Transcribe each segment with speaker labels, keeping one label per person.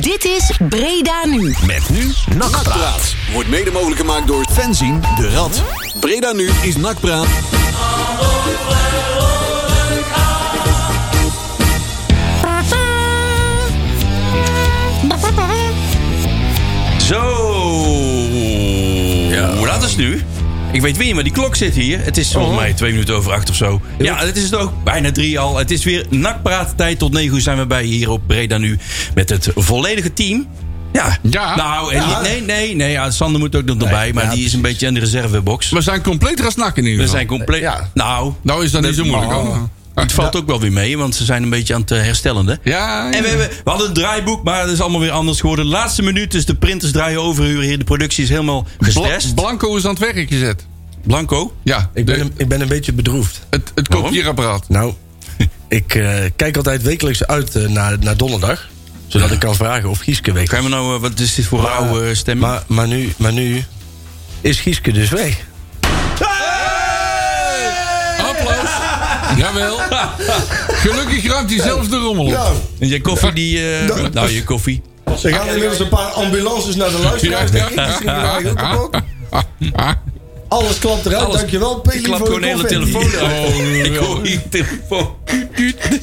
Speaker 1: Dit is Breda Nu.
Speaker 2: Met nu Nakpraat.
Speaker 3: Wordt mede mogelijk gemaakt door Fenzien de Rad. Breda nu is Nakpraat.
Speaker 4: Zo. Hoe laat is het nu? Ik weet weer niet, maar die klok zit hier. Het is volgens mij twee minuten over acht of zo. Ja, het is het ook. Bijna drie al. Het is weer nakpraattijd. Tot negen uur zijn we bij hier op Breda nu. Met het volledige team. Ja.
Speaker 5: Ja.
Speaker 4: Nou, en
Speaker 5: Ja.
Speaker 4: niet- nee, nee, nee. ja, Sander moet ook nog erbij. Maar
Speaker 6: ja,
Speaker 4: die is een beetje in de reservebox.
Speaker 5: We zijn compleet rasnak in ieder
Speaker 4: We
Speaker 5: geval.
Speaker 4: zijn compleet...
Speaker 6: Ja.
Speaker 4: Nou,
Speaker 5: Nou is dat niet zo moeilijk.
Speaker 4: Oh.
Speaker 5: hoor.
Speaker 4: het valt ook wel weer mee. Want ze zijn een beetje aan het eh, herstellen. hè?
Speaker 5: Ja, ja.
Speaker 4: En we, hebben, we hadden een draaiboek, maar dat is allemaal weer anders geworden. De laatste minuut, dus de printers draaien overuren hier. De productie is helemaal
Speaker 5: Bla-
Speaker 4: gestrest.
Speaker 5: Blanco is aan het werk gezet.
Speaker 4: Blanco?
Speaker 5: Ja,
Speaker 6: Ik
Speaker 5: de-
Speaker 6: ben, een, ik ben een beetje bedroefd.
Speaker 5: het, het
Speaker 4: Waarom?
Speaker 5: kopieerapparaat.
Speaker 6: Nou, ik eh, kijk altijd wekelijks uit eh, naar, naar donderdag. Zodat ik kan vragen of Gieske weg
Speaker 4: Ga je
Speaker 6: is.
Speaker 4: me nou, eh, wat is dit voor rauwe eh, stemming?
Speaker 6: Maar, maar, nu, maar nu is Gieske dus weg.
Speaker 5: Applaus. Jawel. Gelukkig ruimt hij zelfs de rommel op.
Speaker 7: Nou,
Speaker 4: en je koffie die... eh, nou, je koffie.
Speaker 7: ze gaan inmiddels een paar ambulances naar de luisteraars, denk ik. Dus die waren heel kapot. Alles klapt eruit,
Speaker 4: Alles-
Speaker 7: dankjewel.
Speaker 4: Ik
Speaker 7: Peggy
Speaker 4: klap
Speaker 7: voor
Speaker 4: gewoon de hele
Speaker 7: confetti.
Speaker 4: telefoon uit.
Speaker 5: Oh,
Speaker 4: ik
Speaker 5: wel.
Speaker 4: hoor hier telefoon.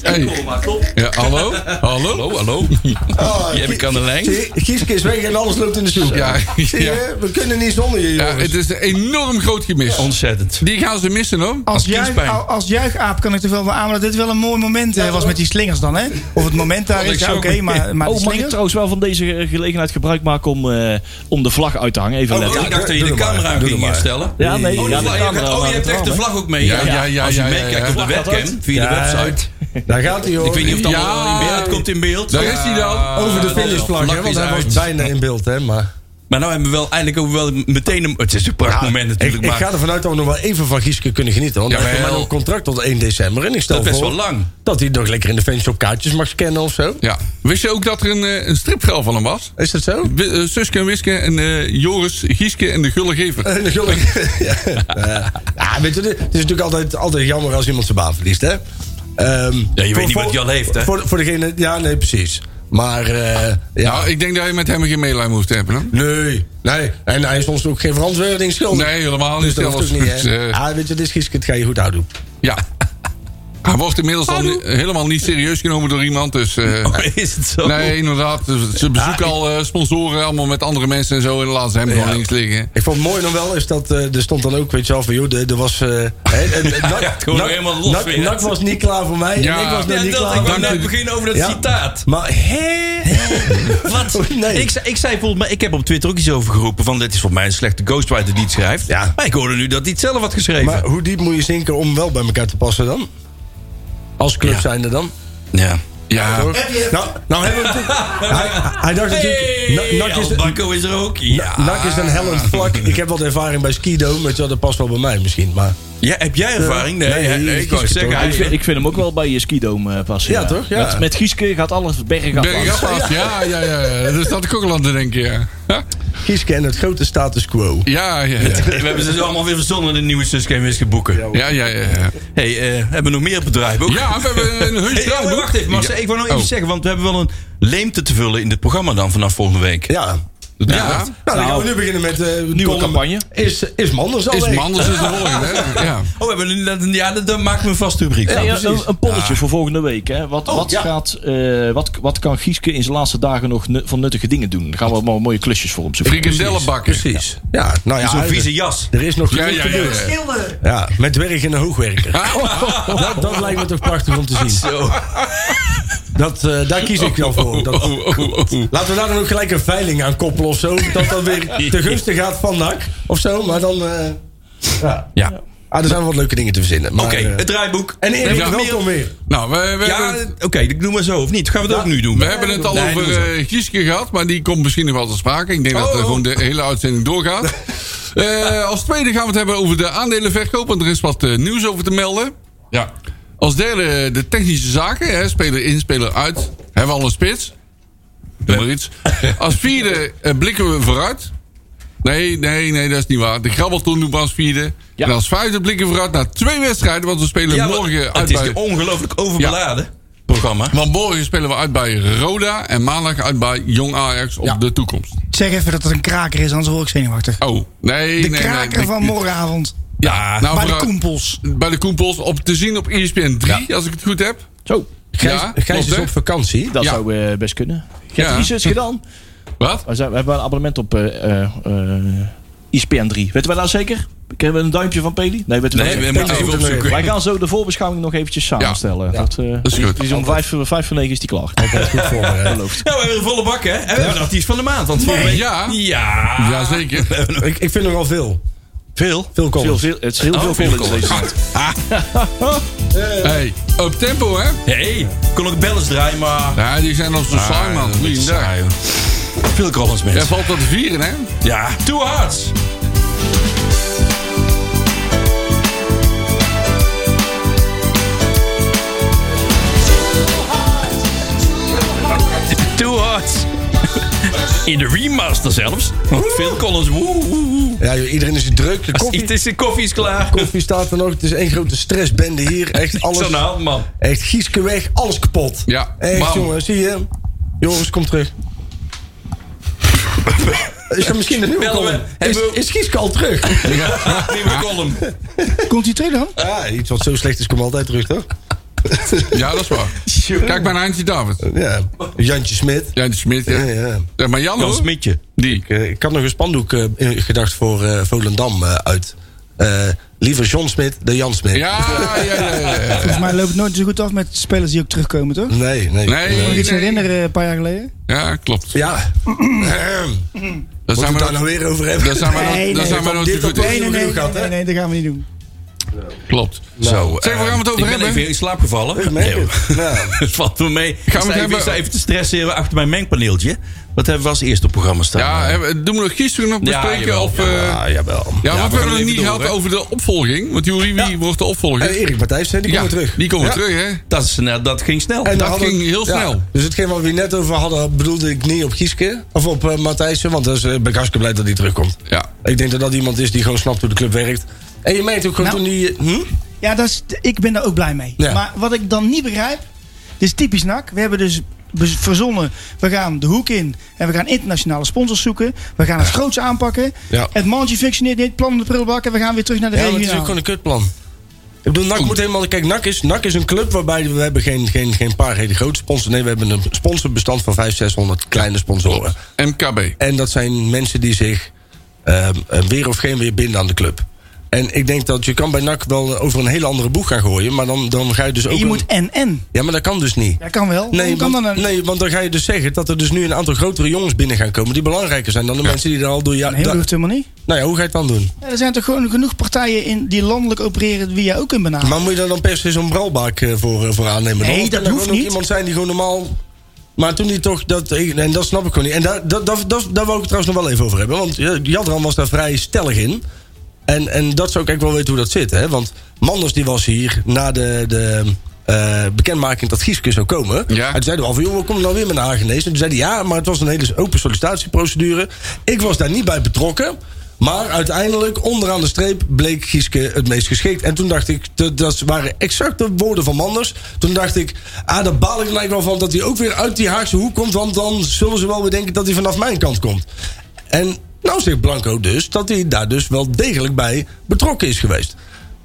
Speaker 5: Hey.
Speaker 4: Kom maar, kom.
Speaker 5: Ja, hallo? Hallo? Hallo, hallo.
Speaker 7: Ah,
Speaker 4: Je hebt ik aan de lijn.
Speaker 7: Zie je, Gieske is weg en alles loopt in de soep.
Speaker 5: Ja,
Speaker 7: Zie
Speaker 5: ja.
Speaker 7: je, we kunnen niet zonder je,
Speaker 5: ja,
Speaker 7: jongens.
Speaker 5: het is een enorm groot gemis.
Speaker 4: Ontzettend.
Speaker 5: Die gaan ze missen hoor.
Speaker 8: Als,
Speaker 4: Als
Speaker 8: juich,
Speaker 6: Oh.
Speaker 4: kiespijn.
Speaker 8: a- als juichaap kan ik er wel van aan dat dit wel een mooi moment eh, was met die slingers dan, hè? Of het moment daar
Speaker 4: ik
Speaker 8: is, ja,
Speaker 4: zo-
Speaker 8: oké, maar, maar die
Speaker 9: oh, mag ik
Speaker 8: slingers...
Speaker 9: trouwens wel van deze ge- gelegenheid gebruik maken om, eh, om de vlag uit te hangen? Even
Speaker 4: Oh,
Speaker 9: letten.
Speaker 4: ik dacht dat je
Speaker 7: doe
Speaker 4: de
Speaker 7: het maar.
Speaker 4: camera
Speaker 7: Doe het
Speaker 4: ging
Speaker 7: maar.
Speaker 4: instellen.
Speaker 9: Ja, nee,
Speaker 4: Oh,
Speaker 9: ja,
Speaker 4: de
Speaker 9: de
Speaker 4: vlag-
Speaker 9: camera
Speaker 4: oh, je
Speaker 9: aan
Speaker 4: hebt
Speaker 9: het
Speaker 4: echt de
Speaker 9: raam,
Speaker 4: vlag ook mee. Ja,
Speaker 5: Ja, ja, ja,
Speaker 4: Als je
Speaker 5: ja, ja,
Speaker 4: meekijkt
Speaker 5: ja.
Speaker 4: op de
Speaker 9: Vlag gaat
Speaker 4: webcam,
Speaker 9: uit.
Speaker 4: via de
Speaker 7: Ja,
Speaker 4: website.
Speaker 7: Daar gaat hij, hoor.
Speaker 4: Ik weet niet of het
Speaker 5: Ja.
Speaker 4: allemaal in beeld het komt in beeld.
Speaker 5: Daar is hij dan.
Speaker 7: Over de
Speaker 4: dat is wel.
Speaker 7: finishvlag, hè,
Speaker 4: Vlag
Speaker 7: want
Speaker 4: is
Speaker 7: hij
Speaker 4: uit.
Speaker 7: was bijna in beeld, hè. Maar
Speaker 4: Maar nou hebben we wel eindelijk ook wel meteen een... Het is een prachtig moment
Speaker 6: Ik,
Speaker 4: natuurlijk,
Speaker 6: ik
Speaker 4: maar
Speaker 6: ga ervan uit dat we nog wel even van Gieske kunnen genieten. Want hij heeft
Speaker 4: Jawel.
Speaker 6: maar een contract tot 1 december. En ik stel
Speaker 4: dat is best
Speaker 6: voor
Speaker 4: wel lang.
Speaker 6: dat hij nog lekker in de fanshop kaartjes mag scannen of zo.
Speaker 5: Ja. Wist je ook dat er een, eh, een stripgel van hem was?
Speaker 6: Is dat zo?
Speaker 5: W- eh, Suske en Wiske en eh, Joris, Gieske en de Gullegever.
Speaker 6: En de gullig. ja, Eh, ja, weet je, het is natuurlijk altijd, altijd jammer als iemand zijn baan verliest, hè? Ehm,
Speaker 4: weet
Speaker 6: voor-
Speaker 4: niet wat hij al heeft, hè?
Speaker 6: Voor, voor degene, ja, nee, precies. Maar, eh, ja,
Speaker 5: Nou, ik denk dat je met hem geen meelijn moest hebben. Hè?
Speaker 4: Nou.
Speaker 6: nee, nee. En hij is ons ook geen verantwoording schuldig.
Speaker 5: Nee, helemaal
Speaker 6: dus
Speaker 5: niet.
Speaker 6: dat hoeft
Speaker 5: zelfs.
Speaker 6: ook niet, hè?
Speaker 5: Dus, eh,
Speaker 6: ah, weet je, dit is Gieske, het ga je goed houden.
Speaker 5: ja. Hij wordt inmiddels al ni- helemaal niet serieus genomen door iemand. Dus, eh,
Speaker 4: Oh, is het zo?
Speaker 5: Nee, inderdaad. Dus Ze ze bezoeken al eh, sponsoren, allemaal met andere mensen en zo. En laten ze hem gewoon links liggen.
Speaker 6: Ik vond het mooi nog wel, is dat eh, er stond dan ook, weet je wel, van joh, er er was... eh, hè, eh, Nak-
Speaker 4: ja, het gewoon
Speaker 6: Nak-
Speaker 4: helemaal los
Speaker 6: Nak-
Speaker 4: weer.
Speaker 6: Nak was niet klaar voor mij
Speaker 5: Ja.
Speaker 6: en ik was nog
Speaker 4: Ja,
Speaker 6: niet
Speaker 4: dat,
Speaker 6: klaar
Speaker 4: ik
Speaker 6: voor
Speaker 4: wou net beginnen over dat
Speaker 6: Ja.
Speaker 4: citaat.
Speaker 6: Maar, hè?
Speaker 4: Wat?
Speaker 6: Nee.
Speaker 4: Ik, zei- ik zei volgens mij, ik heb op Twitter ook iets over geroepen. Van dit is volgens mij een slechte ghostwriter die het schrijft.
Speaker 6: Ja.
Speaker 4: Maar ik hoorde nu dat hij het zelf had geschreven.
Speaker 6: Maar hoe diep moet je zinken om wel bij elkaar te passen dan? Als club
Speaker 4: Ja.
Speaker 6: zijnde dan?
Speaker 4: ja.
Speaker 5: Ja,
Speaker 6: Toch? Nou, nou hebben we natuurlijk... Hij, Ah, hij dacht natuurlijk...
Speaker 4: Hey,
Speaker 6: Na- Nak is,
Speaker 4: El Bacco is er ook. Ja.
Speaker 6: Na- Nak is een hellend vlak. Ik heb wat ervaring bij Skido, maar ja, dat past wel bij mij misschien. Maar,
Speaker 4: ja, heb jij ervaring? Nee,
Speaker 6: Nee,
Speaker 4: hè? nee,
Speaker 6: nee,
Speaker 4: ik wou
Speaker 6: Gieske
Speaker 4: zeggen. hij-
Speaker 6: toch?
Speaker 9: Ik vind, ik vind hem ook wel bij je skidome eh, passen.
Speaker 6: Ja, toch? Ja.
Speaker 9: Met, met Gieske gaat alles bergaf.
Speaker 5: bergaf af. Ja, ja, ja. ja. Dat staat ik ook al aan te denken, ja. Ja,
Speaker 6: Gieske en het grote status quo.
Speaker 5: ja, ja. ja.
Speaker 4: we hebben ze dus allemaal weer verzonnen de nieuwe Suske en Wiske boeken.
Speaker 5: Ja, ja, ja, ja.
Speaker 4: hey, eh, hebben we nog meer op het draaiboek?
Speaker 5: Ja, we hebben een heus
Speaker 4: Hey, oh,
Speaker 5: draaiboek.
Speaker 4: wacht even, Marcel. Ik wil nog even
Speaker 5: Oh.
Speaker 4: zeggen, want we hebben wel een leemte te vullen in dit programma dan vanaf volgende week.
Speaker 6: Ja. Nou,
Speaker 5: Ja,
Speaker 6: dan gaan we nu beginnen met... eh,
Speaker 9: Nieuwe
Speaker 6: column.
Speaker 9: campagne.
Speaker 6: Is, is Manders al
Speaker 5: is
Speaker 6: weg?
Speaker 5: Manders is de volgende, hè? Ja.
Speaker 4: Oh, hebben we, dat, ja, dat, dat maakt me een vast rubriek.
Speaker 9: Nee, een- een, een polletje voor volgende week. Hè. Wat, wat,
Speaker 6: ja.
Speaker 9: gaat, eh, wat, wat kan Gieske in zijn laatste dagen nog nu- van nuttige dingen doen? Daar gaan we maar mooie klusjes voor hem zoeken.
Speaker 5: Frikandellenbakken.
Speaker 6: Precies. Ja, nou ja.
Speaker 4: Zo'n
Speaker 6: hij-
Speaker 4: vieze jas.
Speaker 6: Er is
Speaker 5: Ja,
Speaker 6: nog genoeg
Speaker 5: ja,
Speaker 6: te
Speaker 5: ja,
Speaker 6: doen.
Speaker 5: ja.
Speaker 6: Ja, met werk en een hoogwerker. Oh. Dat, dat lijkt me toch prachtig om te zien. Dat, eh, daar kies ik dan voor. Dat-
Speaker 5: Oh, oh, oh, oh.
Speaker 6: laten we daar dan ook gelijk een veiling aan koppelen of zo. Dat dat weer ten gunste gaat van NAC of zo. Maar dan... eh, ja.
Speaker 4: Ja.
Speaker 6: Ah, er zijn wel wat leuke dingen te verzinnen. maar,
Speaker 4: Oké,
Speaker 6: eh,
Speaker 4: het draaiboek.
Speaker 6: en Erik,
Speaker 5: Ja,
Speaker 6: welkom weer.
Speaker 5: Nou, we, we
Speaker 4: Ja,
Speaker 5: hebben...
Speaker 4: oké, ik doe maar zo, of niet? Gaan we het ook nu doen?
Speaker 5: We hebben het al
Speaker 4: Nee, doen we zo.
Speaker 5: over eh, Gieske gehad, maar die komt misschien nog wel te sprake. Ik denk dat
Speaker 4: Oh,
Speaker 5: eh,
Speaker 4: oh.
Speaker 5: gewoon de hele uitzending doorgaat. Eh, als tweede gaan we het hebben over de aandelenverkoop, want er is wat eh, nieuws over te melden.
Speaker 4: Ja.
Speaker 5: Als derde eh, de technische zaken, hè, speler in, speler uit. Hebben we al een spits? Doe maar iets. Als vierde eh, blikken we vooruit. Nee, nee, nee, dat is niet waar. De grabbelton doen we als vierde.
Speaker 9: Ja.
Speaker 5: En als vijfde blikken we vooruit naar twee wedstrijden, want we spelen
Speaker 4: Ja, maar
Speaker 5: morgen uit
Speaker 4: het is
Speaker 5: bij...
Speaker 4: ongelooflijk overbeladen. programma.
Speaker 5: Want morgen spelen we uit bij Roda en maandag uit bij Jong Ajax op de toekomst.
Speaker 8: Zeg even dat het een kraker is, anders word ik zenuwachtig.
Speaker 5: Oh, nee,
Speaker 8: De
Speaker 5: nee,
Speaker 8: kraker
Speaker 5: nee,
Speaker 8: van
Speaker 5: nee.
Speaker 8: morgenavond.
Speaker 5: Ja, nou,
Speaker 8: bij de
Speaker 5: vooruit-
Speaker 8: Koempels.
Speaker 5: Bij de Koempels op te zien op E ESPN 3, als ik het goed heb.
Speaker 10: Zo, Gijs,
Speaker 5: Ja, klopt,
Speaker 10: Gijs is
Speaker 5: hè?
Speaker 10: op vakantie.
Speaker 11: Dat
Speaker 5: Ja.
Speaker 11: zou eh, best kunnen. Je
Speaker 5: Ja.
Speaker 11: hebt research gedaan.
Speaker 5: Wat?
Speaker 11: We, zijn- we hebben een abonnement op eh eh eh, ISPN 3. Weten wij dat zeker? Kennen we een duimpje van Peli? Nee, weten we
Speaker 4: Nee,
Speaker 11: dat
Speaker 4: we
Speaker 11: niet.
Speaker 4: moeten even opzoeken.
Speaker 11: Wij gaan zo de voorbeschouwing nog eventjes samenstellen. Dat, eh,
Speaker 5: is goed.
Speaker 11: Die is om vijf, voor- vijf voor negen is die klaar.
Speaker 4: Nou, we hebben een volle bak, hè? Eh, En we hebben een artiest van de maand. Want vorige week...
Speaker 5: Ja.
Speaker 4: Ja.
Speaker 5: Jazeker.
Speaker 10: Ik, ik vind er wel veel.
Speaker 4: Veel.
Speaker 10: Veel
Speaker 11: Veel,
Speaker 10: comments.
Speaker 11: veel, het is heel
Speaker 4: Oh,
Speaker 11: veel
Speaker 4: veel
Speaker 11: veel deze tijd.
Speaker 5: Hey, op tempo hè?
Speaker 4: hey, kon ook bellens draaien, maar...
Speaker 5: Ja, die zijn op zijn saai man. Goeiedag.
Speaker 4: Veel Collins,
Speaker 5: Er
Speaker 4: mensen.
Speaker 5: valt wat te vieren hè?
Speaker 4: Ja. Two Hearts. Two Hearts. In de remaster zelfs. Phil Collins, woe, woe, woe.
Speaker 6: Ja, joh, iedereen is druk. De koffie,
Speaker 4: Het is, de koffie is klaar.
Speaker 6: koffie staat er nog. Het is één grote stressbende hier. Echt
Speaker 4: Alles aan de
Speaker 6: alles.
Speaker 4: hand, man.
Speaker 6: Echt Gieske weg. Alles kapot.
Speaker 5: Ja,
Speaker 6: Echt
Speaker 5: bam.
Speaker 6: jongen. Zie je. Joris, kom terug. Is dat misschien een nieuwe
Speaker 4: Bellen we.
Speaker 6: column? Is,
Speaker 4: Hebben we-
Speaker 6: is Gieske al terug?
Speaker 4: Ah, Nieuwe column.
Speaker 8: Komt die twee dan?
Speaker 6: Ja, iets wat zo slecht is, komt altijd terug, toch?
Speaker 5: Ja, dat is waar. Kijk maar naar Antje David.
Speaker 6: Ja. Jantje Smit.
Speaker 5: Jan Smit,
Speaker 6: Ja,
Speaker 5: ja.
Speaker 6: ja.
Speaker 5: Ja, Maar Jan,
Speaker 4: Jan
Speaker 5: hoor.
Speaker 4: Smitje.
Speaker 5: Die.
Speaker 6: Ik, eh, ik had nog een spandoek eh, in- gedacht voor eh, Volendam eh, uit. Eh, liever John Smit dan Jan Smit.
Speaker 5: Ja, ja, ja, ja, ja.
Speaker 8: Volgens mij loopt het nooit zo goed af met spelers die ook terugkomen, toch? Kan
Speaker 6: Nee, nee.
Speaker 5: Nee.
Speaker 8: ik iets herinneren een paar jaar geleden?
Speaker 5: Ja, klopt.
Speaker 6: Ja.
Speaker 5: Daar
Speaker 6: Moeten
Speaker 5: zijn
Speaker 6: we
Speaker 5: we
Speaker 6: daar nou
Speaker 5: nog-
Speaker 6: weer over hebben?
Speaker 5: daar zijn we nog-
Speaker 8: Nee,
Speaker 5: daar
Speaker 8: nee,
Speaker 5: zijn we
Speaker 6: dat
Speaker 5: nog
Speaker 6: dit
Speaker 5: te goed
Speaker 6: dat-
Speaker 5: in.
Speaker 8: Nee, nee, nee, nee, nee, nee, dat gaan we niet doen.
Speaker 5: Klopt.
Speaker 4: Zo,
Speaker 5: Nou, Zeg, waar gaan we het over
Speaker 4: ik ben
Speaker 5: hebben?
Speaker 4: even in slaap gevallen.
Speaker 6: merk
Speaker 4: Nee,
Speaker 6: het.
Speaker 4: hoor. Het valt me mee. Ik
Speaker 5: het
Speaker 4: sta even,
Speaker 5: hebben-
Speaker 4: ik sta even te stressen hier achter mijn mengpaneeltje. Wat hebben we als eerste op programma staan?
Speaker 5: Ja, hebben- doen we nog gisteren nog
Speaker 4: Ja,
Speaker 5: bespreken?
Speaker 4: jawel,
Speaker 5: of, eh, ja,
Speaker 6: Ah,
Speaker 4: we
Speaker 6: jawel.
Speaker 5: want we
Speaker 4: gaan
Speaker 5: hebben
Speaker 4: even
Speaker 5: het niet
Speaker 4: door,
Speaker 5: gehad
Speaker 4: hè?
Speaker 5: over de opvolging. Want Jury, wie wordt de opvolger?
Speaker 8: Eh,
Speaker 6: En Erik Matthijs, hè, die
Speaker 5: ja,
Speaker 6: komen terug.
Speaker 5: Die komen
Speaker 6: Ja.
Speaker 5: terug, hè?
Speaker 4: dat, is, nou, dat ging snel.
Speaker 6: En
Speaker 5: Dat
Speaker 6: dan hadden-
Speaker 5: ging heel
Speaker 6: ja,
Speaker 5: snel.
Speaker 6: Dus hetgeen wat we net over hadden, bedoelde ik niet op Gieske. Of op eh, Matthijssen, want daar is, eh, ben ik hartstikke blij dat hij terugkomt.
Speaker 5: Ja.
Speaker 6: Ik denk dat dat iemand is die gewoon snapt hoe de club werkt. En je merkt ook gewoon
Speaker 8: Nou.
Speaker 6: toen die... Hm?
Speaker 8: Ja, dat is, ik ben daar ook blij mee.
Speaker 6: Ja.
Speaker 8: Maar wat ik dan niet begrijp, dit is typisch NAC. We hebben dus bez- verzonnen, we gaan de hoek in en we gaan internationale sponsors zoeken. We gaan het groots aanpakken.
Speaker 6: Ja.
Speaker 8: Het mandje functioneert niet, plan in de prullenbak en we gaan weer terug naar de
Speaker 6: Ja, maar het is ook
Speaker 8: regionale.
Speaker 6: gewoon een kutplan. Ik bedoel,
Speaker 5: Oh.
Speaker 6: NAC moet helemaal... Kijk, NAC is, NAC is een club waarbij we hebben geen, geen, geen paar hele grote sponsors. Nee, we hebben een sponsorbestand van 500, 600 kleine sponsoren.
Speaker 5: MKB.
Speaker 6: En dat zijn mensen die zich ehm, eh, weer of geen weer binden aan de club. En ik denk dat je kan bij NAC wel over een hele andere boeg gaan gooien. Maar dan, dan ga je dus ook...
Speaker 8: Je
Speaker 6: een-
Speaker 8: moet en en.
Speaker 6: Ja, maar dat kan dus niet.
Speaker 8: Ja, kan wel.
Speaker 6: Nee
Speaker 8: Hoe kan nou?
Speaker 6: want,
Speaker 8: dan een-
Speaker 6: nee, want dan ga je dus zeggen dat er dus nu een aantal grotere jongens binnen gaan komen... die belangrijker zijn dan de mensen die er al door... Ja,
Speaker 8: Nee,
Speaker 6: da-
Speaker 8: dat hoeft helemaal niet.
Speaker 6: nou ja, hoe ga je het dan doen?
Speaker 8: Ja, er zijn toch gewoon genoeg partijen in die landelijk opereren wie jij ook kunt benaderen.
Speaker 6: Maar moet je daar dan per se zo'n bralbaak eh, voor, eh, voor aannemen? dan?
Speaker 8: Ah. Nee,
Speaker 6: Of kan
Speaker 8: dat
Speaker 6: er
Speaker 8: hoeft
Speaker 6: gewoon ook
Speaker 8: niet.
Speaker 6: iemand zijn die gewoon normaal... Maar toen die toch... Dat, eh, en dat snap ik gewoon niet. En daar, dat, dat, dat, daar wou ik het trouwens nog wel even over hebben. Want eh, Jadran was daar vrij stellig in. En, en dat zou ik eigenlijk wel weten hoe dat zit. Hè? Want Manders die was hier na de... de eh, bekendmaking dat Gieske zou komen.
Speaker 5: Ja.
Speaker 6: En toen zeiden we al van, joh, we komen dan weer met een aangenees. En toen zeiden ja, maar het was een hele open sollicitatieprocedure. Ik was daar niet bij betrokken. Maar uiteindelijk, onderaan de streep, bleek Gieske het meest geschikt. En toen dacht ik, dat, dat waren exact de woorden van Manders. Toen dacht ik, ah, daar baal ik gelijk wel van dat hij ook weer uit die Haagse hoek komt. Want dan zullen ze wel weer denken dat hij vanaf mijn kant komt. En nou zegt Blanco dus dat hij daar dus wel degelijk bij betrokken is geweest.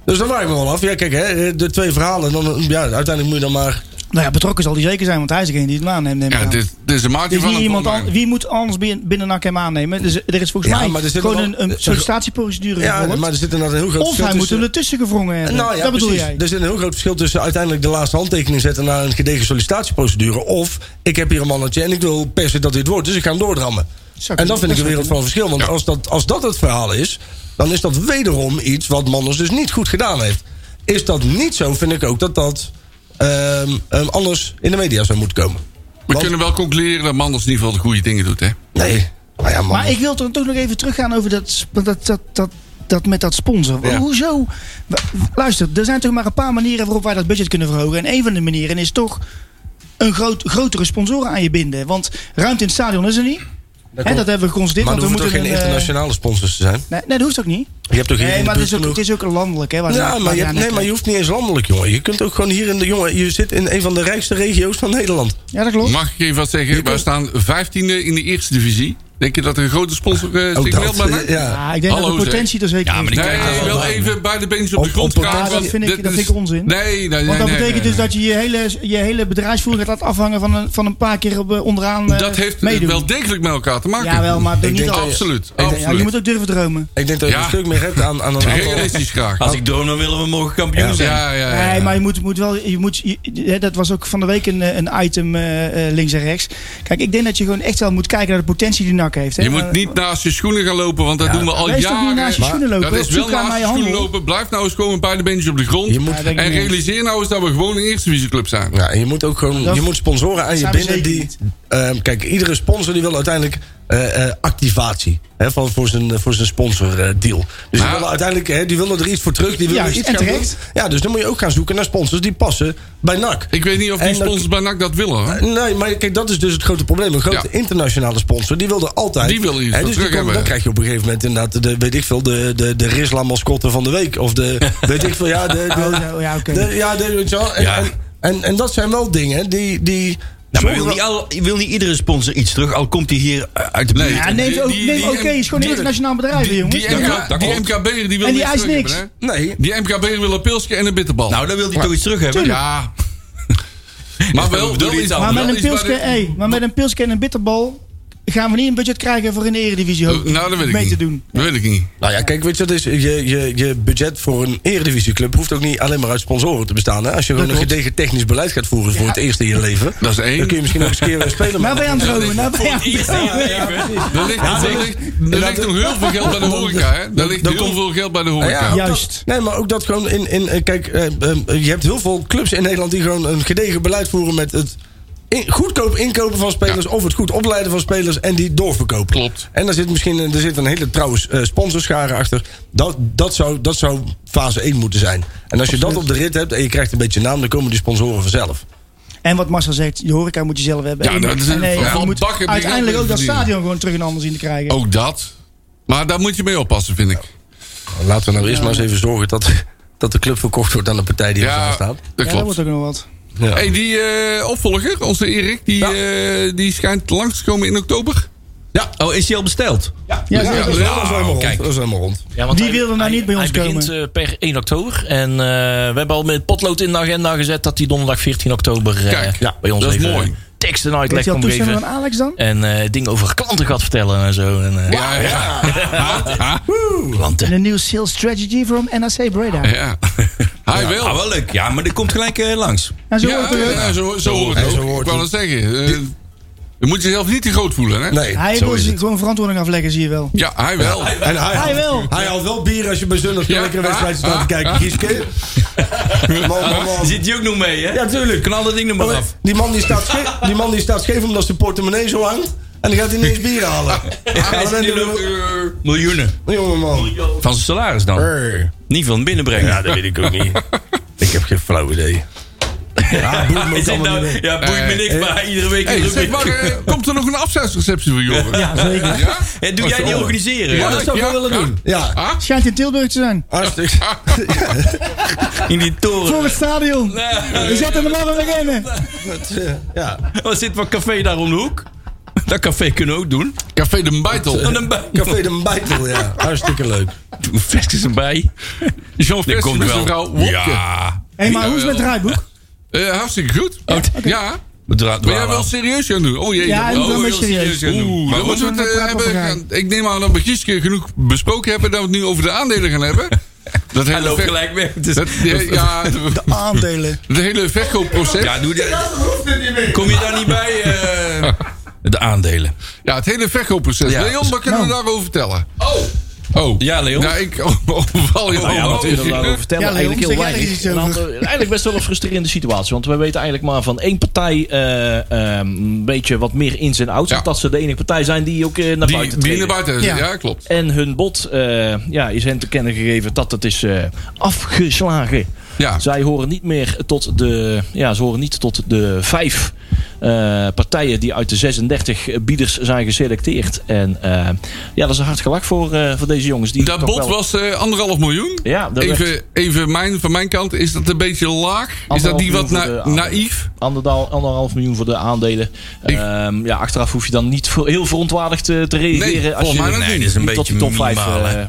Speaker 6: Dus dan vraag ik me wel af. Ja, kijk, hè, de twee verhalen. Dan, ja, uiteindelijk moet je dan maar
Speaker 8: Nou ja, betrokken zal die zeker zijn, want hij is degene die het aanneemt. neem ik
Speaker 5: Ja,
Speaker 8: aan.
Speaker 5: dit is, dit is een maatje
Speaker 8: Dus
Speaker 5: van
Speaker 8: wie,
Speaker 5: een
Speaker 8: iemand
Speaker 5: online.
Speaker 8: an- wie moet anders binnen, binnen NAC hem aannemen? Dus er is volgens
Speaker 6: Ja,
Speaker 8: mij
Speaker 6: maar er zit
Speaker 8: gewoon
Speaker 6: wel-
Speaker 8: een, een
Speaker 6: er-
Speaker 8: sollicitatieprocedure
Speaker 6: Ja,
Speaker 8: gevolgd.
Speaker 6: maar er zit inderdaad een heel groot
Speaker 8: Of
Speaker 6: verschil
Speaker 8: hij moet
Speaker 6: tussen-
Speaker 8: hem ertussen gevrongen hebben.
Speaker 6: Nou ja,
Speaker 8: dat bedoel
Speaker 6: precies.
Speaker 8: jij.
Speaker 6: Er zit een heel groot verschil tussen uiteindelijk de laatste handtekening zetten... naar een gedegen sollicitatieprocedure. Of ik heb hier een mannetje en ik wil per se dat dit wordt. Dus ik ga hem doordrammen.
Speaker 8: Zou
Speaker 6: en dat
Speaker 8: kunnen,
Speaker 6: vind ik een
Speaker 8: zou
Speaker 6: wereld van verschil. Want als, dat, als dat het verhaal is... dan is dat wederom iets wat Manders dus niet goed gedaan heeft. Is dat niet zo, vind ik ook dat dat... ehm, ehm, anders in de media zou moeten komen.
Speaker 5: We
Speaker 6: Want-
Speaker 5: kunnen wel concluderen dat Manders in ieder geval de goede dingen doet, hè?
Speaker 6: Nee. Nou ja, man.
Speaker 8: Maar ik wil dan toch nog even teruggaan over dat, sp- dat, dat, dat, dat met dat sponsor.
Speaker 6: Ja.
Speaker 8: Hoezo? W- Luister, er zijn toch maar een paar manieren waarop wij dat budget kunnen verhogen. En een van de manieren is toch een groot, grotere sponsoren aan je binden. Want ruimte in het stadion is er niet. Hè, dat hebben we geconstateerd.
Speaker 6: Maar
Speaker 8: want
Speaker 6: er
Speaker 8: we
Speaker 6: hoeven
Speaker 8: moeten
Speaker 6: toch geen
Speaker 8: een, eh,
Speaker 6: internationale sponsors te zijn?
Speaker 8: Nee, nee, dat hoeft ook niet.
Speaker 6: Je hebt toch hier
Speaker 8: Nee,
Speaker 6: in de
Speaker 8: maar het
Speaker 6: buurt
Speaker 8: is ook,
Speaker 6: genoeg?
Speaker 8: het is ook landelijk. Hè, waar
Speaker 6: Ja,
Speaker 8: waar
Speaker 6: maar je,
Speaker 8: aan
Speaker 6: hebt- nee,
Speaker 8: het-
Speaker 6: maar je hoeft niet eens landelijk, jongen. Je kunt ook gewoon hier in de jongen. Je zit in een van de rijkste regio's van Nederland.
Speaker 8: Ja, dat klopt.
Speaker 5: Mag ik even wat zeggen? Wij staan 15e in de eerste divisie. Denk je dat er een grote sponsor eh zich
Speaker 6: dat,
Speaker 5: meldt bij NAC?
Speaker 6: eh, ja.
Speaker 8: Oh, Ja, Ah, ik denk
Speaker 5: Hallo,
Speaker 8: dat de potentie er zeker
Speaker 4: Ja, maar
Speaker 8: is.
Speaker 4: die
Speaker 5: Nee,
Speaker 4: kijken wel
Speaker 5: wel
Speaker 4: bij.
Speaker 5: even beide beentjes op de
Speaker 6: Op-
Speaker 5: grond
Speaker 6: op-
Speaker 5: staan.
Speaker 8: Ja, dat
Speaker 5: want
Speaker 8: vind ik-
Speaker 5: dit
Speaker 8: dat
Speaker 5: is-
Speaker 8: vind ik onzin.
Speaker 5: Nee, nee, nee.
Speaker 8: Want dat
Speaker 5: nee,
Speaker 8: betekent
Speaker 5: nee.
Speaker 8: dus dat je je hele, je hele bedrijfsvoering gaat afhangen van een, van een paar keer op, eh, onderaan eh,
Speaker 5: Dat heeft
Speaker 8: meedoen.
Speaker 5: wel degelijk met elkaar te maken.
Speaker 8: Jawel, maar ben
Speaker 6: Ik
Speaker 8: niet
Speaker 6: denk
Speaker 8: al.
Speaker 6: dat
Speaker 5: Absoluut.
Speaker 6: denk-
Speaker 8: Ja, je
Speaker 5: absoluut.
Speaker 8: moet ook durven dromen.
Speaker 6: Ik denk dat je
Speaker 5: Ja.
Speaker 6: een stuk meer hebt aan, aan een aantal.
Speaker 5: Realistisch graag.
Speaker 4: Als ik droom, dan willen we morgen kampioen
Speaker 5: Ja,
Speaker 4: zijn.
Speaker 5: ja, ja. ja.
Speaker 8: Nee, maar je moet, moet wel. Je moet, je- hè, dat was ook van de week een, eh, een item eh, eh, links en rechts. Kijk, ik denk dat je gewoon echt wel moet kijken naar de potentie die NAC heeft. Hè? Eh,
Speaker 5: Je moet niet naast je schoenen gaan lopen, want dat doen we al
Speaker 8: Wees toch
Speaker 5: jaren.
Speaker 8: niet naast je schoenen lopen.
Speaker 5: Dat is
Speaker 8: Op
Speaker 5: wel
Speaker 8: zoek naar
Speaker 5: naast je
Speaker 8: mijn
Speaker 5: schoenen
Speaker 8: handel.
Speaker 5: lopen. Blijf nou eens gewoon een paar beentjes op de grond.
Speaker 6: Je moet- Ja,
Speaker 8: denk ik
Speaker 5: en
Speaker 8: niet.
Speaker 5: realiseer nou eens dat we gewoon een eerste divisieclub zijn.
Speaker 6: Ja, en je moet ook gewoon,
Speaker 8: Dat-
Speaker 6: je moet sponsoren aan je
Speaker 8: zijn we
Speaker 6: binnen
Speaker 8: zeker
Speaker 6: die. ehm, kijk, iedere sponsor die wil uiteindelijk eh, eh, activatie. Hè, van, voor zijn, eh, voor zijn sponsordeal. deal dus die
Speaker 5: Maar-
Speaker 6: willen uiteindelijk hè, die willen er iets voor terug. Die willen
Speaker 8: Juist,
Speaker 6: iets
Speaker 8: en
Speaker 6: gaan
Speaker 8: terecht.
Speaker 6: doen. Ja, dus dan moet je ook gaan zoeken naar sponsors die passen bij NAC.
Speaker 5: Ik weet niet of die
Speaker 6: En dat-
Speaker 5: sponsors bij NAC dat willen. hoor.
Speaker 6: Nee, maar kijk, dat is dus het grote probleem. Een grote
Speaker 5: Ja.
Speaker 6: internationale sponsor, die wil er altijd.
Speaker 5: Die wil er iets
Speaker 6: Hè,
Speaker 5: voor
Speaker 6: dus
Speaker 5: terug
Speaker 6: komt-
Speaker 5: hebben.
Speaker 6: Dan krijg je op een gegeven moment inderdaad, de, weet ik veel, de, de, de Risla mascotte van de week. Of de, weet ik veel, ja, de... de-
Speaker 8: Oh, ja, oké.
Speaker 6: de- ja, de- weet je wel, en,
Speaker 4: Ja.
Speaker 6: En, en, en dat zijn wel dingen die... die
Speaker 4: Nou, maar
Speaker 6: zorgen
Speaker 4: wil
Speaker 6: wel-
Speaker 4: niet, al, wil niet iedere sponsor iets terug, al komt hij hier eh, uit de buurt.
Speaker 5: Nee.
Speaker 8: Ja, neem Ah, ook,
Speaker 5: Die-
Speaker 8: neem
Speaker 5: die-
Speaker 8: ook oké, is gewoon een
Speaker 5: die-
Speaker 8: internationaal bedrijf, hè, jongens.
Speaker 5: Die,
Speaker 4: dat klopt,
Speaker 5: MK,
Speaker 4: dat
Speaker 5: die
Speaker 4: klopt.
Speaker 5: MKB'er die wil
Speaker 8: En die
Speaker 5: iets
Speaker 8: eist
Speaker 5: terug
Speaker 8: niks.
Speaker 5: hebben, hè?
Speaker 6: Nee,
Speaker 5: Die MKB'er wil een pilsje en een bitterbal.
Speaker 4: Nou, dan wil hij toch iets terug hebben.
Speaker 5: ja. Maar wel,
Speaker 4: Doe
Speaker 5: wel
Speaker 4: iets
Speaker 5: iets
Speaker 4: anders.
Speaker 8: Maar met,
Speaker 5: wel
Speaker 8: een
Speaker 5: iets waar
Speaker 8: pilske,
Speaker 5: de-
Speaker 8: hey, maar met een pilske en een bitterbal gaan we niet een budget krijgen voor een eredivisie hoop,
Speaker 5: Nou, dat weet ik
Speaker 8: mee
Speaker 5: niet.
Speaker 8: te doen.
Speaker 5: Dat weet ik niet.
Speaker 6: nou ja, kijk, weet je wat is? Je, je, je budget voor een eredivisieclub hoeft ook niet alleen maar uit sponsoren te bestaan. Hè? Als je gewoon een gedegen technisch beleid gaat voeren voor het eerste in je leven...
Speaker 5: Dat is
Speaker 6: dan kun je
Speaker 5: één.
Speaker 6: misschien ook eens een keer eh, spelen
Speaker 8: Nou ben je aan het
Speaker 6: met-
Speaker 8: dromen, nou ben je aan het dromen.
Speaker 5: Er ligt, er ligt, er ligt nog heel veel geld bij de horeca, hè? Er ligt
Speaker 6: dan
Speaker 5: heel
Speaker 6: komt- Ah,
Speaker 5: veel geld bij de
Speaker 6: Oh, Ja,
Speaker 5: horeca.
Speaker 6: ook
Speaker 8: Juist.
Speaker 6: dat- nee, maar ook dat gewoon in. in eh, kijk, eh, ehm, je hebt heel veel clubs in Nederland die gewoon een gedegen beleid voeren met het. in- goedkoop inkopen van spelers of het goed opleiden van spelers en die doorverkopen.
Speaker 5: Klopt.
Speaker 6: En daar zit misschien een- er zit een hele trouwe eh, sponsorschare achter. Dat, dat, zou, dat zou fase 1 moeten zijn. En als je dat op de rit hebt en je krijgt een beetje naam, dan komen die sponsoren vanzelf.
Speaker 8: En wat Marcel zegt, je horeca moet je zelf hebben.
Speaker 5: Ja,
Speaker 8: En-
Speaker 5: dat is een-
Speaker 8: en, eh,
Speaker 5: van-
Speaker 8: je
Speaker 5: van
Speaker 8: moet
Speaker 5: bakken die
Speaker 8: uiteindelijk
Speaker 5: geld
Speaker 8: ook dat
Speaker 5: verdienen. Oh,
Speaker 8: stadion gewoon terug in handen zien te krijgen.
Speaker 5: Ook dat. Maar daar moet je mee oppassen, vind ik.
Speaker 6: Nou, Laten we nou eerst maar eens even zorgen dat, dat de club verkocht wordt aan de partij die
Speaker 5: Ja,
Speaker 6: er staat.
Speaker 5: dat
Speaker 8: ja, dat
Speaker 5: klopt.
Speaker 8: wordt ook nog wat.
Speaker 6: Ja.
Speaker 5: hey, die eh, opvolger, onze Erik, die, eh, die schijnt langs te komen in oktober.
Speaker 4: Oh, is hij al besteld?
Speaker 8: Ja,
Speaker 6: Ja,
Speaker 8: zeker.
Speaker 6: dat is
Speaker 5: nou,
Speaker 6: helemaal rond.
Speaker 4: kijk.
Speaker 6: Dat is helemaal rond.
Speaker 9: Ja, want
Speaker 8: Die
Speaker 9: hij-
Speaker 8: wilde nou
Speaker 9: hij-
Speaker 8: niet bij ons
Speaker 9: hij begint, eh, per 1 oktober. En eh, we hebben al met potlood in de agenda gezet dat hij donderdag 14 oktober eh,
Speaker 5: Kijk, ja,
Speaker 9: bij ons
Speaker 5: dat is
Speaker 9: even
Speaker 5: mooi.
Speaker 9: teksten
Speaker 8: Heeft
Speaker 9: uitleg
Speaker 8: hij al
Speaker 9: komt
Speaker 8: toestemming
Speaker 9: geven.
Speaker 8: van Alex dan?
Speaker 9: En eh dingen over klanten gaat vertellen en zo. En, eh,
Speaker 5: Ja, ja. Ha, ha,
Speaker 9: Klanten.
Speaker 8: En een nieuwe sales strategy from NAC Breda.
Speaker 5: ja. Hij wil.
Speaker 4: Ah, wel leuk. Ja, maar die komt gelijk eh, langs.
Speaker 8: En Nou, zo
Speaker 5: Ja,
Speaker 8: wordt er ook.
Speaker 5: ja, zo, zo hoort
Speaker 6: Ja,
Speaker 5: het
Speaker 6: zo
Speaker 5: ook.
Speaker 6: hoort
Speaker 5: Ik wou dat
Speaker 6: het.
Speaker 5: zeggen. eh, je moet jezelf niet te groot voelen, hè?
Speaker 6: Nee,
Speaker 8: Hij
Speaker 6: zo
Speaker 8: wil
Speaker 6: is
Speaker 8: zich
Speaker 6: het.
Speaker 8: gewoon verantwoording afleggen, zie je wel.
Speaker 5: Ja, hij wel.
Speaker 6: En hij,
Speaker 8: Hij wel.
Speaker 6: Hij haalt wel bier als je bij Zundert
Speaker 5: Ja,
Speaker 6: ja, lekkere
Speaker 5: ja,
Speaker 6: wedstrijd staat te
Speaker 5: ja,
Speaker 6: kijken.
Speaker 5: ja.
Speaker 6: Gieske. Man, man, man.
Speaker 4: Zit hij ook nog mee, hè?
Speaker 6: Ja, tuurlijk.
Speaker 4: Knal dat ding nog maar af.
Speaker 6: Die man die staat, scheef, die man die staat scheef omdat zijn portemonnee zo hangt. En dan gaat hij ineens bier halen.
Speaker 4: Hij
Speaker 6: Ja,
Speaker 4: zit nu nog, eh, miljoenen.
Speaker 6: Jongen man.
Speaker 4: Van zijn salaris dan. Niet van binnenbrengen. Ja, dat weet ik ook niet.
Speaker 6: Ik heb geen flauw idee. Ja, boeit me ook
Speaker 4: Is dit
Speaker 6: allemaal
Speaker 4: nou,
Speaker 6: niet meer.
Speaker 4: ja, boeit me niks, maar iedere week
Speaker 5: Hey,
Speaker 4: iedere
Speaker 5: zeg
Speaker 4: week.
Speaker 5: maar, eh, komt er nog een afscheidsreceptie voor Joren? Ja,
Speaker 8: Zeker.
Speaker 4: En doe jij die organiseren?
Speaker 5: Ja,
Speaker 4: hè?
Speaker 6: Dat zou ik
Speaker 5: Ja,
Speaker 6: wel willen
Speaker 5: ja.
Speaker 6: doen. Ja,
Speaker 8: Schijnt in Tilburg te zijn.
Speaker 6: hartstikke.
Speaker 4: In die
Speaker 8: Voor
Speaker 4: toren.
Speaker 8: het stadion. We zetten hem allemaal weer in.
Speaker 6: Ja.
Speaker 4: Oh, Er zit wat café daar om de hoek. Dat café kunnen we ook doen.
Speaker 5: Café de Beitel.
Speaker 4: En een bij.
Speaker 6: Café de Beitel, ja. Hartstikke leuk.
Speaker 4: Doe vestjes erbij.
Speaker 5: Jean
Speaker 4: Dat
Speaker 5: Vest
Speaker 4: komt
Speaker 5: met
Speaker 4: wel.
Speaker 5: zijn vrouw Wopke.
Speaker 4: Ja.
Speaker 8: Hé, maar hoe is het met het draaiboek?
Speaker 5: Eh, hartstikke goed. Ja.
Speaker 4: We dra-
Speaker 5: Ben jij
Speaker 4: dwalen
Speaker 5: wel
Speaker 4: af.
Speaker 5: serieus gaan doen? Oh jee.
Speaker 8: Ja,
Speaker 5: dat-
Speaker 8: ik
Speaker 5: oh,
Speaker 8: ben wel
Speaker 5: heel
Speaker 8: serieus.
Speaker 5: gaan doen.
Speaker 4: Oeh,
Speaker 5: Maar
Speaker 4: dat
Speaker 5: moeten we
Speaker 8: moet
Speaker 5: het,
Speaker 8: een
Speaker 5: eh,
Speaker 8: praatpapagaai.
Speaker 5: hebben- ik neem aan dat we gisteren genoeg besproken hebben dat we het nu over de aandelen gaan hebben. Dat
Speaker 4: Hij
Speaker 5: hele
Speaker 4: loopt
Speaker 5: ver-
Speaker 4: gelijk weg. Dus-
Speaker 5: Dat, ja, ja,
Speaker 8: Aandelen.
Speaker 5: het hele verkoopproces.
Speaker 4: Ja, doe dat. Kom je daar niet bij? eh, de aandelen.
Speaker 5: Ja, het hele verkoopproces.
Speaker 4: Ja.
Speaker 5: Leon, wat kunnen we daarover vertellen? Oh. Oh.
Speaker 4: Ja, Leon.
Speaker 5: Ja, ik oh, overval je
Speaker 4: Oh, ja,
Speaker 5: allemaal.
Speaker 4: wat
Speaker 5: ja,
Speaker 4: is
Speaker 9: kunnen we daarover nou vertellen?
Speaker 8: Ja, Leon,
Speaker 9: eigenlijk heel
Speaker 8: zeg jij er
Speaker 9: weinig.
Speaker 8: iets over.
Speaker 9: Een aantal- eigenlijk best wel een frustrerende situatie. Want we weten eigenlijk maar van één partij eh, ehm, een beetje wat meer ins en outs.
Speaker 5: Ja.
Speaker 9: Dat ze de enige partij zijn die ook eh, naar
Speaker 5: Die,
Speaker 9: buiten
Speaker 5: die naar
Speaker 9: treden.
Speaker 5: buiten. Ja,
Speaker 8: Ja.
Speaker 5: klopt.
Speaker 9: En hun bod eh, ja, is hen te kennen gegeven dat het is eh, afgeslagen.
Speaker 5: Ja.
Speaker 9: Zij horen niet meer tot de. Ja, ze horen niet tot de vijf uh, partijen die uit de 36 bieders zijn geselecteerd. En uh, ja, dat is een hard gelak voor, uh, voor deze jongens. Die
Speaker 5: dat bod wel... was eh, anderhalf miljoen.
Speaker 9: Ja,
Speaker 5: even werd... even mijn, van mijn kant, is dat een beetje laag? Is dat die wat na, naïef?
Speaker 9: Anderhalf, anderhalf miljoen voor de aandelen. Ik... ja, achteraf hoef je dan niet voor, heel verontwaardigd te reageren. Nee, als je,
Speaker 4: nee, nee, dat is een beetje tot die top 5.
Speaker 9: eh,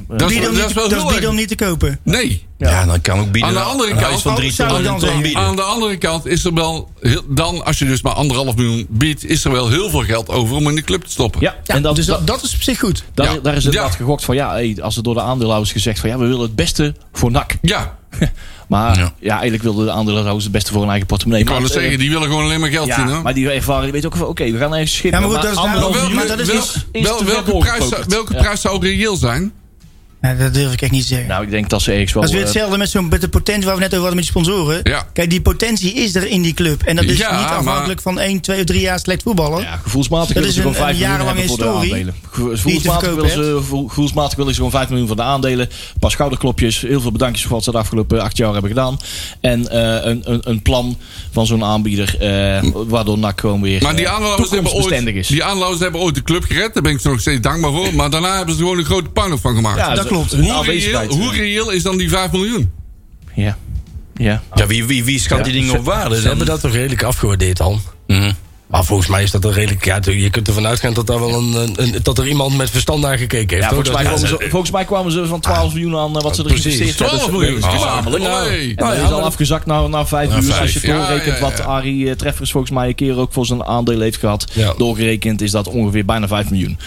Speaker 8: dat is, dat is wel dat is niet te kopen.
Speaker 5: Nee.
Speaker 4: Ja, ja, dan kan ook bieden.
Speaker 5: Aan de andere kant,
Speaker 4: van drie ton, Oh, dan
Speaker 5: dan aan de andere kant is er wel, heel, dan als je dus maar anderhalf miljoen biedt, is er wel heel veel geld over om in de club te stoppen.
Speaker 9: Ja, ja en dat,
Speaker 6: dus dat, dat, is op zich goed.
Speaker 9: Daar, ja. daar is inderdaad gegokt van, ja, hey, als er door de aandeelhouders gezegd van, ja, we willen het beste voor NAC.
Speaker 5: Ja.
Speaker 9: Maar ja. ja. eigenlijk wilden de aandeelhouders het beste voor hun eigen portemonnee.
Speaker 5: Ik kan het zeggen, die willen gewoon alleen maar geld zien. Ja,
Speaker 9: eh, maar die ervaren, die weten ook van, oké, okay, we gaan even schippen.
Speaker 8: Ja, maar, goed, maar dat is
Speaker 5: welke, maar dat is wel, is, is wel, welke, prijs, welke prijs zou reëel zijn?
Speaker 8: Nou, dat durf ik echt niet te zeggen.
Speaker 9: Nou, ik denk dat ze ergens wel...
Speaker 8: Dat is weer hetzelfde met, zo'n, met de potentie waar we net over hadden met die sponsoren.
Speaker 5: Ja.
Speaker 8: Kijk, die potentie is er in die club. En dat is
Speaker 5: ja,
Speaker 8: niet afhankelijk
Speaker 5: maar...
Speaker 8: van 1, 2 of 3 jaar slecht voetballen.
Speaker 9: Ja, gevoelsmatig
Speaker 8: dat is
Speaker 9: een,
Speaker 8: een jarenlange historie.
Speaker 9: Gevoelsmatig willen, ze, gevoelsmatig willen ze gewoon 5 miljoen van de aandelen. Een paar schouderklopjes. Heel veel bedankjes voor wat ze de afgelopen 8 jaar hebben gedaan. En uh, een, een, een, plan van zo'n aanbieder. Uh, waardoor NAC gewoon weer eh,
Speaker 5: maar die aanlouders hebben ooit,
Speaker 9: is.
Speaker 5: Die aanlouders hebben ooit de club gered. Daar ben ik ze nog steeds dankbaar voor. Maar daarna hebben ze gewoon een grote puinhoop van gemaakt.
Speaker 9: Ja, dat
Speaker 5: klopt. Hoe reëel, hoe reëel, is dan die 5 miljoen?
Speaker 9: eh, Ja. Ja,
Speaker 4: ja wie, wie, wie schat die ja. dingen op waarde?
Speaker 6: Ze hebben dat toch redelijk afgewaardeerd al.
Speaker 4: Mm.
Speaker 6: Maar volgens mij is dat een redelijk. Ja, je kunt ervan uitgaan dat, daar wel een, een, dat er iemand met verstand naar gekeken heeft.
Speaker 9: Ja, volgens, mij kwamen ze, volgens mij kwamen ze van 12 ah, miljoen aan wat ze erin
Speaker 5: investeerd hebben. 12 miljoen, dus, oh,
Speaker 9: oh, nou, nee. En dat is al afgezakt naar, naar 5 nou, uur. Vijf. Als je doorrekent wat Arie Treffers volgens mij een keer ook voor zijn aandeel heeft gehad. Doorgerekend is dat ongeveer bijna 5 miljoen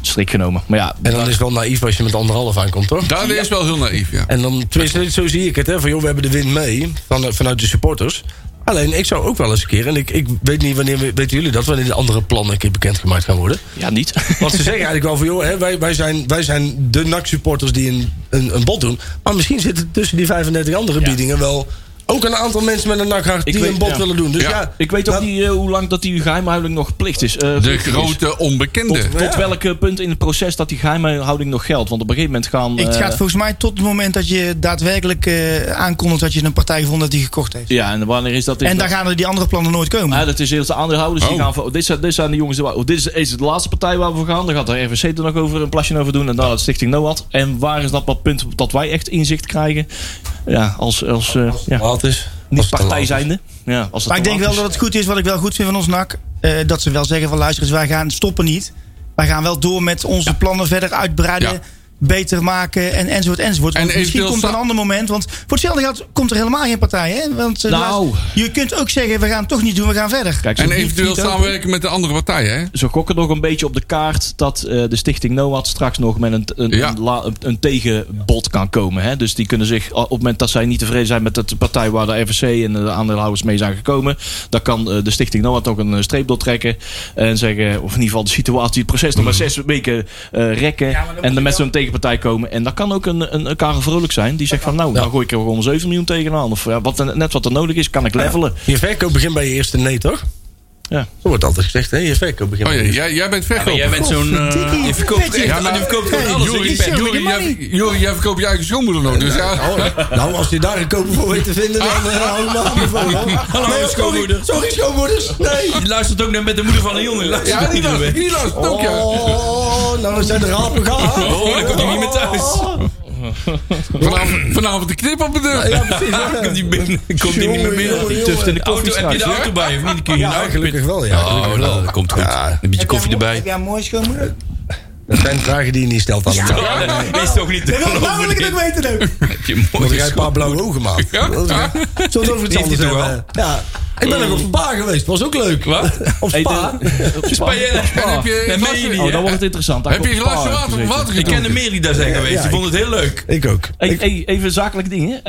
Speaker 9: strik genomen. Maar ja,
Speaker 6: en dan is het wel naïef als je met anderhalf aankomt, toch?
Speaker 5: Dat is wel heel naïef, ja.
Speaker 6: En dan, tenminste, zo zie ik het, hè, van joh, we hebben de win mee van, eh, vanuit de supporters. Alleen, ik zou ook wel eens een keer, en ik, ik weet niet wanneer, weten jullie dat, wanneer de andere plannen een keer bekendgemaakt gaan worden?
Speaker 9: Ja, niet.
Speaker 6: Want ze zeggen eigenlijk wel van, joh, hè, wij, wij, zijn, wij zijn de NAC-supporters die een, een, een bod doen. Maar misschien zitten tussen die 35 andere ja. biedingen wel ook een aantal mensen met een nakhart die weet, een bot ja. willen doen. Dus ja. ja
Speaker 9: ik weet ook niet uh, hoe lang dat die geheimhouding nog plicht is. Uh,
Speaker 5: de grote
Speaker 9: is.
Speaker 5: onbekende.
Speaker 9: Tot, tot ja. welk punt in het proces dat die geheimhouding nog geldt? Want op een gegeven moment gaan... eh,
Speaker 8: Uh, het gaat volgens mij tot het moment dat je daadwerkelijk eh, aankondigt dat je een partij gevonden hebt die gekocht heeft.
Speaker 9: Ja, en wanneer is dat? Is
Speaker 8: en
Speaker 9: dat...
Speaker 8: daar gaan er die andere plannen nooit komen.
Speaker 9: Ja, dat is eerst de aandeelhouders oh. die gaan... Voor, dit, zijn, dit zijn de jongens... Oh, dit is, is de laatste partij waar we voor gaan. Dan gaat de RVC er nog over een plasje over doen. En dan het Stichting NOAD. En waar is dat wat punt dat wij echt inzicht krijgen? Ja, als... als, als ja
Speaker 6: laat is.
Speaker 9: Niet partij zijnde. Ja, als
Speaker 8: het maar ik denk wel dat het goed is, wat ik wel goed vind van ons NAC. Uh, dat ze wel zeggen van luister eens, wij gaan stoppen niet. Wij gaan wel door met onze ja. plannen verder uitbreiden. Ja. Beter maken en enzovoort enzovoort. Want en misschien komt er een ander moment. Want voor hetzelfde geld komt er helemaal geen partij. Hè? Want uh,
Speaker 9: nou.
Speaker 8: laatst, je kunt ook zeggen, we gaan het toch niet doen, we gaan verder.
Speaker 5: Kijk, en eventueel samenwerken open. met de andere partijen. Hè? Oh,
Speaker 9: Ze gokken nog een beetje op de kaart dat uh, de stichting NOAD straks nog met een, een, ja. een, een tegenbod kan komen. Hè? Dus die kunnen zich, op het moment dat zij niet tevreden zijn met de partij waar de RVC en de aandeelhouders mee zijn gekomen. Dan kan uh, de stichting NOAD nog een streep doortrekken. En zeggen, of in ieder geval de situatie, het proces nog maar zes weken eh, rekken. Ja, en dan met zo'n tegenpartij komen. En dat kan ook een, een, een Karel Vrolijk zijn. Die zegt van nou, dan nou gooi ik er gewoon 7 miljoen tegenaan. Of ja, wat, net wat er nodig is, kan ik levelen.
Speaker 6: Ja, je verkoop begint bij je eerste nee, toch?
Speaker 9: Ja.
Speaker 6: Zo wordt altijd gezegd, hè? Je verkoop begint
Speaker 5: oh, ja, jij, jij bent verkoper. Ja,
Speaker 4: jij bent zo'n... Uh, je verkoopt echt, ja, maar, je verkoopt hey, alles.
Speaker 5: Jury, Jury, jij, Jury, jij verkoopt je eigen schoonmoeder nog. Dus ja.
Speaker 6: nou, nou, als je daar een koper voor weet te vinden, dan eh, hou ik me van.
Speaker 4: Hallo, schoonmoeder.
Speaker 6: Sorry, schoonmoeders. Nee.
Speaker 4: Je luistert ook net met de moeder van een jongen. Luistert
Speaker 5: ja, die luistert, die luistert ook, ja.
Speaker 6: Oh, nou zijn de rapen
Speaker 4: gaan. Oh, dan komt hij niet meer thuis.
Speaker 6: Oh,
Speaker 5: Vanavond, vanavond de knip op de deur.
Speaker 4: Ja, precies. Ja, ja. Komt die, binnen, komt die niet meer binnen?
Speaker 9: Die tuft in de koffie.
Speaker 4: Auto, heb je de auto bij of niet? Dan kun je
Speaker 6: ja, nou gelukkig wel. Ja,
Speaker 4: oh,
Speaker 6: gelukkig wel.
Speaker 4: dat komt goed. Een beetje koffie erbij.
Speaker 8: Ja, mooi schoonmoeder.
Speaker 6: Dat zijn vragen die je niet stelt allemaal.
Speaker 4: Ja, dat is toch niet te geloven.
Speaker 8: Nou wil ik het ook weten ook.
Speaker 4: Heb je mooi
Speaker 6: jij een paar blauwe ogen maakt. Ja. Zullen we over iets anders hebben? Ja. Ik
Speaker 4: Eh,
Speaker 6: ben ook op Spa geweest, was ook leuk.
Speaker 4: Wat?
Speaker 6: Op Spa.
Speaker 4: op Spa.
Speaker 5: heb je
Speaker 9: nee, oh, dan wordt het interessant.
Speaker 5: heb je een glasje water, water
Speaker 4: Ik ken er meer die daar zijn geweest. Die vonden het heel leuk.
Speaker 6: Ik ook.
Speaker 9: even zakelijke dingen.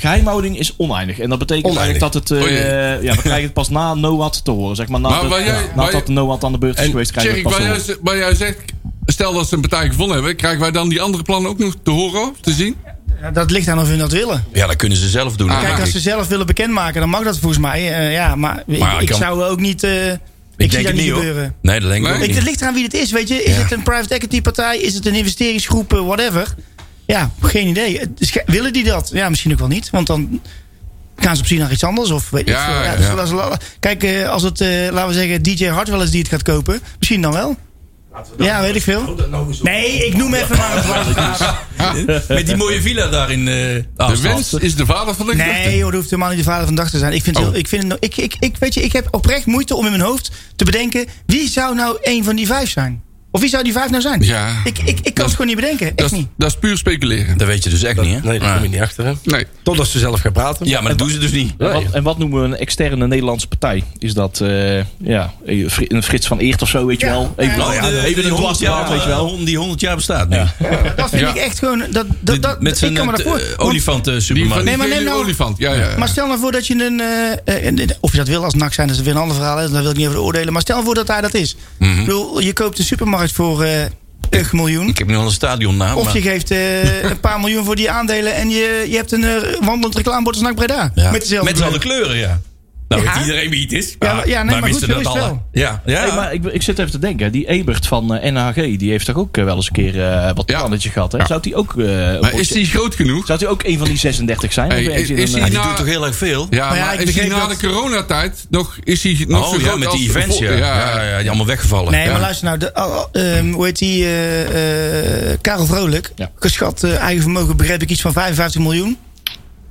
Speaker 9: geheimhouding is oneindig. En dat betekent eigenlijk dat het... eh,
Speaker 5: Oh
Speaker 9: ja, we krijgen het pas na NOAD te horen. Zeg maar nadat de NOAD aan de beurt is geweest, krijgen we het pas
Speaker 5: waar jij zegt... Stel dat ze een partij gevonden hebben, krijgen wij dan die andere plannen ook nog te horen of te zien?
Speaker 8: Ja, dat ligt aan of hun dat willen.
Speaker 4: Ja, dat kunnen ze zelf doen.
Speaker 8: Kijk, als ze zelf willen bekendmaken, dan mag dat volgens mij. Uh, ja, maar, maar ik, ik kan... zou ook niet. Uh, ik,
Speaker 4: denk
Speaker 8: dat
Speaker 4: niet
Speaker 8: hoor. gebeuren.
Speaker 4: Nee, dat denk ik
Speaker 8: maar,
Speaker 4: ook niet.
Speaker 8: Het ligt eraan wie het is, weet je. Is ja. het een private equity partij? Is het een investeringsgroep? Uh, whatever. Ja, geen idee. Willen die dat? Ja, misschien ook wel niet. Want dan gaan ze op zoek naar iets anders. Of weet ik
Speaker 5: Ja,
Speaker 8: veel.
Speaker 5: ja.
Speaker 8: dus laten ze- la- la- Kijk, eh, als het, eh, laten we zeggen, DJ Hardwell is die het gaat kopen. Misschien dan wel. Ja, weet ik veel. Nee, ik noem even maar een
Speaker 4: Met die mooie villa daar in eh
Speaker 5: De wens is de vader van de
Speaker 8: Nee, joh, dat hoeft helemaal niet de vader van dag te zijn. Ik vind,
Speaker 5: Oh.
Speaker 8: het heel- ik, vind het, ik, ik, ik, weet je, ik heb oprecht moeite om in mijn hoofd te bedenken... wie zou nou een van die vijf zijn? Of wie zou die vijf nou zijn?
Speaker 5: Ja.
Speaker 8: Ik, ik, ik kan het gewoon niet bedenken. Echt
Speaker 5: Dat is,
Speaker 8: niet.
Speaker 5: dat is puur speculeren.
Speaker 4: Dat weet je dus echt niet, hè?
Speaker 6: Nee, daar kom je niet achter. Hè?
Speaker 5: Nee.
Speaker 6: Totdat ze zelf gaan praten.
Speaker 4: Ja, maar dat doen ze dus niet.
Speaker 9: En wat, en wat noemen we een externe Nederlandse partij? Is dat eh, ja, een Fri- een Frits van Eert of zo, weet je wel? Even,
Speaker 4: Nou, de- de-
Speaker 9: even
Speaker 4: die
Speaker 9: een
Speaker 4: 100
Speaker 9: dwarsstraat,
Speaker 4: jaar,
Speaker 9: weet je wel?
Speaker 4: eh, die 100 jaar bestaat nu.
Speaker 8: Dat vind ik echt gewoon... Dat, dat, dat,
Speaker 4: Met
Speaker 8: ik
Speaker 4: zijn
Speaker 8: kan me daarvoor...
Speaker 4: eh,
Speaker 8: want-
Speaker 5: Die van
Speaker 4: olifanten-supermarkt.
Speaker 5: die
Speaker 8: Nee, maar neem
Speaker 5: gele
Speaker 8: nou-
Speaker 5: olifant. Ja, ja.
Speaker 8: Maar stel nou voor dat je een. eh, eh, of je dat wil als NAC zijn, dat is weer een ander verhaal. hè, Daar wil ik niet over oordelen. Maar stel nou voor dat hij dat is.
Speaker 4: Mhm.
Speaker 8: Ik bedoel, je koopt een supermarkt voor eh een miljoen.
Speaker 4: Ik heb nu al een stadionnaam.
Speaker 8: Of
Speaker 4: maar-
Speaker 8: je geeft eh, een paar miljoen voor die aandelen. En je, je hebt een eh, wandelend reclamebord als NAC Breda.
Speaker 4: Ja.
Speaker 8: Met dezelfde
Speaker 4: dezelfde kleuren, ja. Nou,
Speaker 8: Ja.
Speaker 4: weet iedereen wie het is.
Speaker 8: maar- ja, nee, maar
Speaker 4: wisten
Speaker 8: goed, zo
Speaker 4: dat
Speaker 8: is het
Speaker 4: al. Ja, ja.
Speaker 9: Hey, maar ik, ik zit even te denken, die Ebert van eh, NHG, die heeft toch ook eh, wel eens een keer eh, wat
Speaker 5: Ja.
Speaker 9: plannetje gehad. Hè? Zou die ook, eh,
Speaker 5: Maar
Speaker 9: ook-
Speaker 5: is die groot genoeg?
Speaker 9: zou die ook een van die 36 zijn?
Speaker 5: Hey,
Speaker 9: Of
Speaker 5: is- is
Speaker 9: een,
Speaker 5: die
Speaker 9: eh,
Speaker 4: die
Speaker 5: nou-
Speaker 4: doet toch heel erg veel?
Speaker 5: Ja,
Speaker 8: Maar ja,
Speaker 5: maar
Speaker 8: ik
Speaker 5: is hij
Speaker 8: begreep
Speaker 5: na
Speaker 8: dat-
Speaker 5: de coronatijd nog, is hij nog zo
Speaker 4: Oh ja,
Speaker 5: groot
Speaker 4: met
Speaker 5: als
Speaker 4: die events,
Speaker 5: voor-
Speaker 4: ja. Ja, ja, die allemaal weggevallen.
Speaker 8: Nee,
Speaker 5: Ja.
Speaker 8: maar luister nou. De, al- al- ehm, hoe heet die? eh, eh, Karel Vrolijk.
Speaker 9: Ja.
Speaker 8: Geschat eh, eigen vermogen begreep ik iets van 55 miljoen.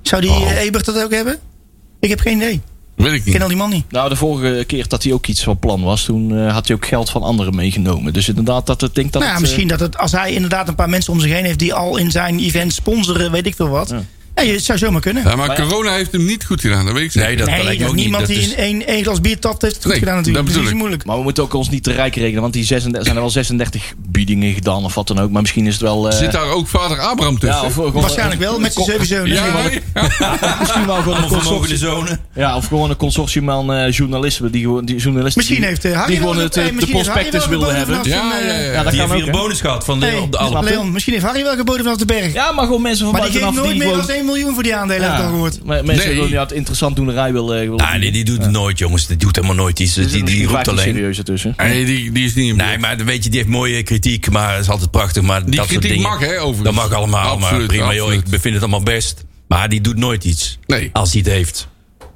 Speaker 8: Zou die eh, Ebert dat ook hebben? Ik heb geen idee.
Speaker 5: Weet ik
Speaker 8: Ik ken
Speaker 5: niet.
Speaker 8: al die man niet.
Speaker 9: Nou, de vorige keer dat hij ook iets van plan was, toen eh, had hij ook geld van anderen meegenomen. Dus inderdaad, dat het denk dat.
Speaker 8: Nou ja,
Speaker 9: het, eh,
Speaker 8: misschien dat het, als hij inderdaad een paar mensen om zich heen heeft die al in zijn event sponsoren, weet ik veel wat. Ja. je- het zou zomaar kunnen.
Speaker 5: Ja, maar corona heeft hem niet goed gedaan, dat weet ik zeker.
Speaker 4: Nee, dat
Speaker 8: nee,
Speaker 4: kan ik
Speaker 8: dat
Speaker 4: ook niet.
Speaker 8: niemand
Speaker 4: Dat
Speaker 8: die
Speaker 4: is-
Speaker 8: in één, één glas bier tapt heeft het goed
Speaker 5: Nee,
Speaker 8: gedaan natuurlijk.
Speaker 5: dat
Speaker 8: Dus
Speaker 5: bedoel
Speaker 8: die is moeilijk.
Speaker 9: eh, Maar we moeten ook ons niet te rijk rekenen, want die 36, zijn er wel 36 biedingen gedaan of wat dan ook. Maar misschien is het wel. eh,
Speaker 5: Zit daar ook vader Abraham
Speaker 9: ja,
Speaker 5: tussen?
Speaker 9: of gewoon, eh,
Speaker 8: Waarschijnlijk wel, met zijn zeven zonen.
Speaker 5: Ja,
Speaker 8: Nee, maar-
Speaker 5: ja.
Speaker 9: Misschien wel gewoon een
Speaker 4: Allemaal vermogende
Speaker 9: consortium.
Speaker 4: zonen.
Speaker 9: Ja, of gewoon een consortium aan eh, journalisten. Die, gewoon- die journalisten
Speaker 8: Misschien
Speaker 9: die,
Speaker 8: heeft eh, Harry
Speaker 9: die
Speaker 8: wel
Speaker 9: gewoon
Speaker 8: een-
Speaker 9: het,
Speaker 8: eh,
Speaker 9: eh, de
Speaker 8: misschien heeft Harry
Speaker 9: prospectus
Speaker 8: wel
Speaker 9: willen
Speaker 8: geboden
Speaker 9: hebben.
Speaker 8: vanaf
Speaker 5: Ja,
Speaker 8: zijn,
Speaker 5: ja,
Speaker 8: eh,
Speaker 5: ja.
Speaker 9: Ja, dat
Speaker 4: Die
Speaker 9: kan
Speaker 4: hebben
Speaker 9: ook.
Speaker 4: hier een
Speaker 9: hè.
Speaker 4: bonus gehad van
Speaker 8: hey,
Speaker 4: de, op de Alpen.
Speaker 8: Leon, misschien heeft Harry wel geboden vanaf de berg.
Speaker 9: Ja, maar gewoon mensen van
Speaker 8: maar die geeft
Speaker 9: buitenaf
Speaker 8: nooit meer
Speaker 9: gewoon-
Speaker 8: dan 1 miljoen voor die aandelen, heb ik al gehoord.
Speaker 9: me- Mensen die
Speaker 5: Nee.
Speaker 9: gewoon ja, het interessant doenerij willen. eh, willen Dus
Speaker 4: Ah, nee, die doet het nooit, jongens. Die doet helemaal nooit iets. Die, die, roept alleen.
Speaker 9: serieus ertussen.
Speaker 5: Nee, die, die is niet in beeld.
Speaker 4: Nee, maar weet je, die heeft mooie kritiek, maar is altijd prachtig. Maar dat
Speaker 5: Die
Speaker 4: soort
Speaker 5: kritiek
Speaker 4: dingen,
Speaker 5: mag, hè, overigens.
Speaker 4: Dat mag allemaal, maar
Speaker 5: Absoluut,
Speaker 4: prima, joh. Ik
Speaker 5: absoluut.
Speaker 4: bevind het allemaal best. Maar die doet nooit iets.
Speaker 5: Nee.
Speaker 4: Als hij het heeft.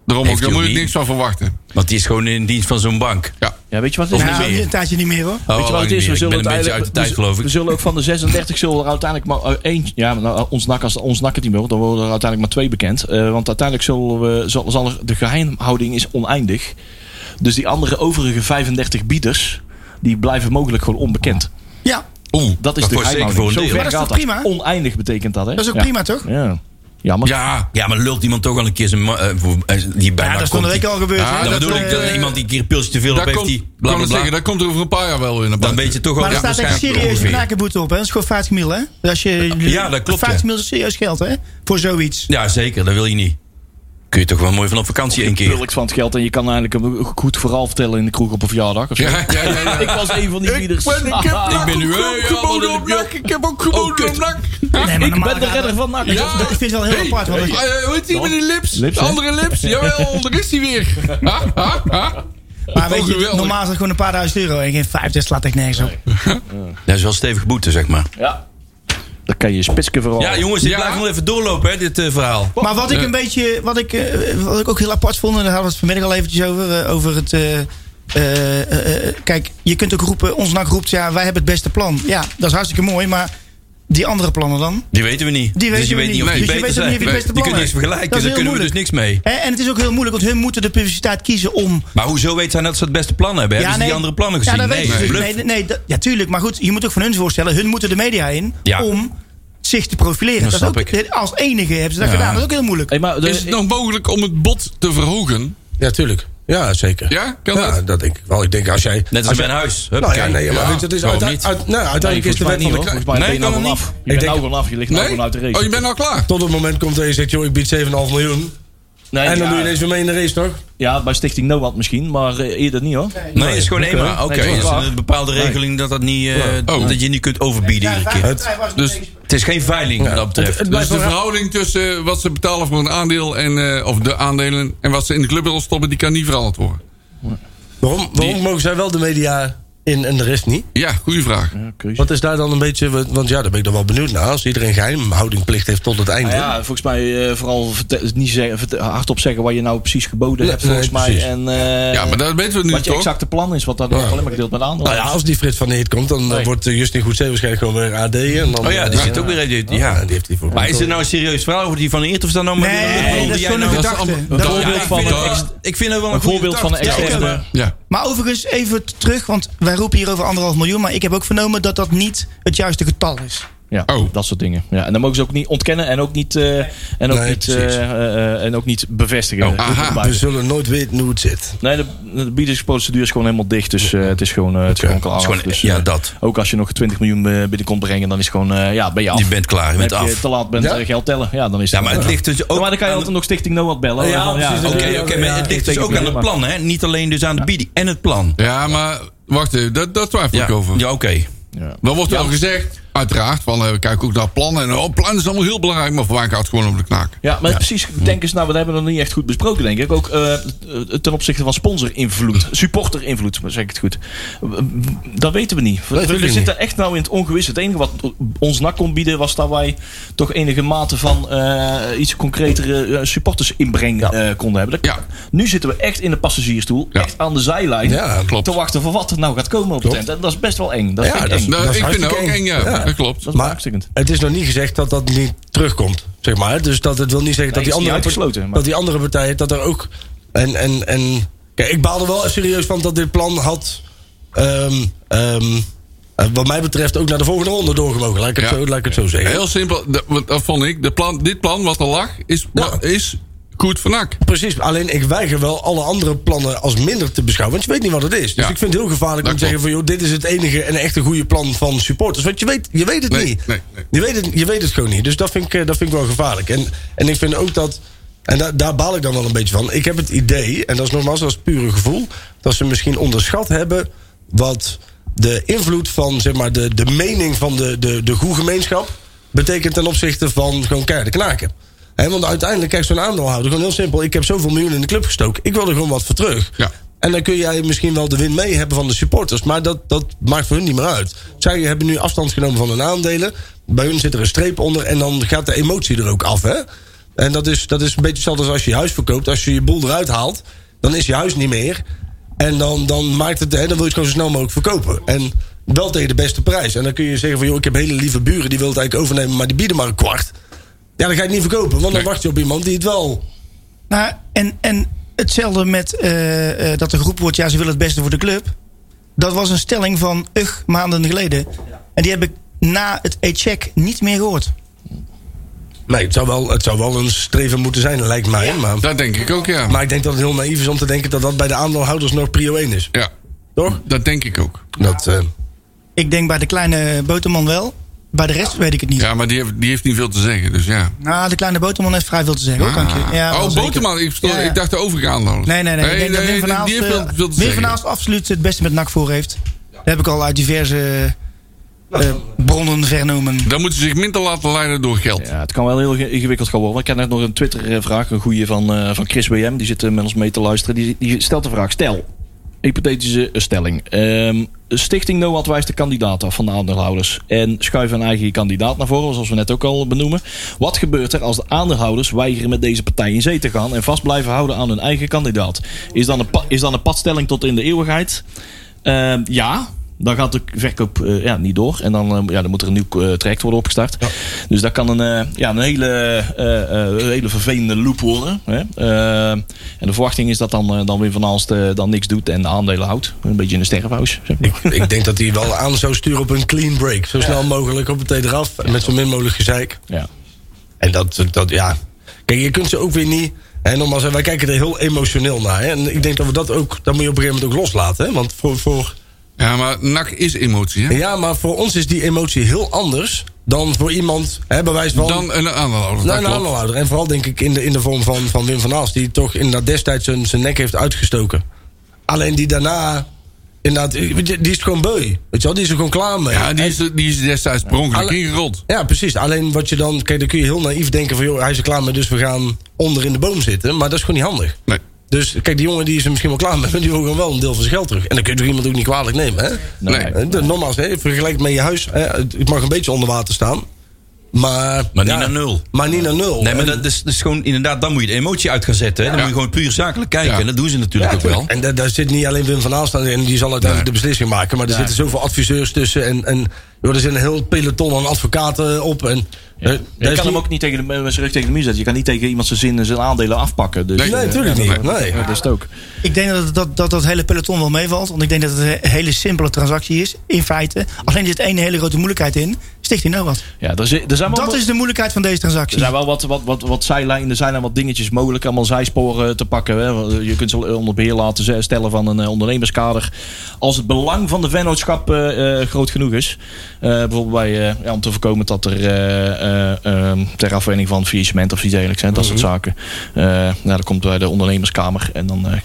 Speaker 5: Daarom ook,
Speaker 4: Heeft
Speaker 5: daar
Speaker 4: hij
Speaker 5: moet
Speaker 4: ook
Speaker 5: ik
Speaker 4: niet.
Speaker 5: niks van verwachten.
Speaker 4: Want die is gewoon in dienst van zo'n bank.
Speaker 5: Ja.
Speaker 9: Ja, weet je wat? het
Speaker 4: Of
Speaker 9: is?
Speaker 4: niet
Speaker 8: Nou,
Speaker 4: meer.
Speaker 8: een tijdje niet meer hoor.
Speaker 4: Oh,
Speaker 9: Weet je wat het is? We
Speaker 4: ik ben
Speaker 9: zullen
Speaker 4: een beetje uit de
Speaker 9: uiteindelijk-
Speaker 4: tijd,
Speaker 9: we,
Speaker 4: geloof
Speaker 9: we
Speaker 4: ik.
Speaker 9: zullen ook van de 36 zullen er uiteindelijk maar eh, één. Ja, nou, ons nak, als ons nak het niet meer, wordt, dan worden er uiteindelijk maar twee bekend. Eh, want uiteindelijk zullen we, zal, zal er, de geheimhouding is oneindig. Dus die andere overige 35 bieders, die blijven mogelijk gewoon onbekend.
Speaker 8: Ja,
Speaker 5: Oeh.
Speaker 9: Dat is
Speaker 4: Dat
Speaker 9: de
Speaker 4: wordt zeker
Speaker 9: geheimhouding.
Speaker 4: voor een
Speaker 9: Zo
Speaker 4: deel.
Speaker 9: ver
Speaker 8: Maar dat is
Speaker 9: gaat
Speaker 8: toch prima?
Speaker 9: Oneindig betekent dat, hè?
Speaker 8: dat is ook
Speaker 9: Ja.
Speaker 8: prima toch?
Speaker 9: Ja. Jammer.
Speaker 5: Ja.
Speaker 4: Ja, maar lult iemand toch al een keer zijn... ma- eh, voor- eh, die bijna
Speaker 8: Ja, dat is van
Speaker 4: komt,
Speaker 8: de week
Speaker 4: die-
Speaker 8: al gebeurd.
Speaker 5: Ja,
Speaker 8: hè.
Speaker 5: dat
Speaker 4: Dan
Speaker 8: Dat,
Speaker 4: bedoel
Speaker 8: eh,
Speaker 4: ik dat iemand die een keer een pilsje te veel op
Speaker 5: Daar
Speaker 4: heeft,
Speaker 5: komt,
Speaker 4: die
Speaker 5: kan
Speaker 4: bla
Speaker 5: het
Speaker 4: bla bla.
Speaker 5: zeggen, daar komt er over een paar jaar wel weer naar
Speaker 4: Dan
Speaker 5: buiten.
Speaker 4: weet je toch
Speaker 8: Maar
Speaker 4: al...
Speaker 8: er staat echt serieus een knakenboete op, hè? Dat is gewoon 50 mil, hè? Dus Als je,
Speaker 4: Ja, dat klopt,
Speaker 8: 50
Speaker 4: ja.
Speaker 8: mil is serieus geld, hè? Voor zoiets.
Speaker 4: Ja, zeker. Dat wil je niet. Kun je toch wel mooi van op vakantie één keer.
Speaker 9: Bulk van het geld en je kan eigenlijk een goed verhaal vertellen in de kroeg op een verjaardag. Of zo.
Speaker 5: Ja, ja, ja, ja.
Speaker 9: Ik was een van die bieders.
Speaker 5: ik ben nu eh, ook geboden op nak. Ik heb ook geboden op nak.
Speaker 8: Nee,
Speaker 9: Ik ben de redder van NAC.
Speaker 5: Oh, Ja.
Speaker 8: Ik vind het wel heel
Speaker 5: Hey,
Speaker 8: apart. Want dat-
Speaker 5: hey, eh, hoe heet die met die lips?
Speaker 9: Lips,
Speaker 5: De
Speaker 9: hè?
Speaker 5: andere lips? Jawel, daar is hij weer. Ha, ha, ha.
Speaker 8: maar weet je,
Speaker 5: geweldig.
Speaker 8: normaal is dat gewoon een paar duizend euro. En geen 50 slaat echt nergens op.
Speaker 4: Dat is wel stevig boete, zeg maar.
Speaker 9: Ja. Dan kan je spitsken veranderen.
Speaker 4: Ja, jongens, dit
Speaker 5: Ja.
Speaker 4: blijft nog even doorlopen, hè, dit eh, verhaal.
Speaker 8: Maar wat ik een beetje, wat ik, eh, wat ik ook heel apart vond, en daar hadden we het vanmiddag al eventjes over, eh, over het. eh, eh, eh, eh, kijk, je kunt ook roepen, ons NAC roept, ja, wij hebben het beste plan. Ja, dat is hartstikke mooi, maar die andere plannen dan?
Speaker 4: Die weten we niet.
Speaker 8: Die weten
Speaker 4: dus je
Speaker 8: we
Speaker 4: weet
Speaker 8: niet.
Speaker 4: niet of
Speaker 8: Nee.
Speaker 4: die
Speaker 8: Dus
Speaker 4: beter
Speaker 8: je weet ook
Speaker 4: zijn.
Speaker 8: niet wie het beste
Speaker 4: Die kunnen
Speaker 8: plan
Speaker 4: niks
Speaker 8: heeft.
Speaker 4: vergelijken,
Speaker 8: Dat
Speaker 4: daar
Speaker 8: is
Speaker 4: kunnen
Speaker 8: heel
Speaker 4: we dus niks mee.
Speaker 8: Hè, En het is ook heel moeilijk, want hun moeten de publiciteit kiezen om
Speaker 4: Maar hoezo weet zij dat ze het beste plan hebben? hebben ze die andere plannen gezien?
Speaker 8: Ja, dat
Speaker 4: nee,
Speaker 8: weet je.
Speaker 4: bluff.
Speaker 8: Dus, nee, nee, nee, dat- ja, tuurlijk. Maar goed, je moet ook van hun voorstellen. Hun moeten de media in
Speaker 4: Ja.
Speaker 8: om zich te profileren.
Speaker 4: Dat
Speaker 8: Dat,
Speaker 4: snap
Speaker 8: is ook, Als enige hebben ze dat
Speaker 4: Ja.
Speaker 8: gedaan. Dat is ook heel moeilijk.
Speaker 9: Hey, maar de-
Speaker 5: Is het nog mogelijk om het bod te verhogen?
Speaker 6: Ja, tuurlijk. Ja, zeker.
Speaker 5: Ja, kan
Speaker 6: Ja,
Speaker 5: dat?
Speaker 6: dat denk ik wel. Ik denk als jij...
Speaker 4: Net als
Speaker 6: als
Speaker 4: bij een
Speaker 6: jij-
Speaker 4: huis.
Speaker 6: Nou
Speaker 4: Huppakee.
Speaker 6: ja, nee, maar goed, dat is
Speaker 4: Waarom
Speaker 6: uite-
Speaker 4: niet?
Speaker 6: uit- nou,
Speaker 9: Nee,
Speaker 6: uiteindelijk is
Speaker 9: volgens
Speaker 6: de
Speaker 9: mij
Speaker 6: wet
Speaker 9: niet,
Speaker 6: van de
Speaker 9: hoor.
Speaker 6: kracht.
Speaker 9: Volgens mij ben
Speaker 4: Nee,
Speaker 9: je nou
Speaker 4: kan
Speaker 9: gewoon
Speaker 4: het
Speaker 9: af.
Speaker 4: niet.
Speaker 9: Je
Speaker 6: Ik
Speaker 9: bent
Speaker 6: denk-
Speaker 9: nou gewoon af. Je ligt nou
Speaker 5: Nee?
Speaker 9: gewoon uit de race.
Speaker 5: Oh, je bent al klaar.
Speaker 6: Tot het moment komt dat je zegt, joh, ik bied 7,5 miljoen.
Speaker 9: Nee,
Speaker 6: En dan
Speaker 9: ja,
Speaker 6: doe je ineens weer mee in de race, toch?
Speaker 9: Ja, bij Stichting NOAD misschien, maar eh, eerder niet hoor.
Speaker 4: Nee, het is gewoon één maar. Oké,
Speaker 9: Nee,
Speaker 4: er is
Speaker 9: waar.
Speaker 4: een bepaalde regeling dat, dat, niet, eh,
Speaker 5: Oh.
Speaker 4: dat je niet kunt overbieden iedere keer.
Speaker 5: Dus,
Speaker 4: Het is geen veiling wat dat betreft.
Speaker 5: dus de verhouding tussen wat ze betalen voor een aandeel en, eh, of de aandelen en wat ze in de club willen stoppen, die kan niet veranderd worden.
Speaker 6: Waarom, waarom mogen zij wel de media in en de rest niet?
Speaker 5: Ja, goede vraag.
Speaker 6: Ja, wat is daar dan een beetje, want ja, daar ben ik dan wel benieuwd naar. Als iedereen geheimhoudingplicht heeft tot het einde.
Speaker 4: Ah,
Speaker 9: Nou ja, volgens mij uh, vooral niet zeggen, verte, hardop zeggen wat je nou precies geboden ja, hebt, volgens nee, mij. En, uh,
Speaker 5: ja, maar dat weten we nu
Speaker 9: Wat
Speaker 5: toch?
Speaker 9: je exacte plan is, wat daar ja. alleen maar gedeeld met de
Speaker 6: Nou ja, als die Frits van Heert komt, dan nee. wordt uh, Justin Goedzee waarschijnlijk gewoon weer AD. En dan, eh,
Speaker 4: oh ja, die zit ook weer, die, ja. die heeft die voor maar is er nou een serieus verhaal over die van Heert of dan nou maar
Speaker 8: Nee, dat is gewoon een
Speaker 4: nou
Speaker 8: gedachte.
Speaker 4: Ik vind het wel
Speaker 9: een voorbeeld van een externe.
Speaker 8: Maar overigens, even terug, want wij roepen hier over anderhalf miljoen. Maar ik heb ook vernomen dat dat niet het juiste getal is.
Speaker 9: Ja, oh. dat soort dingen. Ja, en dan mogen ze ook niet ontkennen en ook niet, uh, en ook nee, niet, uh, uh, en ook niet bevestigen.
Speaker 6: Oh, we zullen nooit weten hoe het zit.
Speaker 9: Nee, de, de biedingsprocedure is gewoon helemaal dicht. Dus het is gewoon, het is gewoon klaar. Is gewoon, dus,
Speaker 4: ja, dat.
Speaker 9: Ook als je nog 20 miljoen eh, binnenkomt brengen, dan is het gewoon, eh, ja, ben je af.
Speaker 4: Je bent klaar, je bent
Speaker 9: af.
Speaker 4: Als je
Speaker 9: te laat bent, ja? geld tellen. Ja, dan is
Speaker 4: het ja, maar het ligt dus ook
Speaker 9: maar dan kan je altijd nog Stichting NOAD bellen.
Speaker 4: Ja, oké, ja, okay, okay, maar het ligt dus ook aan het plan, hè. Niet alleen dus aan de bieding en het plan.
Speaker 5: Ja, maar wacht even, dat, dat twijfel ik over.
Speaker 4: Ja, oké.
Speaker 5: Ja. Dan wordt er al gezegd, uiteraard, van uh, kijk ook naar plannen. En oh, plannen is allemaal heel belangrijk, maar voor mij gaat het gewoon om de knaak.
Speaker 9: Ja, maar ja. precies, denk eens, nou, we hebben dat niet echt goed besproken, denk ik. Ook uh, ten opzichte van sponsor-invloed, supporter-invloed, zeg ik het goed. Dat weten we niet. Dat we, we zitten niet. echt nou in het ongewis. Het enige wat ons nak kon bieden, was dat wij toch enige mate van uh, iets concretere eh, supporters-inbreng ja. eh, konden hebben. Dat, nu zitten we echt in de passagiersstoel, echt aan de zijlijn, te wachten voor wat er nou gaat komen op het tent. En dat is best wel eng. Dat vind ik eng.
Speaker 5: Nou, dat ik vind het ook eng, eng ja. ja. Dat klopt.
Speaker 6: Dat is maar het is nog niet gezegd dat dat niet terugkomt, zeg maar. Dus dat het wil niet zeggen nee, dat, die andere,
Speaker 9: partij,
Speaker 6: dat die andere partijen dat er ook... En, en, en, kijk, ik baalde wel serieus van dat dit plan had... Um, um, wat mij betreft ook naar de volgende ronde doorgemogen. Laat ik het, ja. zo, laat ik het zo zeggen.
Speaker 5: Heel simpel, dat, dat vond ik. De plan, dit plan wat er lag, is, ja. is goed van ak.
Speaker 6: Precies, alleen ik weiger wel alle andere plannen als minder te beschouwen. Want je weet niet wat het is. Dus ja. ik vind het heel gevaarlijk dat om te zeggen van... joh, dit is het enige en echt een goede plan van supporters. Want je weet, je weet het
Speaker 5: nee,
Speaker 6: niet.
Speaker 5: Nee, nee.
Speaker 6: Je, weet het, je weet het gewoon niet. Dus dat vind ik, dat vind ik wel gevaarlijk. En, en ik vind ook dat... En daar, daar baal ik dan wel een beetje van. Ik heb het idee, en dat is nogmaals als pure gevoel... dat ze misschien onderschat hebben wat de invloed van... zeg maar de, de mening van de, de, de goede gemeenschap... betekent ten opzichte van gewoon keiharde knaken. He, want uiteindelijk, kijk, zo'n aandeelhouder, gewoon heel simpel. Ik heb zoveel miljoen in de club gestoken. Ik wil er gewoon wat voor terug.
Speaker 5: Ja.
Speaker 6: En dan kun jij misschien wel de win mee hebben van de supporters. Maar dat, dat maakt voor hun niet meer uit. Zij hebben nu afstand genomen van hun aandelen. Bij hun zit er een streep onder. En dan gaat de emotie er ook af. Hè? En dat is, dat is een beetje hetzelfde als als je je huis verkoopt. Als je je boel eruit haalt, dan is je huis niet meer. En dan, dan, maakt het, hè, dan wil je het gewoon zo snel mogelijk verkopen. En wel tegen de beste prijs. En dan kun je zeggen van... joh, ik heb hele lieve buren, die wil het eigenlijk overnemen... maar die bieden maar een kwart. Ja, dan ga je het niet verkopen, want dan wacht je op iemand die het wel.
Speaker 8: Nou, en, en hetzelfde met uh, uh, dat de groep wordt, ja, ze willen het beste voor de club. Dat was een stelling van ugh, maanden geleden. En die heb ik na het e-check niet meer gehoord.
Speaker 6: Nee, het zou, wel, het zou wel een streven moeten zijn, lijkt mij. Ja, maar,
Speaker 5: dat denk ik ook, ja.
Speaker 6: Maar ik denk dat het heel naïef is om te denken dat dat bij de aandeelhouders nog prio 1 is.
Speaker 5: Ja.
Speaker 6: Toch?
Speaker 5: Dat denk ik ook.
Speaker 6: Dat, uh,
Speaker 8: ik denk bij de kleine boterman wel, bij de rest weet ik het niet.
Speaker 5: Ja, maar die heeft, die heeft niet veel te zeggen, dus ja.
Speaker 8: Nou, de kleine Boterman heeft vrij veel te zeggen, hoor, ah.
Speaker 5: ja, oh, Boterman, ik, ja, ja. ik, dacht de overige aanhouden.
Speaker 8: Nee, nee, nee. nee, ik denk nee, dat Wim van eh, Wim van Aast absoluut het beste met NAC voor heeft. Dat heb ik al uit diverse uh, bronnen vernomen.
Speaker 5: Dan moeten ze zich minder laten leiden door geld.
Speaker 9: Ja, het kan wel heel ingewikkeld gaan worden. Ik heb net nog een Twitter-vraag, een goede van, uh, van Chris WM. Die zit met ons mee te luisteren. Die, die stelt de vraag, stel, hypothetische eh, stelling. Um, Stichting NOAD wijst de kandidaat af van de aandeelhouders. En schuift een eigen kandidaat naar voren, zoals we net ook al benoemen. Wat gebeurt er als de aandeelhouders weigeren met deze partij in zee te gaan en vast blijven houden aan hun eigen kandidaat? Is dan een, is dan een padstelling tot in de eeuwigheid? Um, ja, dan gaat de verkoop uh, ja, niet door. En dan, uh, ja, dan moet er een nieuw uh, traject worden opgestart. Ja. Dus dat kan een, ja, een hele, eh, hele vervelende loop worden. Hè? Ehm, en de verwachting is dat dan, dan Wim van Aalst dan niks doet en de aandelen houdt. Een beetje in de sterrenhuis.
Speaker 6: Zeg maar. ik, ik, denk dat hij wel aan zou sturen op een clean break. Zo snel ja. mogelijk op het eraf. en met zo min mogelijk gezeik.
Speaker 9: Ja.
Speaker 6: En dat, dat, ja. Kijk, je kunt ze ook weer niet... En nogmaals, wij kijken er heel emotioneel naar. Hè? En ik denk dat we dat ook... Dat moet je op een gegeven moment ook loslaten. Hè? Want voor... voor
Speaker 5: ja, maar nak is emotie, hè?
Speaker 6: Ja, maar voor ons is die emotie heel anders dan voor iemand, hè, bij wijze van...
Speaker 5: Dan een aandeelhouder.
Speaker 6: Dan Nou, een aandeelhouder. En vooral denk ik in de, in de vorm van, van Wim van Aals... die toch inderdaad destijds zijn, zijn nek heeft uitgestoken. Alleen die daarna... Inderdaad, die is gewoon beu. Weet je wel, die is er gewoon klaar mee.
Speaker 5: Ja, die is, die is destijds per ongeluk ingerold.
Speaker 6: Ja, precies. Alleen wat je dan... Kijk, dan kun je heel naïef denken van... joh, hij is er klaar mee, dus we gaan onder in de boom zitten. Maar dat is gewoon niet handig.
Speaker 5: Nee.
Speaker 6: Dus kijk, die jongen die is er misschien wel klaar mee, maar die wil gewoon wel een deel van zijn geld terug. En dan kun je toch iemand ook niet kwalijk nemen, hè?
Speaker 5: Nee.
Speaker 6: Eh, de- Nogmaals, hè, vergelijk met je huis. Hè, het het mag een beetje onder water staan. Maar,
Speaker 4: Maar niet
Speaker 6: ja,
Speaker 4: naar nul.
Speaker 6: Maar niet naar nul.
Speaker 4: Nee, maar
Speaker 6: En-
Speaker 4: dat is, dat is gewoon inderdaad, dan moet je de emotie uit gaan zetten. Hè? Dan moet je gewoon puur zakelijk kijken.
Speaker 5: Ja.
Speaker 4: En dat doen ze natuurlijk ook wel.
Speaker 6: En daar, daar zit niet alleen Wim van Aalst aan, en die zal uiteindelijk de beslissing maken. Maar er zitten zoveel adviseurs tussen. En, en joh, er zit een heel peloton aan advocaten op. En, eh, daar
Speaker 9: Je
Speaker 6: is
Speaker 9: kan hem
Speaker 6: niet-
Speaker 9: ook niet tegen de, eh, met zijn rug tegen de muur zetten. Je kan niet tegen iemand zijn zin en zijn aandelen afpakken. Dus,
Speaker 6: Nee,
Speaker 9: eh,
Speaker 6: natuurlijk
Speaker 9: ja,
Speaker 6: niet.
Speaker 9: dat-
Speaker 6: Nee.
Speaker 9: ja, Dat is het ook.
Speaker 8: Ik denk dat dat, dat dat hele peloton wel meevalt. Want ik denk dat het een hele simpele transactie is, in feite. Alleen er zit één hele grote moeilijkheid in. Stichting Noord.
Speaker 9: Ja, er, zi- er zijn wel
Speaker 8: Dat
Speaker 9: wat-
Speaker 8: is de moeilijkheid van deze
Speaker 9: Er
Speaker 8: transactie.
Speaker 9: zijn wel wat, wat, wat, wat zijlijnen, er zijn wel wat dingetjes mogelijk, allemaal zijsporen te pakken. Hè. Je kunt ze onder beheer laten ze- stellen van een eh, ondernemerskader. Als het belang van de vennootschap eh, eh, groot genoeg is. Eh, bijvoorbeeld bij, eh, ja, om te voorkomen dat er eh, eh, ehm, ter afwending van faillissement of iets dergelijks. Hè, dat soort
Speaker 6: Mhm.
Speaker 9: zaken. Eh, nou, dat komt bij de ondernemerskamer. En dan, eh,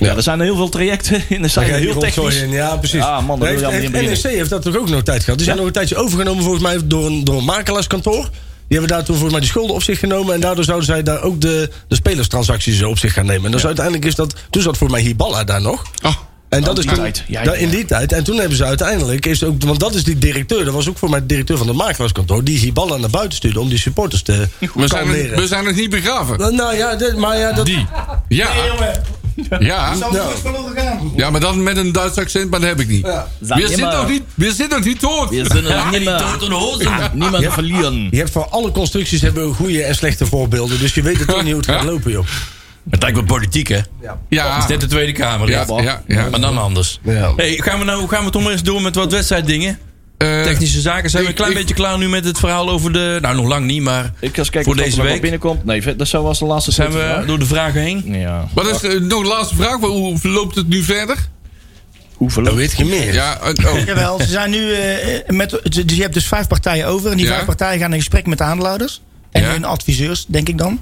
Speaker 9: ja. er zijn heel veel trajecten in de
Speaker 6: Daar
Speaker 9: zijn
Speaker 6: ga je
Speaker 9: heel
Speaker 6: die rotzooi
Speaker 9: technisch.
Speaker 6: in. Ja, precies.
Speaker 9: Ah, man, daar wil je
Speaker 6: heeft,
Speaker 9: allemaal niet in
Speaker 6: heeft-
Speaker 9: beginnen.
Speaker 6: NEC heeft dat toch ook nog een tijd gehad. Die zijn nog een tijdje overgenomen volgens mij door een, door een makelaarskantoor. Die hebben daar toen volgens mij die schulden op zich genomen. En daardoor zouden zij daar ook de, de spelerstransacties zo op zich gaan nemen. En dus uiteindelijk is dat... Toen zat volgens mij Hiballa daar nog.
Speaker 5: Oh,
Speaker 6: En dat
Speaker 9: die
Speaker 6: is toen,
Speaker 9: tijd. Ja, ja,
Speaker 6: da- in
Speaker 9: ja.
Speaker 6: die tijd. En toen hebben ze uiteindelijk, is ook, want dat is die directeur, dat was ook voor mij de directeur van het makelaarskantoor, die Hiballa naar buiten stuurde om die supporters te
Speaker 5: we, zijn nog,
Speaker 6: kalmeren.
Speaker 5: we zijn nog niet begraven.
Speaker 6: nou ja, dit- maar ja, dat,
Speaker 5: Die. Ja, ja.
Speaker 6: nou,
Speaker 5: ja, maar dan met een Duits accent, maar dat heb ik niet. We zitten nog niet, we zitten nog niet dood.
Speaker 11: We zijn er niet meer.
Speaker 6: Ah,
Speaker 11: Niemand verlieren.
Speaker 6: je hebt voor alle constructies hebben we goede en slechte voorbeelden. Dus je weet het toch niet hoe het gaat lopen, joh.
Speaker 4: Het lijkt wel politiek, hè? Is
Speaker 5: Ja,
Speaker 4: dit de Tweede Kamer?
Speaker 5: ja, ja. ja.
Speaker 4: Maar dan anders.
Speaker 6: Ja.
Speaker 4: Hey, gaan we nou gaan we toch maar eens door met wat wedstrijddingen?
Speaker 5: Eh,
Speaker 4: Technische zaken. Zijn we een
Speaker 5: ik-
Speaker 4: klein
Speaker 5: ik-
Speaker 4: beetje klaar nu met het verhaal over de... Nou, nog lang niet, maar
Speaker 9: Ik ga eens kijken
Speaker 4: Voor
Speaker 9: of er
Speaker 4: deze
Speaker 9: nog wat
Speaker 4: week?
Speaker 9: binnenkomt. Nee, vet, dat zo was de laatste.
Speaker 4: zijn
Speaker 9: punten
Speaker 4: we
Speaker 9: vandaag.
Speaker 4: door de vragen heen.
Speaker 9: Ja.
Speaker 5: wat is eh, nog een laatste vraag? Hoe loopt het nu verder?
Speaker 9: Hoe verloopt
Speaker 6: weet je meer.
Speaker 5: Ja, eh, oh.
Speaker 8: Jawel, ze zijn nu eh, met. Dus je hebt dus vijf partijen over. En die
Speaker 5: Ja.
Speaker 8: vijf partijen gaan in gesprek met de aandeelhouders. En
Speaker 5: Ja.
Speaker 8: hun adviseurs, denk ik dan.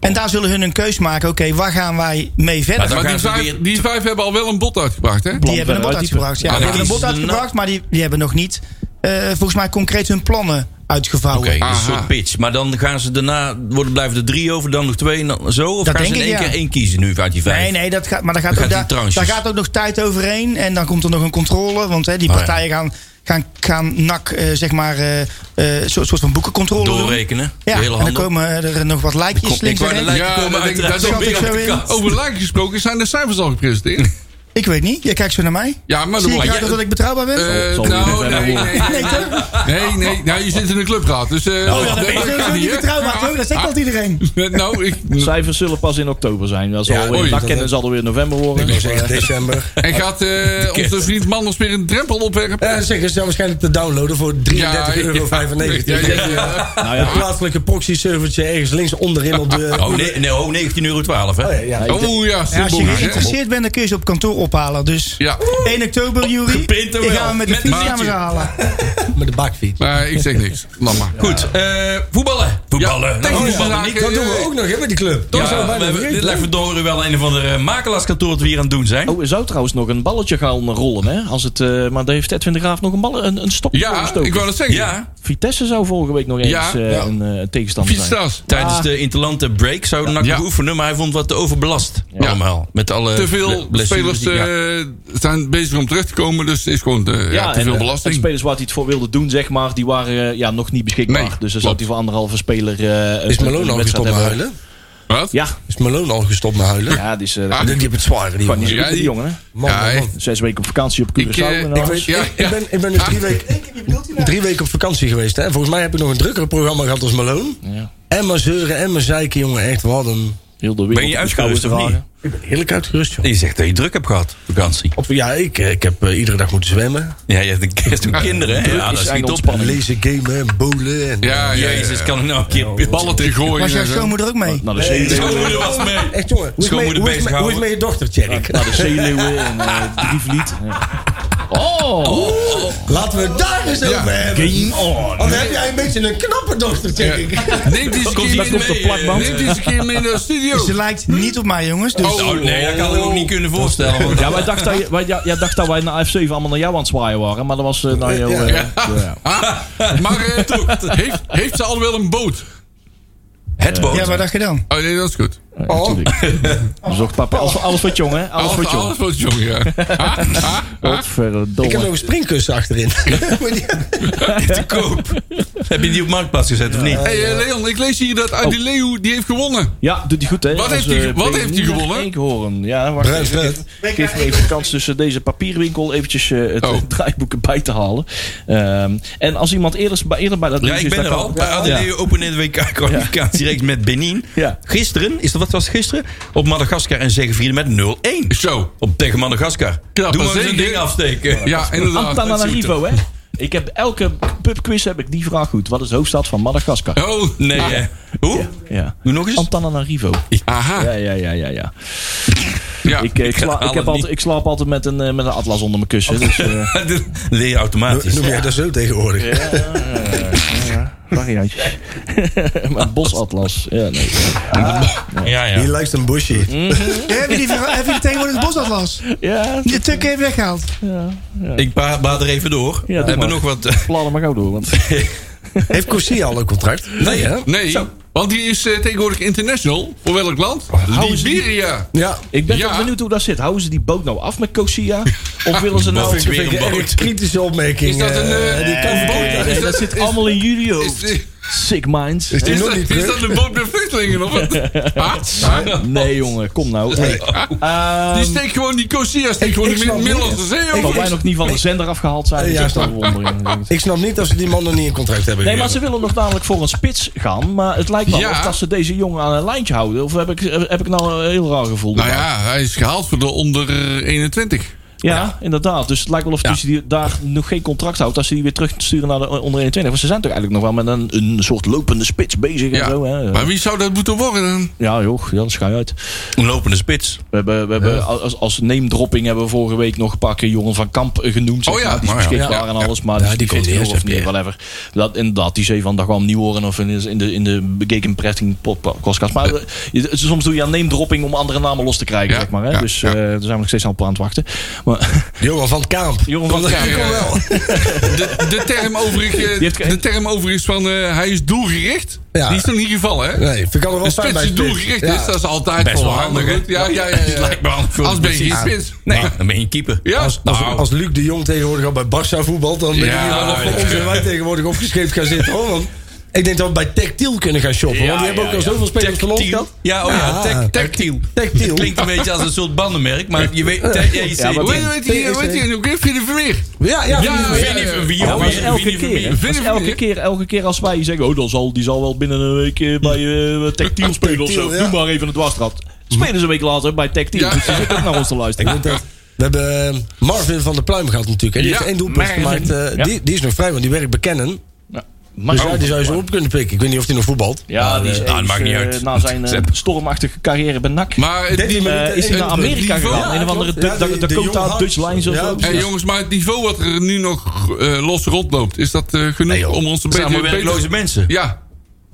Speaker 8: En daar zullen hun een keus maken. Oké, waar gaan wij mee verder?
Speaker 4: Nou, dan
Speaker 5: Maar die
Speaker 4: gaan ze
Speaker 5: vijf,
Speaker 4: weer-
Speaker 5: die vijf hebben al wel een bod uitgebracht, hè?
Speaker 8: die hebben een bod
Speaker 9: Plan verder
Speaker 8: uitgebracht. Ja,
Speaker 5: Ah,
Speaker 8: die
Speaker 5: dat
Speaker 8: hebben een
Speaker 4: is
Speaker 8: bod
Speaker 4: de
Speaker 8: uitgebracht, maar die, die hebben nog niet. eh, volgens mij concreet hun plannen uitgevouwen.
Speaker 4: Oké, dus een
Speaker 5: Aha.
Speaker 4: soort pitch. Maar dan gaan ze daarna... Worden, blijven er drie over, dan nog twee en dan zo? Of
Speaker 8: Dat
Speaker 4: gaan ze in
Speaker 8: denk
Speaker 4: één
Speaker 8: ik, ja.
Speaker 4: keer één kiezen nu uit die vijf?
Speaker 8: Nee, nee, dat gaat, maar daar gaat,
Speaker 4: Dan
Speaker 8: ook,
Speaker 4: gaat
Speaker 8: daar,
Speaker 4: die tranches.
Speaker 8: daar gaat ook nog tijd overheen. En dan komt er nog een controle. Want hè, die
Speaker 4: Oh, ja.
Speaker 8: partijen gaan, gaan, gaan NAC, eh, zeg maar, eh eh, soort, soort van boekencontrole doen.
Speaker 4: Doorrekenen.
Speaker 8: Ja,
Speaker 4: De hele
Speaker 8: en dan
Speaker 4: handel.
Speaker 8: komen er nog wat lijkjes
Speaker 4: Ik
Speaker 8: links en
Speaker 4: wou de
Speaker 8: rechts.
Speaker 4: lijken
Speaker 5: Ja, dat
Speaker 4: komen
Speaker 5: denk ik-
Speaker 4: uiteraard
Speaker 5: dat
Speaker 4: ook
Speaker 8: denk ik
Speaker 4: weer
Speaker 8: zo
Speaker 4: uit de
Speaker 8: in.
Speaker 4: kast.
Speaker 5: Over lijken gesproken zijn de cijfers al gepresenteerd.
Speaker 8: Ik weet niet, jij kijkt zo naar mij.
Speaker 5: Ja, maar
Speaker 8: Zie
Speaker 5: dan
Speaker 8: je
Speaker 5: moet
Speaker 8: graag dat ik betrouwbaar ben?
Speaker 5: Eh,
Speaker 9: zal niet
Speaker 5: nou,
Speaker 9: verder
Speaker 5: nee,
Speaker 9: worden.
Speaker 5: nee, nee, nee, nee, nou, je zit in een clubraad, dus... eh
Speaker 8: Oh, ja, dan ben je sowieso niet betrouwbaar, toch? Dat zegt altijd iedereen.
Speaker 5: iedereen. Nou, ik,
Speaker 9: Cijfers zullen pas in oktober zijn. Dat
Speaker 6: Ja,
Speaker 9: zal
Speaker 5: oei,
Speaker 9: weer, dat
Speaker 5: dat-
Speaker 9: kennen zal er weer november worden.
Speaker 6: Ik zeg december.
Speaker 5: en gaat eh, onze vriend Manders weer een drempel opwerpen?
Speaker 6: Eh, zeg, is waarschijnlijk te downloaden voor 33,95 euro.
Speaker 5: Ja, ja, ja, ja.
Speaker 9: Nou
Speaker 6: Een plaatselijke proxy-servertje ergens links onderin op de...
Speaker 4: Oh, nee, nee, oh, 19,12 euro, hè?
Speaker 6: Oh, ja, ja.
Speaker 5: Oh ja,
Speaker 8: Ja, als je
Speaker 5: symbolisch, hè?
Speaker 8: geïnteresseerd bent, dan kun je ze op kantoor ophalen. Dus
Speaker 5: Ja,
Speaker 8: 1 oktober, Jury,
Speaker 4: Geprint er
Speaker 8: ik
Speaker 4: wel.
Speaker 8: ga hem met de
Speaker 4: Met
Speaker 8: fiets
Speaker 4: maatje.
Speaker 8: gaan we ze halen.
Speaker 6: Met de bakfiets.
Speaker 5: maar ik zeg niks. Laat maar.
Speaker 4: Goed, eh, voetballen. Voetballen. Nou,
Speaker 5: technische
Speaker 4: voetballen
Speaker 5: zaken.
Speaker 4: niet.
Speaker 6: Dat doen
Speaker 5: eh,
Speaker 6: we ook nog, hè, met die club. Dat
Speaker 4: Ja,
Speaker 6: zijn we
Speaker 4: we
Speaker 6: bijna
Speaker 4: hebben- dit
Speaker 6: vergeten,
Speaker 4: lijkt
Speaker 6: hè?
Speaker 4: me door wel een of andere makelaarskantoor wat we hier aan het doen zijn.
Speaker 9: Oh, er zou trouwens nog een balletje gaan rollen, hè? Als het, eh, maar daar heeft Edwin de Graaf nog een, ballen, een, een stopje voor
Speaker 5: Ja,
Speaker 9: gestoken.
Speaker 5: ik wou dat zeggen.
Speaker 4: Ja,
Speaker 9: Vitesse zou vorige week nog eens
Speaker 5: Ja,
Speaker 9: eh,
Speaker 5: ja.
Speaker 9: een eh, tegenstander zijn.
Speaker 5: Fietstas.
Speaker 4: tijdens de Interlante break zou NAC
Speaker 5: Ja.
Speaker 4: nog oefenen, maar hij vond wat te overbelast. Allemaal. Met alle
Speaker 5: Te veel
Speaker 4: ble- blessures
Speaker 5: spelers
Speaker 4: die- ja.
Speaker 5: eh, zijn bezig om terug te komen, dus het is gewoon te, ja, te
Speaker 9: en,
Speaker 5: veel
Speaker 9: eh,
Speaker 5: belasting.
Speaker 9: en spelers waar hij het voor wilde doen, zeg maar, die waren eh, ja, nog niet beschikbaar.
Speaker 5: Nee,
Speaker 9: dus dan zou
Speaker 5: klopt.
Speaker 9: hij voor anderhalve speler eh, een-
Speaker 6: Is
Speaker 9: een
Speaker 6: Malone al
Speaker 9: wedstrijd
Speaker 6: gestopt met
Speaker 9: hebben.
Speaker 6: huilen?
Speaker 5: Wat?
Speaker 9: Ja,
Speaker 6: Is Malone al gestopt met huilen?
Speaker 9: ja, dus, eh, dat
Speaker 5: Ah,
Speaker 6: Die hebben het zwaar, die
Speaker 9: kan
Speaker 6: jongen.
Speaker 9: niet zo goed
Speaker 5: Ja,
Speaker 9: voor die
Speaker 5: die-
Speaker 9: jongen, hè?
Speaker 6: Man,
Speaker 5: Ja,
Speaker 6: man, man.
Speaker 9: Zes weken op vakantie op Curaçao.
Speaker 5: Ik, eh,
Speaker 9: en
Speaker 5: ik
Speaker 9: alles.
Speaker 6: Ik,
Speaker 5: Ja,
Speaker 6: ik, ben, ik ben dus drie weken, drie weken op vakantie geweest. Hè. Volgens mij heb ik nog een drukker programma gehad als Malone.
Speaker 9: Ja.
Speaker 6: En mijn zeuren en mijn zeiken, jongen. Echt, wat een...
Speaker 9: Heel de wereld
Speaker 4: Ben je
Speaker 9: op de schouder
Speaker 4: uitgerust of
Speaker 9: dragen.
Speaker 4: niet?
Speaker 6: Ik ben heerlijk uitgerust, joh.
Speaker 4: Je zegt dat je druk hebt gehad, vakantie.
Speaker 6: Op, ja, ik, eh, ik heb eh, iedere dag moeten zwemmen.
Speaker 4: Ja, je hebt een kerst toen kinderen. hè?
Speaker 9: Druk
Speaker 4: Ja,
Speaker 9: is
Speaker 4: dat is niet
Speaker 9: eigen
Speaker 4: op.
Speaker 9: ontspanning.
Speaker 6: Lezen, gamen en bowlen. En,
Speaker 5: Ja, ja, ja.
Speaker 4: Jezus, kan ik nou een keer...
Speaker 5: Ballen te gooien.
Speaker 8: Was jouw
Speaker 5: en zo.
Speaker 8: schoonmoeder ook mee?
Speaker 9: Naar de zee-
Speaker 4: De schoonmoeder was mee.
Speaker 6: Echt, jongen. Hoe is
Speaker 4: Schoonmoeder
Speaker 6: mee- hoe is mee- hoe is
Speaker 4: bezighouden.
Speaker 6: met je dochter, Tjerk?
Speaker 9: naar de zeeleeuwen en eh Drievliet. Oh!
Speaker 6: Laten we het daar eens
Speaker 5: Ja.
Speaker 6: over hebben.
Speaker 9: Game on!
Speaker 6: Want dan heb jij een beetje een knappe dochter, Tjerk.
Speaker 5: Neem die eens een keer
Speaker 9: dat komt op
Speaker 5: mee, eh,
Speaker 9: plakband.
Speaker 5: neemt die eens een keer mee naar de studio.
Speaker 8: Ze lijkt niet op mij, jongens. Dus
Speaker 4: Oh, nee, dat kan ik me ook niet kunnen voorstellen. want-
Speaker 9: Ja, wij dachten, dat je- wij, ja, jij dacht dat wij naar F7 allemaal naar jou aan het zwaaien waren, maar dat was eh, naar jou. eh, ja.
Speaker 5: Ah, maar eh, heeft, heeft ze al wel een boot?
Speaker 4: Het boot.
Speaker 8: ja, wat dacht je dan?
Speaker 5: Oh nee, dat is goed.
Speaker 9: Ja, natuurlijk. Dat is ook papa. Alles, alles wordt jong, hè? Alles, wordt jong.
Speaker 5: Alles wordt jong, ja. Ha? Ha? Ha?
Speaker 9: Godverdomme.
Speaker 6: Ik heb nog een springkussen achterin.
Speaker 4: Te koop. Heb je die op marktplaats gezet of niet?
Speaker 5: Hey, eh, Leon, ik lees hier dat
Speaker 9: Oh.
Speaker 5: Adi Leeuw, die heeft gewonnen.
Speaker 9: Ja, doet hij goed, hè?
Speaker 5: Wat heeft hij-
Speaker 9: eh,
Speaker 5: wat
Speaker 9: Peter
Speaker 5: heeft hij
Speaker 9: Niemann
Speaker 5: gewonnen?
Speaker 9: Eekhoorn. Ja, wacht
Speaker 6: Bruin
Speaker 9: even.
Speaker 6: vet.
Speaker 9: Ik geef me even de kans tussen deze papierwinkel eventjes eh,
Speaker 5: Oh.
Speaker 9: het draaiboeken draaiboek erbij te halen. Ehm, en als iemand eerder, bij- eerder bij dat
Speaker 4: Ja,
Speaker 9: nieuws
Speaker 4: ik
Speaker 9: is,
Speaker 4: ben er
Speaker 9: dan kan-
Speaker 4: al. Bij Adeleu openen de WK-kwalificatiereeks met Benin.
Speaker 9: Ja.
Speaker 4: Gisteren, is dat wat was het gisteren? Op Madagaskar en zegevieren met 0-1.
Speaker 5: Zo.
Speaker 4: Op tegen Madagaskar.
Speaker 5: Knap,
Speaker 4: Doe
Speaker 5: dat
Speaker 4: maar eens een
Speaker 5: zeker.
Speaker 4: ding afsteken.
Speaker 5: Ja, inderdaad.
Speaker 9: Antananarivo, hè? Ik heb elke pubquiz heb ik die vraag goed. Wat is de hoofdstad van Madagaskar?
Speaker 5: Oh,
Speaker 4: Nee, hè. Hoe?
Speaker 9: Ja.
Speaker 4: Doe nog eens.
Speaker 9: Antananarivo.
Speaker 5: aha.
Speaker 9: Ja, ja, ja, ja, ja.
Speaker 5: Ja.
Speaker 9: Ik, eh, ik, sla-
Speaker 4: haal
Speaker 9: ik, heb
Speaker 4: het
Speaker 9: altijd, ik slaap altijd met een, eh, met een atlas onder mijn kussen. Dus, eh,
Speaker 4: Dat Leer je automatisch.
Speaker 6: Noem jij dat zo tegenwoordig?
Speaker 9: variantjes. maar een bosatlas. Ja, nee.
Speaker 4: Ja, ja.
Speaker 6: Hier lijkt een busje.
Speaker 8: Heb je die, heb je die tegenwoordig het bosatlas?
Speaker 9: Ja,
Speaker 8: De Turk heeft weggehaald.
Speaker 4: Ik ba- baad er even door.
Speaker 9: Ja, doe
Speaker 4: We hebben
Speaker 9: maar.
Speaker 4: nog wat... eh,
Speaker 9: plannen maar gauw door. Want
Speaker 6: Heeft Corsia al een contract? Nee, hè?
Speaker 5: Nee, want die is eh, tegenwoordig international. Voor welk land?
Speaker 9: houden ze die-
Speaker 5: Liberia.
Speaker 6: Ja.
Speaker 9: ik ben
Speaker 5: Ja.
Speaker 9: toch benieuwd hoe dat zit. Houden ze die boot nou af met Kosia? Of willen ze nou...
Speaker 4: Boot, weer een boot.
Speaker 6: Kritische opmerking.
Speaker 5: Is dat een...
Speaker 6: eh,
Speaker 5: eh,
Speaker 6: die kan
Speaker 5: eh,
Speaker 6: verboden
Speaker 5: is
Speaker 6: worden.
Speaker 9: Nee, dat zit allemaal in jullie hoofd.
Speaker 5: Is, is,
Speaker 9: Sick minds.
Speaker 6: die
Speaker 5: is
Speaker 6: nog
Speaker 5: dat,
Speaker 6: niet
Speaker 5: is
Speaker 6: terug? Ehm,
Speaker 5: dat een boot met vluchtelingen of wat? Ah, Ha? Ha?
Speaker 9: Nee, jongen, kom nou. Hey. Ehm,
Speaker 5: Die steekt gewoon, die Corsia steekt gewoon
Speaker 6: ik
Speaker 5: in
Speaker 6: snap
Speaker 5: het middel van de
Speaker 6: niet.
Speaker 5: zee
Speaker 9: dat wij
Speaker 5: over.
Speaker 9: nog niet van de zender afgehaald zijn.
Speaker 6: Ja,
Speaker 9: dat is
Speaker 6: snap.
Speaker 9: toch een wondering.
Speaker 6: Ik snap niet dat ze die man nog niet een contract hebben.
Speaker 9: Nee, maar ze
Speaker 6: gegeven.
Speaker 9: willen nog namelijk voor een spits gaan. Maar het lijkt wel
Speaker 5: Ja.
Speaker 9: of dat ze deze jongen aan een lijntje houden. Of heb ik, heb ik nou een heel raar gevoel?
Speaker 5: Nou ja, hij is gehaald voor de onder eh, 21.
Speaker 9: Ja, inderdaad. Dus het lijkt wel of ze die daar nog geen contract houdt. Als ze die weer terugsturen naar de onder 21. Want ze zijn toch eigenlijk nog wel met een, een soort lopende spits bezig
Speaker 5: Ja.
Speaker 9: en zo. Hè?
Speaker 5: Maar wie zou dat moeten worden dan?
Speaker 9: Ja, joh, ja, dat schijn uit.
Speaker 4: Een lopende spits.
Speaker 9: We hebben, we hebben als, als name-dropping hebben we vorige week nog een paar keer Joren van Kamp eh, genoemd. Zeg
Speaker 5: Oh ja,
Speaker 9: maar. Die is
Speaker 5: maar ja,
Speaker 9: beschikbaar
Speaker 5: ja,
Speaker 9: en
Speaker 5: ja.
Speaker 9: alles, maar
Speaker 6: Ja,
Speaker 9: die,
Speaker 6: die
Speaker 9: komt
Speaker 6: komt
Speaker 9: niet
Speaker 6: eerst,
Speaker 9: of
Speaker 6: heb je.
Speaker 9: niet, whatever. Dat, inderdaad, die zee van daar kwam Nieuworen of in de, in de, in de Begeken Pretting podcast. Maar eh, je- soms doe je aan name-dropping om andere namen los te krijgen,
Speaker 5: Ja,
Speaker 9: zeg maar. Hè?
Speaker 5: ja,
Speaker 9: dus
Speaker 5: ja.
Speaker 9: eh, daar zijn we nog steeds al op aan het wachten. Maar,
Speaker 6: Johan van Kamp.
Speaker 9: Johan van
Speaker 6: Kamp.
Speaker 5: Ja, ja, ja. De, de, term overigens,
Speaker 9: heeft geen-
Speaker 5: de term overigens van eh, hij is doelgericht,
Speaker 6: Ja.
Speaker 5: die is nog niet gevallen, hè?
Speaker 6: Nee, vind ik al wel
Speaker 5: Een
Speaker 6: fijn
Speaker 5: spits die
Speaker 6: bij spits.
Speaker 5: doelgericht
Speaker 6: Ja.
Speaker 5: is, dat is altijd
Speaker 4: Best
Speaker 5: wel
Speaker 4: wel
Speaker 5: handig.
Speaker 4: handig,
Speaker 5: hè? Ja, ja, ja.
Speaker 4: Het lijkt me handig voor de
Speaker 5: Als ben je geen
Speaker 4: positie.
Speaker 5: spits.
Speaker 4: Nee,
Speaker 5: Nee.
Speaker 4: Nou, dan ben je een keeper.
Speaker 5: Ja.
Speaker 6: Als, als,
Speaker 4: Nou.
Speaker 6: als Luc de Jong tegenwoordig al bij Barça voetbalt, dan ben ik
Speaker 5: Ja,
Speaker 6: hier wel of
Speaker 4: ja.
Speaker 6: ons en wij tegenwoordig opgescheept gaan zitten. Hoor, want ik denk dat we bij Tactiel kunnen gaan shoppen. want die hebben ook al zoveel spelers verloren
Speaker 4: Tactiel.
Speaker 6: gehad.
Speaker 4: Ja, oh ja,
Speaker 6: Ah.
Speaker 4: tac- tactiel.
Speaker 6: Tactiel.
Speaker 4: Dat Klinkt een beetje als een soort bandenmerk, maar je weet... tac- ja, je zegt-
Speaker 5: Hoe heet- hoe heet die- hoe heet die? Hoe heet Vinnie Vermeer?
Speaker 6: Ja, ja.
Speaker 5: Ja,
Speaker 6: ja, ja,
Speaker 4: Vinnie
Speaker 6: ja.
Speaker 4: Vermeer.
Speaker 9: Ja, maar dat is
Speaker 4: Vinnie
Speaker 9: elke
Speaker 4: Vermeer.
Speaker 9: keer. hè. Dat is
Speaker 5: Vinnie
Speaker 9: elke
Speaker 5: Vermeer.
Speaker 9: keer, elke keer als wij zeggen, oh, dan zal, die zal wel binnen een week eh, bij eh Tactiel spelen of zo.
Speaker 6: Tactiel, ja.
Speaker 9: Doe maar even een dwarstrap. Spelen ze een week later bij Tactiel.
Speaker 5: Ja.
Speaker 9: Dus die zit ook naar ons te luisteren.
Speaker 6: We hebben eh, Marvin van der Pluim gehad natuurlijk. hè. Die
Speaker 5: Ja,
Speaker 6: heeft één doelpunt
Speaker 9: Marvin.
Speaker 6: gemaakt. eh,
Speaker 9: Ja.
Speaker 6: die, die is nog vrij, want die werkt bij Kennen.
Speaker 9: Ja.
Speaker 6: Dus
Speaker 9: Maar-
Speaker 6: ja, die zou je zo op kunnen pikken. Ik weet niet of hij nog voetbalt.
Speaker 9: Ja, die is
Speaker 4: nou, dat
Speaker 9: eens,
Speaker 4: maakt niet
Speaker 9: eh,
Speaker 4: uit.
Speaker 9: na zijn eh,
Speaker 4: Ze-
Speaker 9: stormachtige carrière bij NAC.
Speaker 5: Maar het, die,
Speaker 9: eh, is hij naar Amerika
Speaker 5: niveau-
Speaker 9: gegaan.
Speaker 5: Ja,
Speaker 9: een of andere
Speaker 6: klopt. Ja,
Speaker 9: Duk-
Speaker 6: de-
Speaker 9: Dakota
Speaker 6: de Johan Hartz.
Speaker 9: Dutch Lines of
Speaker 6: Ja,
Speaker 9: zo.
Speaker 6: precies.
Speaker 5: Hey, jongens, maar het niveau wat er nu nog eh, los rondloopt, is dat eh, genoeg
Speaker 4: joh.
Speaker 5: om ons een
Speaker 4: Het zijn
Speaker 5: beetje
Speaker 4: maar werkloze mensen.
Speaker 5: Ja,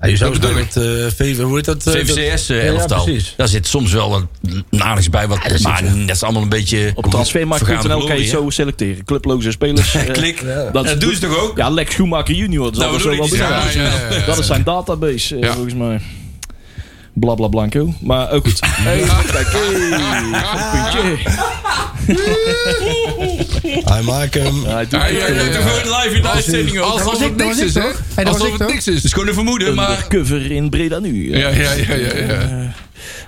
Speaker 6: Ja, je zou
Speaker 5: Dat
Speaker 6: eens
Speaker 5: bedoel
Speaker 6: bij het eh, VV, hoe heet dat? eh,
Speaker 4: CVCS
Speaker 6: dat-
Speaker 4: eh, elftal.
Speaker 6: Ja, precies.
Speaker 4: Daar zit soms wel een nadelijks bij. Wat, maar dat is allemaal een beetje...
Speaker 9: Op transfermarkt.nl kan je
Speaker 4: vergaande
Speaker 9: zo selecteren. Clubloze spelers. eh,
Speaker 4: glorie, hè? Klik.
Speaker 9: dat
Speaker 4: Dat,
Speaker 9: is
Speaker 4: doen
Speaker 9: goed.
Speaker 4: ze toch ook?
Speaker 9: Ja, Lex Schumacher junior. Dat zal
Speaker 4: Nou,
Speaker 9: er
Speaker 4: we
Speaker 9: zo
Speaker 4: doen iets.
Speaker 9: wel bij
Speaker 5: ja, ja,
Speaker 9: zijn.
Speaker 5: ja, ja.
Speaker 9: Dat is zijn database, eh,
Speaker 5: Ja.
Speaker 9: volgens mij. Blabla blanco. Maar ook goed. Hey, kijk, hey, puntje.
Speaker 6: Hij maakt ehm, hem.
Speaker 9: Ja, hij doet
Speaker 5: Ja, ja,
Speaker 9: echt,
Speaker 5: ja,
Speaker 9: eh,
Speaker 5: ja.
Speaker 4: Doe gewoon live in de uitzending ook. Dat
Speaker 5: Alsof het
Speaker 8: ik, dat
Speaker 5: niks
Speaker 8: was
Speaker 5: is,
Speaker 8: ik
Speaker 5: hè?
Speaker 8: toch? Hey, dat was
Speaker 5: Alsof
Speaker 8: ik
Speaker 5: het
Speaker 8: toch?
Speaker 5: niks is.
Speaker 4: is gewoon een vermoeden, maar...
Speaker 9: undercover in Breda nu.
Speaker 5: Ja, ja, ja, ja. ja. Eh,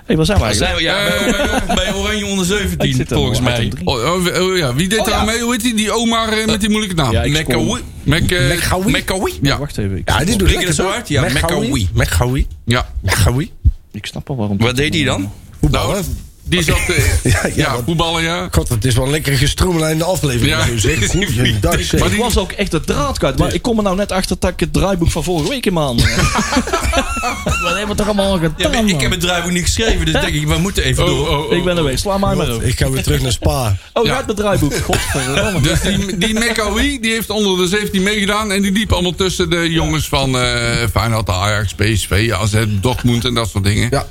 Speaker 9: Hey, waar zijn we eigenlijk?
Speaker 4: Zijn we, ja, bij- bij, bij Oranje onder
Speaker 9: Ik
Speaker 4: 17,
Speaker 9: zit er
Speaker 4: volgens
Speaker 9: wel uit
Speaker 4: mij.
Speaker 9: een drie.
Speaker 5: Oh, oh, oh, ja. Wie deed daar aan mee? Hoe heet die? Die Omar eh, met die moeilijke naam.
Speaker 9: Ja, ik
Speaker 5: Mekkawi.
Speaker 9: spoor.
Speaker 5: Mek, eh,
Speaker 6: Mekkawi?
Speaker 5: Mekkawi? Ja,
Speaker 9: Wacht even, ik,
Speaker 6: Ja, dit doet
Speaker 4: Klik het
Speaker 6: lekker,
Speaker 4: zo
Speaker 6: toch?
Speaker 4: hard? Ja, Mekkawi.
Speaker 6: Mekkawi.
Speaker 5: ja.
Speaker 6: Mekkawi.
Speaker 9: ik snap al waarom.
Speaker 4: Wat deed hij dan?
Speaker 5: Nou, die zat... eh, ja, voetballen, ja.
Speaker 6: God, het is wel een lekker gestroomlijnde aflevering.
Speaker 5: Ja.
Speaker 6: nu, zeg. Goeiedag, zeg.
Speaker 5: Maar
Speaker 9: Ik
Speaker 5: die-
Speaker 9: was ook echt de draad kwijt. Maar ik kom er nou net achter dat ik het draaiboek van vorige week in mijn handen heb. Wat hebben we toch allemaal gedaan?
Speaker 4: Ja, maar ik heb het draaiboek niet geschreven, dus denk ik, we moeten even
Speaker 5: Oh,
Speaker 4: door.
Speaker 5: oh, oh.
Speaker 9: man? Ik ben er weer. Sla mij maar over.
Speaker 6: Ik ga weer terug naar Spa.
Speaker 9: Oh,
Speaker 5: Ja.
Speaker 9: ja. uit mijn draaiboek. Godverdomme.
Speaker 5: Dus die, die Mekkawi, die heeft onder de 17 meegedaan. En die liep allemaal tussen de jongens van eh Feyenoord, Ajax, PSV, AZ, Dortmund en dat soort dingen.
Speaker 6: Ja.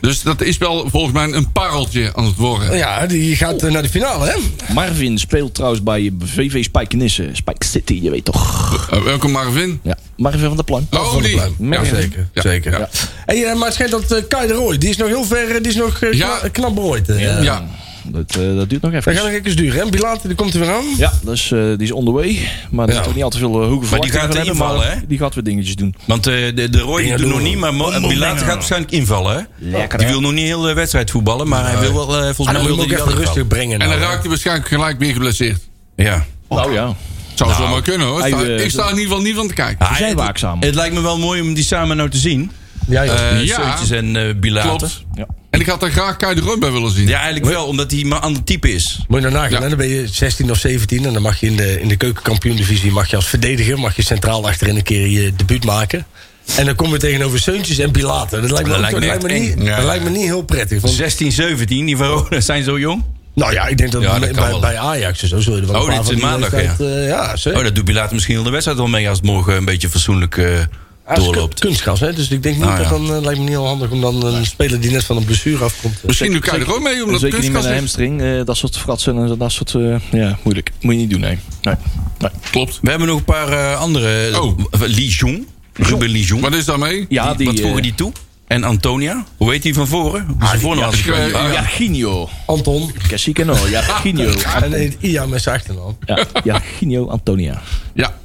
Speaker 5: Dus dat is wel volgens mij een pareltje aan het worden.
Speaker 6: Ja, die gaat oh. naar de finale, hè?
Speaker 9: Marvin speelt trouwens bij VV Spijkenisse. Spike City, je weet toch.
Speaker 5: Uh, welke Marvin?
Speaker 9: Ja, Marvin van der Plank.
Speaker 5: Oh, van die. De
Speaker 6: ja, zeker. Ja. zeker. Ja. Hey, maar het schijnt dat uh, Kai de Roy, die is nog heel ver, die is nog uh, kna knap berooid.
Speaker 9: Eh,
Speaker 5: ja.
Speaker 9: Dat, uh, dat, duurt nog even.
Speaker 6: Dat gaat nog even duren, hè? Bilate, die komt er weer aan.
Speaker 9: Ja, dus, uh, die is onderweg. Maar die ja. heeft ook niet al te veel uh, hoge
Speaker 4: Maar die gaat hebben, invallen, hè?
Speaker 9: Die gaat weer dingetjes doen.
Speaker 4: Want eh, de, de Roy ja, doet nog niet, maar Bilate gaat waarschijnlijk invallen, hè? Lekker, die wil nog niet heel de wedstrijd voetballen, maar hij wil wel, eh, volgens mij...
Speaker 6: wil hij wel rustig brengen. eh,
Speaker 5: Nou, en dan raakt hij waarschijnlijk gelijk weer geblesseerd.
Speaker 4: Ja.
Speaker 9: Nou
Speaker 4: Ah,
Speaker 9: eh, ja.
Speaker 5: Zou nou, zo maar kunnen, hoor. Sta, ik sta in ieder geval niet van te kijken.
Speaker 9: Ah, zijn waakzaam.
Speaker 4: Het lijkt me wel mooi om die samen nou te zien. Ja,
Speaker 6: Eh,
Speaker 4: ja. en Bilate. Ja.
Speaker 5: En ik had daar graag Kai de Run bij willen zien.
Speaker 4: Ja, eigenlijk wel, omdat hij maar ander type is.
Speaker 6: Moet je daarna gaan, ja. dan ben je 16 of 17 en dan mag je in de, in de keukenkampioen-divisie mag je als verdediger, mag je centraal achterin een keer je debuut maken. En dan kom je tegenover Seuntjes en Pilaten. Dat lijkt me, dat lijkt me, dat lijkt me niet, ja. dat lijkt me niet heel prettig.
Speaker 4: Want 16, 17, die Verona zijn zo jong.
Speaker 6: Nou ja, ik denk dat, ja, dat bij, bij, Ajax en zo zul je er wel
Speaker 4: Oh, dit is maandag, leeftijd, uh, ja.
Speaker 6: eh, Zeker.
Speaker 4: oh, dat doet Pilaten misschien heel de wedstrijd wel mee als het morgen een beetje fatsoenlijk... Uh, doorloopt. Nou
Speaker 6: Kunstgas, hè? dus ik denk niet ah, ja. dat dan uh, lijkt me niet heel handig om dan een speler die net van een blessure afkomt. Uh,
Speaker 5: Misschien doe ik er ook mee, omdat
Speaker 9: zeker niet met een hamstring, uh, dat soort fratsen en dat soort. eh, ja, moeilijk. Moet je niet doen, nee. nee. nee.
Speaker 5: Klopt.
Speaker 4: We hebben nog een paar andere. Oh. Lijon. Ruben Lijon.
Speaker 5: Wat is daarmee?
Speaker 4: Ja, die, eh, wat
Speaker 9: eh,
Speaker 4: voegen die toe? En Antonia? Hoe heet hij van voren?
Speaker 9: Ah, die, voornaam Jarginho.
Speaker 6: Anton.
Speaker 9: Cacique Jarginho.
Speaker 6: En heet Ia met zijn achternaam.
Speaker 9: Ja, Jarginho Antonia.
Speaker 5: Ja.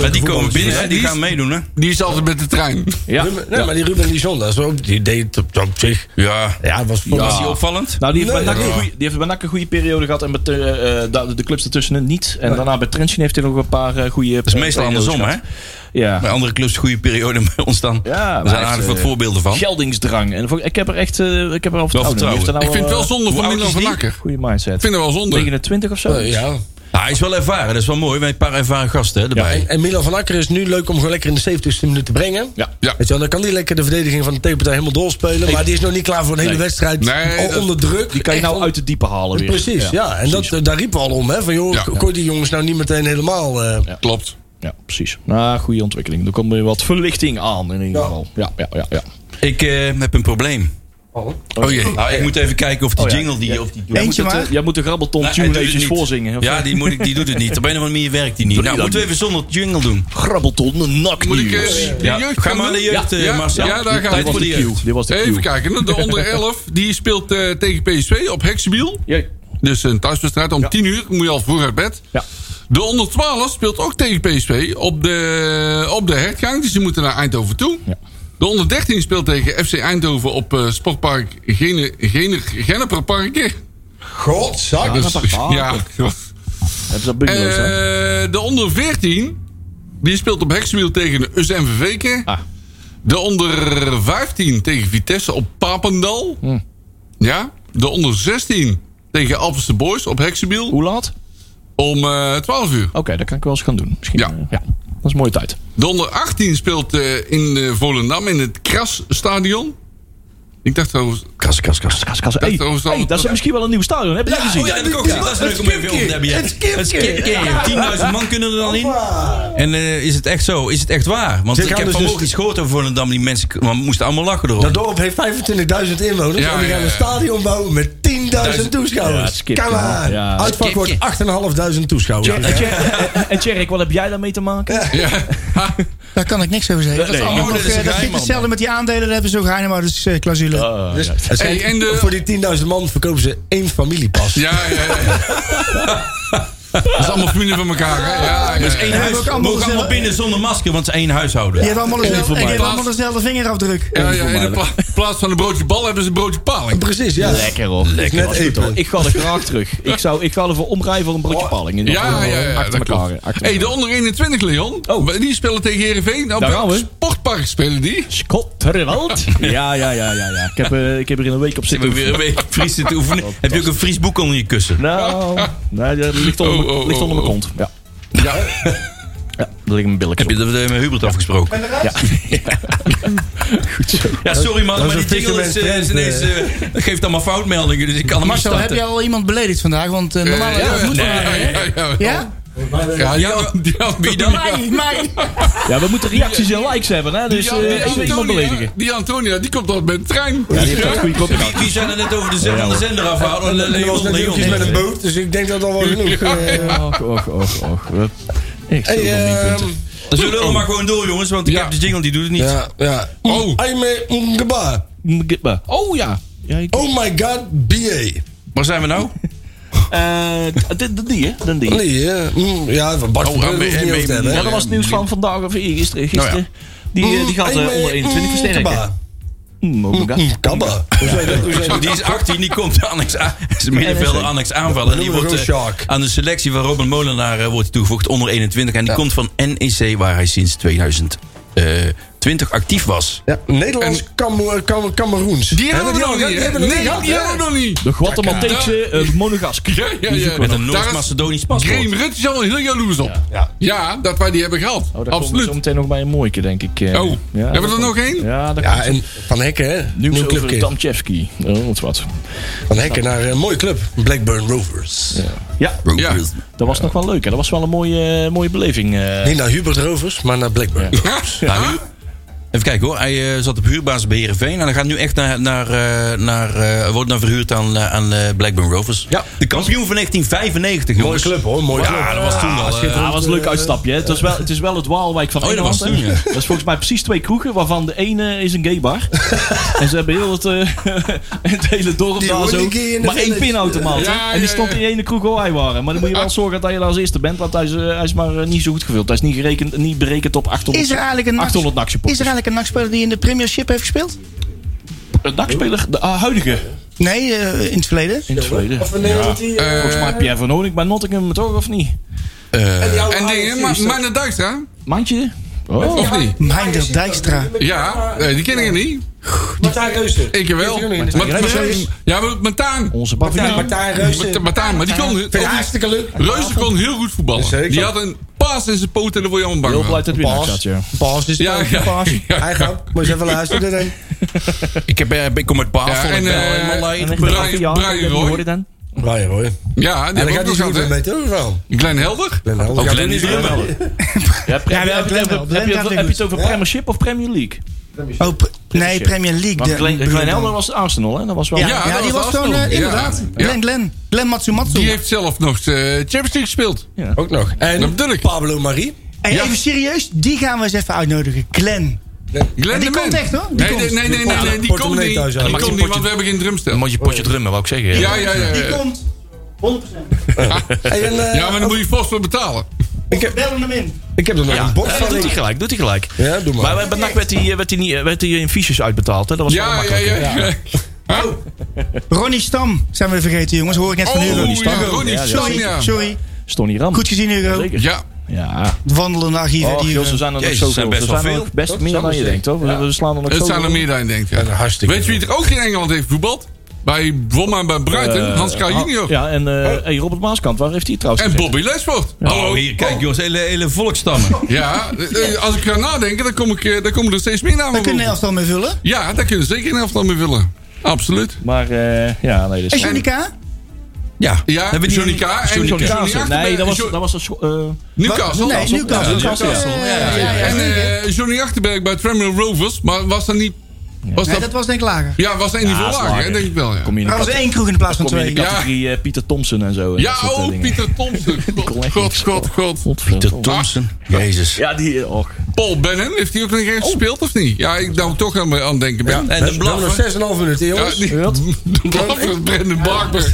Speaker 4: Maar die komen binnen, hè? die, gaan meedoen, hè?
Speaker 5: Die is altijd met de trein.
Speaker 6: Ja. Ruben, nee, ja. maar die Ruben Lison, dat is ook, die deed op, op zich.
Speaker 4: Ja.
Speaker 6: ja was,
Speaker 4: ja. Was hij opvallend?
Speaker 9: Nou, die heeft, nee, bij, ja. goeie, die heeft bij NAC een goede periode gehad en met, uh, de, de clubs ertussenin niet. En nee. daarna bij Trentin heeft hij nog een paar uh, goede.
Speaker 4: Dat is meestal andersom, hè?
Speaker 9: Ja.
Speaker 4: Bij andere clubs goede periode bij ons dan. Ja, er zijn aardig wat voorbeelden van.
Speaker 9: Geldingsdrang. En ik heb er echt uh, ik heb er al
Speaker 4: vertrouwen, vertrouwen.
Speaker 5: Nou, ik vind het wel zonde van Milan van Nakker.
Speaker 9: eh, Goede mindset. Ik
Speaker 5: vind het wel zonde.
Speaker 9: 29 of zo?
Speaker 6: eh, ja.
Speaker 4: Nou, hij is wel ervaren, dat is wel mooi. Met een paar ervaren gasten hè, erbij.
Speaker 6: Ja, en, en Milan van Akker is nu leuk om gewoon lekker in de 70ste minuut te brengen.
Speaker 5: Ja. ja.
Speaker 6: Weet je wel, dan kan hij lekker de verdediging van de tegenpartij helemaal doorspelen. Ik, maar die is nog niet klaar voor een hele nee. wedstrijd. Nee, al onder druk.
Speaker 9: Die kan je nou on... uit de diepe halen weer.
Speaker 6: Precies, ja. ja. En dat, eh, daar riepen we al om. Hè, van joh, ja. die jongens nou niet meteen helemaal. Uh...
Speaker 5: Klopt.
Speaker 9: Ja, precies. Nou, goede ontwikkeling. Er komt weer wat verlichting aan in ieder geval. Ja, ja, ja. ja,
Speaker 4: Ik uh, heb een probleem. Oh, oh jee. Nou, ik moet even kijken of die oh, ja. jingle die... Ja. Of die
Speaker 9: jij, moet het, uh, jij moet de grabbelton nou, tune eventjes voorzingen. Of?
Speaker 4: Ja, die, moet ik, die doet het niet. Op een of andere manier werkt die niet. Doe nou, die moeten we even zonder jingle doen.
Speaker 9: Grabbelton, nak
Speaker 5: Moet ik eh, eens
Speaker 4: ja. Ga maar naar de jeugd, ja. Marcel.
Speaker 5: Ja, daar gaan we.
Speaker 9: Dit was de
Speaker 5: Even cue. kijken. nou, De onder 11 die speelt uh, tegen PSV op Hexabiel. Dus een thuiswedstrijd om 10 uur. Moet je al vroeg uit bed.
Speaker 9: Ja.
Speaker 5: De onder 12 speelt ook tegen PSV op de, op de hertgang. Dus die moeten naar Eindhoven toe. Ja. De onder 13 speelt tegen FC Eindhoven op uh, Sportpark Gene, Gene, Genneperparken.
Speaker 6: Godzak.
Speaker 5: Dus, ja. Hebben ze uh, de onder 14 die speelt op Hexwiel tegen USMVV. Ah. De onder 15 tegen Vitesse op Papendal. Hm. Ja. De onder 16 tegen Alphense Boys op Hexwiel.
Speaker 9: Hoe laat?
Speaker 5: Om uh, 12 uur.
Speaker 9: Oké, okay, dat kan ik wel eens gaan doen. Misschien, eh,
Speaker 5: ja.
Speaker 9: ja. Dat is een mooie tijd.
Speaker 5: Donder 18 speelt uh, in uh, Volendam in het Krasstadion. Ik dacht trouwens...
Speaker 9: Kras, kras, kras, kras, kras. Hey, hey, hey, dat is misschien wel een nieuw stadion. Heb je
Speaker 4: ja,
Speaker 9: dat gezien?
Speaker 4: Oh, ja, dat heb ik ook gezien. Dat is leuk om even te hebben. Het skipkeer. 10.000 man kunnen er dan in. En uh, is het echt zo? Is het echt waar? Want ik heb dus vanmorgen iets gehoord over Volendam. Die mensen moesten allemaal lachen erop.
Speaker 6: Dat dorp heeft 25.000 inwoners. Ja, en die gaan een stadion bouwen met 10.000 toeschouwers. Kom aan. Uitvak wordt 8.500 toeschouwers.
Speaker 9: Eh, En Tjerk, wat heb jij daarmee te maken?
Speaker 8: Daar kan ik niks over zeggen. Dat is hetzelfde met die aandelen. Daar hebben ze ook geheim clausule.
Speaker 9: Oh,
Speaker 6: Uh, dus, ja. hey, en de... Voor die 10.000 man verkopen ze één familiepas.
Speaker 5: Ja, ja, ja. Dat is allemaal familie van elkaar. Hè? Ja, ja.
Speaker 4: Dus één huis, mogen allemaal, mogen allemaal binnen zonder masker, want het is één huishouden.
Speaker 8: Je hebt allemaal, dezelfde, en je hebt allemaal dezelfde vingerafdruk.
Speaker 5: Ja, ja, in de pla plaats van een broodje bal hebben ze een broodje paling.
Speaker 6: Precies, ja.
Speaker 9: Lekker hoor.
Speaker 6: Lekker. Net eten.
Speaker 9: Hoor. Ik ga er graag terug. Ik, zou, ik ga er voor omrijden voor een broodje oh. paling. In
Speaker 5: ja, ja, ja, ja,
Speaker 9: achter elkaar. Achter
Speaker 5: hey, de onder 21 Leon, oh. die spelen tegen Heerenveen. Nou, Daar gaan we. Sportpark spelen die.
Speaker 9: Schotterland. ja, ja, ja, ja, ja. Ik heb, uh, ik heb er in een week op zitten.
Speaker 4: Ik heb weer een week Fries te oefenen. Heb je ook een Fries boek onder je kussen?
Speaker 9: Nou, nee, dat ligt onder Oh, oh, oh, ligt onder mijn kont. Ja.
Speaker 5: Ja.
Speaker 9: Ja, dat ligt mijn billig.
Speaker 4: Heb je dat met Hubert afgesproken?
Speaker 9: Ja.
Speaker 4: Goed zo. Ja, sorry man, maar die jingle is, is ineens, uh, geeft allemaal foutmeldingen, dus ik kan hem
Speaker 8: eh, Marcel, heb jij al iemand beledigd vandaag? Want uh, normaal
Speaker 5: Eh, ja, Oh,
Speaker 8: moet
Speaker 5: ja, ja,
Speaker 8: ja?
Speaker 5: Ja, ja,
Speaker 4: Wie dan?
Speaker 8: Mij, mij.
Speaker 9: Ja, we moeten reacties en likes hebben, hè? Dus
Speaker 5: die,
Speaker 9: eh even iemand beledigen.
Speaker 5: Antonia, die Antonia, die komt altijd met de trein.
Speaker 9: Ja, die heeft dat goede kop.
Speaker 4: Wie, wie zijn er net over de zender, de zender afhouden?
Speaker 6: En er was net eventjes met een boot, dus ik denk dat dat wel genoeg. eh,
Speaker 9: Och, och, och, och. We- Ik zul
Speaker 6: hey,
Speaker 9: nog niet
Speaker 6: ehm,
Speaker 9: punten.
Speaker 4: Dus we lullen maar gewoon door, jongens, want ik
Speaker 5: Ja.
Speaker 4: heb de jingle, die doet het niet.
Speaker 6: ja, ja.
Speaker 5: Oh.
Speaker 6: Aime Ngba.
Speaker 9: Mgibba. Oh ja. ja ik,
Speaker 6: Oh my god, BA.
Speaker 4: Waar zijn we nou?
Speaker 9: Eh, dit- dit- die, hè? Dan die.
Speaker 6: Nee, ja. Mm, ja, van Bart
Speaker 5: Oh,
Speaker 6: van Beuren hoeft
Speaker 5: Aime-
Speaker 6: niet over te hebben.
Speaker 9: Ja,
Speaker 6: hè.
Speaker 9: dat was het nieuws van vandaag of gisteren. gisteren.
Speaker 5: Nou
Speaker 9: Die, eh, die gaat eh,
Speaker 6: Aime
Speaker 9: onder 21 versterken.
Speaker 6: Ngba.
Speaker 9: Mm, oh my god.
Speaker 6: Ngba. Hoe zei dat? Hoe zei
Speaker 4: Zo,
Speaker 6: dat?
Speaker 4: die is 18, die komt annex aan. is een middenvelder annex aanvallen. En die
Speaker 6: Noemen we
Speaker 4: wordt eh,
Speaker 6: gewoon Sjaak.
Speaker 4: aan de selectie van Robin Molenaar eh, wordt toegevoegd onder 21. En die komt van NEC, waar hij sinds 2020 actief was.
Speaker 6: Ja, Nederlands Kamer- Kamer- Cameroens.
Speaker 5: Die
Speaker 6: Hè,
Speaker 5: hebben we
Speaker 6: die
Speaker 5: nog
Speaker 6: hebben
Speaker 5: niet.
Speaker 6: die
Speaker 5: hè?
Speaker 6: hebben we nog
Speaker 5: Nee,
Speaker 6: niet gehad,
Speaker 5: die
Speaker 6: hè?
Speaker 5: hebben we nog niet.
Speaker 9: De Guatemalteekse eh, Monegask.
Speaker 5: Ja, ja, ja.
Speaker 4: Met een
Speaker 5: Daar is
Speaker 4: Noord-Macedonisch paspoort.
Speaker 5: Graham Rutte is al heel jaloers op. Ja. dat wij die hebben gehad.
Speaker 9: Oh, daar komen we
Speaker 5: Absoluut.
Speaker 9: zo meteen nog bij een mooike, denk ik. eh.
Speaker 5: Oh, hebben we er
Speaker 9: dat
Speaker 5: nog
Speaker 9: komt-
Speaker 5: één?
Speaker 9: Ja, daar
Speaker 6: Ja,
Speaker 9: komt
Speaker 6: en Van Hekken, hè?
Speaker 9: nieuws
Speaker 6: Nieuwe
Speaker 9: over
Speaker 6: clubkit.
Speaker 9: Damchevski. Oh, wat wat.
Speaker 6: Van Hekken naar een mooie club. Blackburn Rovers.
Speaker 9: Ja,
Speaker 5: Ja.
Speaker 9: dat was nog wel leuk. Hè? Dat was wel een mooie, eh, mooie beleving. eh.
Speaker 6: Niet naar Hubert Rovers, maar naar Blackburn.
Speaker 4: Nou, nu- Even kijken hoor, hij eh, zat op huurbaas bij Heerenveen. En hij gaat nu echt naar, naar, eh, naar, eh, wordt nou verhuurd aan, eh, aan eh, Blackburn Rovers.
Speaker 6: Ja.
Speaker 4: De kampioen van 1995,
Speaker 6: Mooie
Speaker 4: jongens.
Speaker 6: club, hoor. Mooie club.
Speaker 4: Ja, dat was toen al. eh,
Speaker 9: Ja, dat was een leuk uitstapje. Hè? Het, was wel, het is wel het Waalwijk van
Speaker 4: Oh, dat
Speaker 9: Engeland,
Speaker 4: was
Speaker 9: hè.
Speaker 4: toen, ja.
Speaker 9: Dat is volgens mij precies twee kroegen, waarvan de ene is een gaybar. en ze hebben heel het, eh, het hele dorp
Speaker 6: Die
Speaker 9: daar
Speaker 6: hoort
Speaker 9: zo.
Speaker 6: een keer in de
Speaker 9: Maar één
Speaker 6: village.
Speaker 9: pinautomaat. hè.
Speaker 5: Ja, ja,
Speaker 9: en die stond
Speaker 5: ja.
Speaker 9: in die ene kroeg waar wij waren. Maar dan moet je
Speaker 4: Ah.
Speaker 9: wel zorgen dat je daar als eerste bent, want hij is, eh, hij is maar eh, niet zo goed gevuld. Hij is niet, gerekend, niet berekend op 800,
Speaker 8: Is er eigenlijk een
Speaker 9: 800 NAC
Speaker 8: Is er
Speaker 9: supporters.
Speaker 8: eigenlijk een nachtspeler die in de Premiership heeft gespeeld?
Speaker 9: Een NAC-speler? De ah, huidige
Speaker 8: Nee, eh, in het verleden.
Speaker 9: in het verleden.
Speaker 6: Of een Nederland die... eh,
Speaker 9: Volgens mij Pierre van Honing bij Nottingham, toch? Of niet?
Speaker 6: die oude
Speaker 5: En dingen,
Speaker 6: Ajax
Speaker 5: maar
Speaker 6: is dat-
Speaker 5: mijn Dijkstra,
Speaker 9: Mandje? Oh.
Speaker 5: of niet?
Speaker 8: Meinder Dijkstra.
Speaker 5: Ja, nee, die ken ik niet.
Speaker 6: Martijn Reuster.
Speaker 5: Ik wel.
Speaker 6: Die- die-
Speaker 5: Maar- maar- Ja, maar Martijn.
Speaker 9: Onze paviljoen.
Speaker 6: Martijn Reuster.
Speaker 5: Martijn, maar die kon...
Speaker 6: Vind je hartstikke leuk.
Speaker 5: Reuzen kon heel goed voetballen.
Speaker 6: Zeker.
Speaker 5: Die had een paas in zijn poot en daar word je allemaal
Speaker 9: Heel
Speaker 5: bang
Speaker 9: blij
Speaker 5: van.
Speaker 9: dat het winnaar zat, ja.
Speaker 6: Pas is
Speaker 5: Ja, ja, ja.
Speaker 6: Hij gaat. Moet je even luisteren. dan.
Speaker 4: Ik, heb, eh, ik kom uit Paas.
Speaker 5: Ja,
Speaker 4: en,
Speaker 5: en, eh,
Speaker 9: En echt
Speaker 5: Brian-
Speaker 9: een afgejaagd,
Speaker 5: Brian
Speaker 9: die
Speaker 5: Roy.
Speaker 9: hoorde dan.
Speaker 6: Brian hoor.
Speaker 5: Ja, die
Speaker 6: En
Speaker 5: heb
Speaker 6: daar
Speaker 5: ik ook
Speaker 6: gaat hij
Speaker 5: nog
Speaker 6: zo
Speaker 5: gehad,
Speaker 6: goed
Speaker 5: hè.
Speaker 6: mee toch wel.
Speaker 5: Glenn Helder.
Speaker 6: Glenn Helder
Speaker 4: ook
Speaker 6: gaat
Speaker 4: Glenn
Speaker 6: ook
Speaker 4: is
Speaker 6: niet
Speaker 4: er wel.
Speaker 9: Ja,
Speaker 8: Ja,
Speaker 9: Premier-
Speaker 8: wel,
Speaker 9: heb
Speaker 8: Glenn
Speaker 9: je het
Speaker 8: wel. Glenn
Speaker 9: over- heb je
Speaker 8: gaat
Speaker 9: het-
Speaker 8: weer
Speaker 9: heb je
Speaker 8: goed.
Speaker 9: het over
Speaker 6: Ja.
Speaker 9: Premiership of Premier League?
Speaker 8: Oh, pre- nee, Premier League.
Speaker 9: Want
Speaker 8: De,
Speaker 9: Glenn, Glenn Helder was Arsenal, hè? Dat was wel...
Speaker 8: Ja,
Speaker 5: Ja,
Speaker 8: ja,
Speaker 5: dat
Speaker 8: die
Speaker 5: was
Speaker 8: was gewoon,
Speaker 5: Arsenal.
Speaker 8: eh, inderdaad.
Speaker 5: Ja.
Speaker 8: Glenn, Glenn. Glenn Matsumatsu.
Speaker 5: Die heeft zelf nog de Champions League gespeeld.
Speaker 6: Ook nog.
Speaker 5: Dat
Speaker 6: En
Speaker 5: bedoel ik.
Speaker 6: Pablo Marie.
Speaker 8: Hey,
Speaker 5: Ja.
Speaker 8: Even serieus, die gaan we eens even uitnodigen. Glenn.
Speaker 5: Glenn
Speaker 8: die
Speaker 5: de
Speaker 8: komt
Speaker 5: Man.
Speaker 8: echt, hoor. Die
Speaker 5: Nee,
Speaker 8: komt.
Speaker 5: nee, nee, nee, nee,
Speaker 6: Ja,
Speaker 5: nee, die komt
Speaker 6: portemonnee
Speaker 5: niet.
Speaker 6: thuis
Speaker 5: Die
Speaker 6: halen.
Speaker 5: komt niet, want we hebben geen drumstel.
Speaker 4: Moet je
Speaker 9: Oh,
Speaker 4: potje drummen, wou ik zeggen.
Speaker 5: Ja, ja, ja. ja.
Speaker 8: komt. 100%.
Speaker 6: Hey, en, eh,
Speaker 5: Ja, maar dan moet je vast wel betalen.
Speaker 6: ik, heb,
Speaker 8: Bel hem in.
Speaker 6: ik heb er nog een bord
Speaker 9: Ja, dat
Speaker 6: van.
Speaker 9: doet hij gelijk, doet hij gelijk.
Speaker 6: Ja, doe maar.
Speaker 9: Maar bij NAC werd hij, eh, werd, hij niet, eh, werd hij in fiches uitbetaald, hè? Dat was wel
Speaker 5: Ja, ja,
Speaker 9: makkelijk.
Speaker 5: ja. ja. Huh?
Speaker 8: Ronnie Stam zijn we vergeten, jongens. Hoor ik net van Hugo.
Speaker 5: Oh, ja, Ronnie Stam,
Speaker 8: Sorry,
Speaker 5: ja.
Speaker 8: sorry.
Speaker 9: Stond hier aan.
Speaker 8: Goed gezien, Hugo.
Speaker 9: Zeker.
Speaker 5: Ja,
Speaker 9: Ja.
Speaker 8: De Wandelende archieven.
Speaker 9: Oh,
Speaker 8: die eh,
Speaker 9: joh,
Speaker 8: we-
Speaker 9: ze zijn er nog
Speaker 4: eh, Jezus,
Speaker 9: zoveel.
Speaker 4: ze zijn best
Speaker 9: Ze
Speaker 4: wel
Speaker 9: zijn
Speaker 4: veel.
Speaker 9: nog best meer dan je denkt, hoor. We- We slaan er nog
Speaker 5: het zijn er
Speaker 9: zoveel.
Speaker 5: meer dan je denkt. ja.
Speaker 6: Hartstikke
Speaker 5: Weet je wie er ook geen Engeland heeft voetbald? Bij Bomma bij Brighton, Hans Kraaij junior.
Speaker 9: ah, Ja, en eh, hey, Robert Maaskant, waar heeft hij trouwens
Speaker 5: En
Speaker 9: gezeten?
Speaker 5: Bobby Lesford.
Speaker 4: Oh,
Speaker 5: Hallo.
Speaker 4: hier, kijk jongens, hele, hele volkstammen.
Speaker 5: Ja, eh, eh, als ik ga nadenken, dan, kom ik, eh, dan komen er steeds meer namen
Speaker 8: Daar kunnen
Speaker 5: boven.
Speaker 8: we elftal mee vullen.
Speaker 5: Ja, daar kunnen we zeker een elftal mee willen. Absoluut.
Speaker 9: Maar, eh, ja, nee, dat
Speaker 8: En
Speaker 9: is...
Speaker 8: Jonica?
Speaker 4: Ja.
Speaker 5: Ja,
Speaker 4: Hebben die-
Speaker 5: Johnny K. en
Speaker 4: Johnny
Speaker 5: Johnny
Speaker 4: K.
Speaker 5: Achterberg.
Speaker 9: Nee, dat was,
Speaker 5: Jo-
Speaker 9: dat was een... scho- eh,
Speaker 5: Newcastle.
Speaker 8: Nee, Newcastle. Newcastle.
Speaker 4: Newcastle,
Speaker 8: Eh,
Speaker 4: ja, ja,
Speaker 5: En eh, Johnny Achterberg bij Tremel Rovers. Maar was dat niet... Was
Speaker 8: Nee,
Speaker 5: dat,
Speaker 8: dat was denk ik lager.
Speaker 5: ja, was dat een niveau
Speaker 9: Ja,
Speaker 5: lager,
Speaker 9: lager.
Speaker 5: hè, denk ik wel. Ja,
Speaker 9: Kom je in de
Speaker 8: Maar dat was
Speaker 9: kat-
Speaker 8: één kroeg in de plaats van
Speaker 9: kom je in
Speaker 8: twee.
Speaker 9: de
Speaker 5: twee.
Speaker 9: categorie eh, Pieter Thompson en zo. en
Speaker 5: ja
Speaker 9: dat soort, eh,
Speaker 5: oh,
Speaker 9: dingen.
Speaker 5: Pieter Thompson.
Speaker 9: kon echt
Speaker 5: God,
Speaker 9: niks.
Speaker 5: god, god.
Speaker 9: Godverdomme.
Speaker 4: Thompson. Ah. Jezus.
Speaker 9: Ja, die... eh, Och.
Speaker 5: Paul Benham, heeft hij ook nog
Speaker 9: Oh.
Speaker 5: ergens gespeeld of niet? Ja, ik nou toch aan, aan het denken ben. Ja,
Speaker 4: En de blaf. hè?
Speaker 6: nog 6,5 minuten, jongens.
Speaker 5: die, de blaffer, Brendan Barber.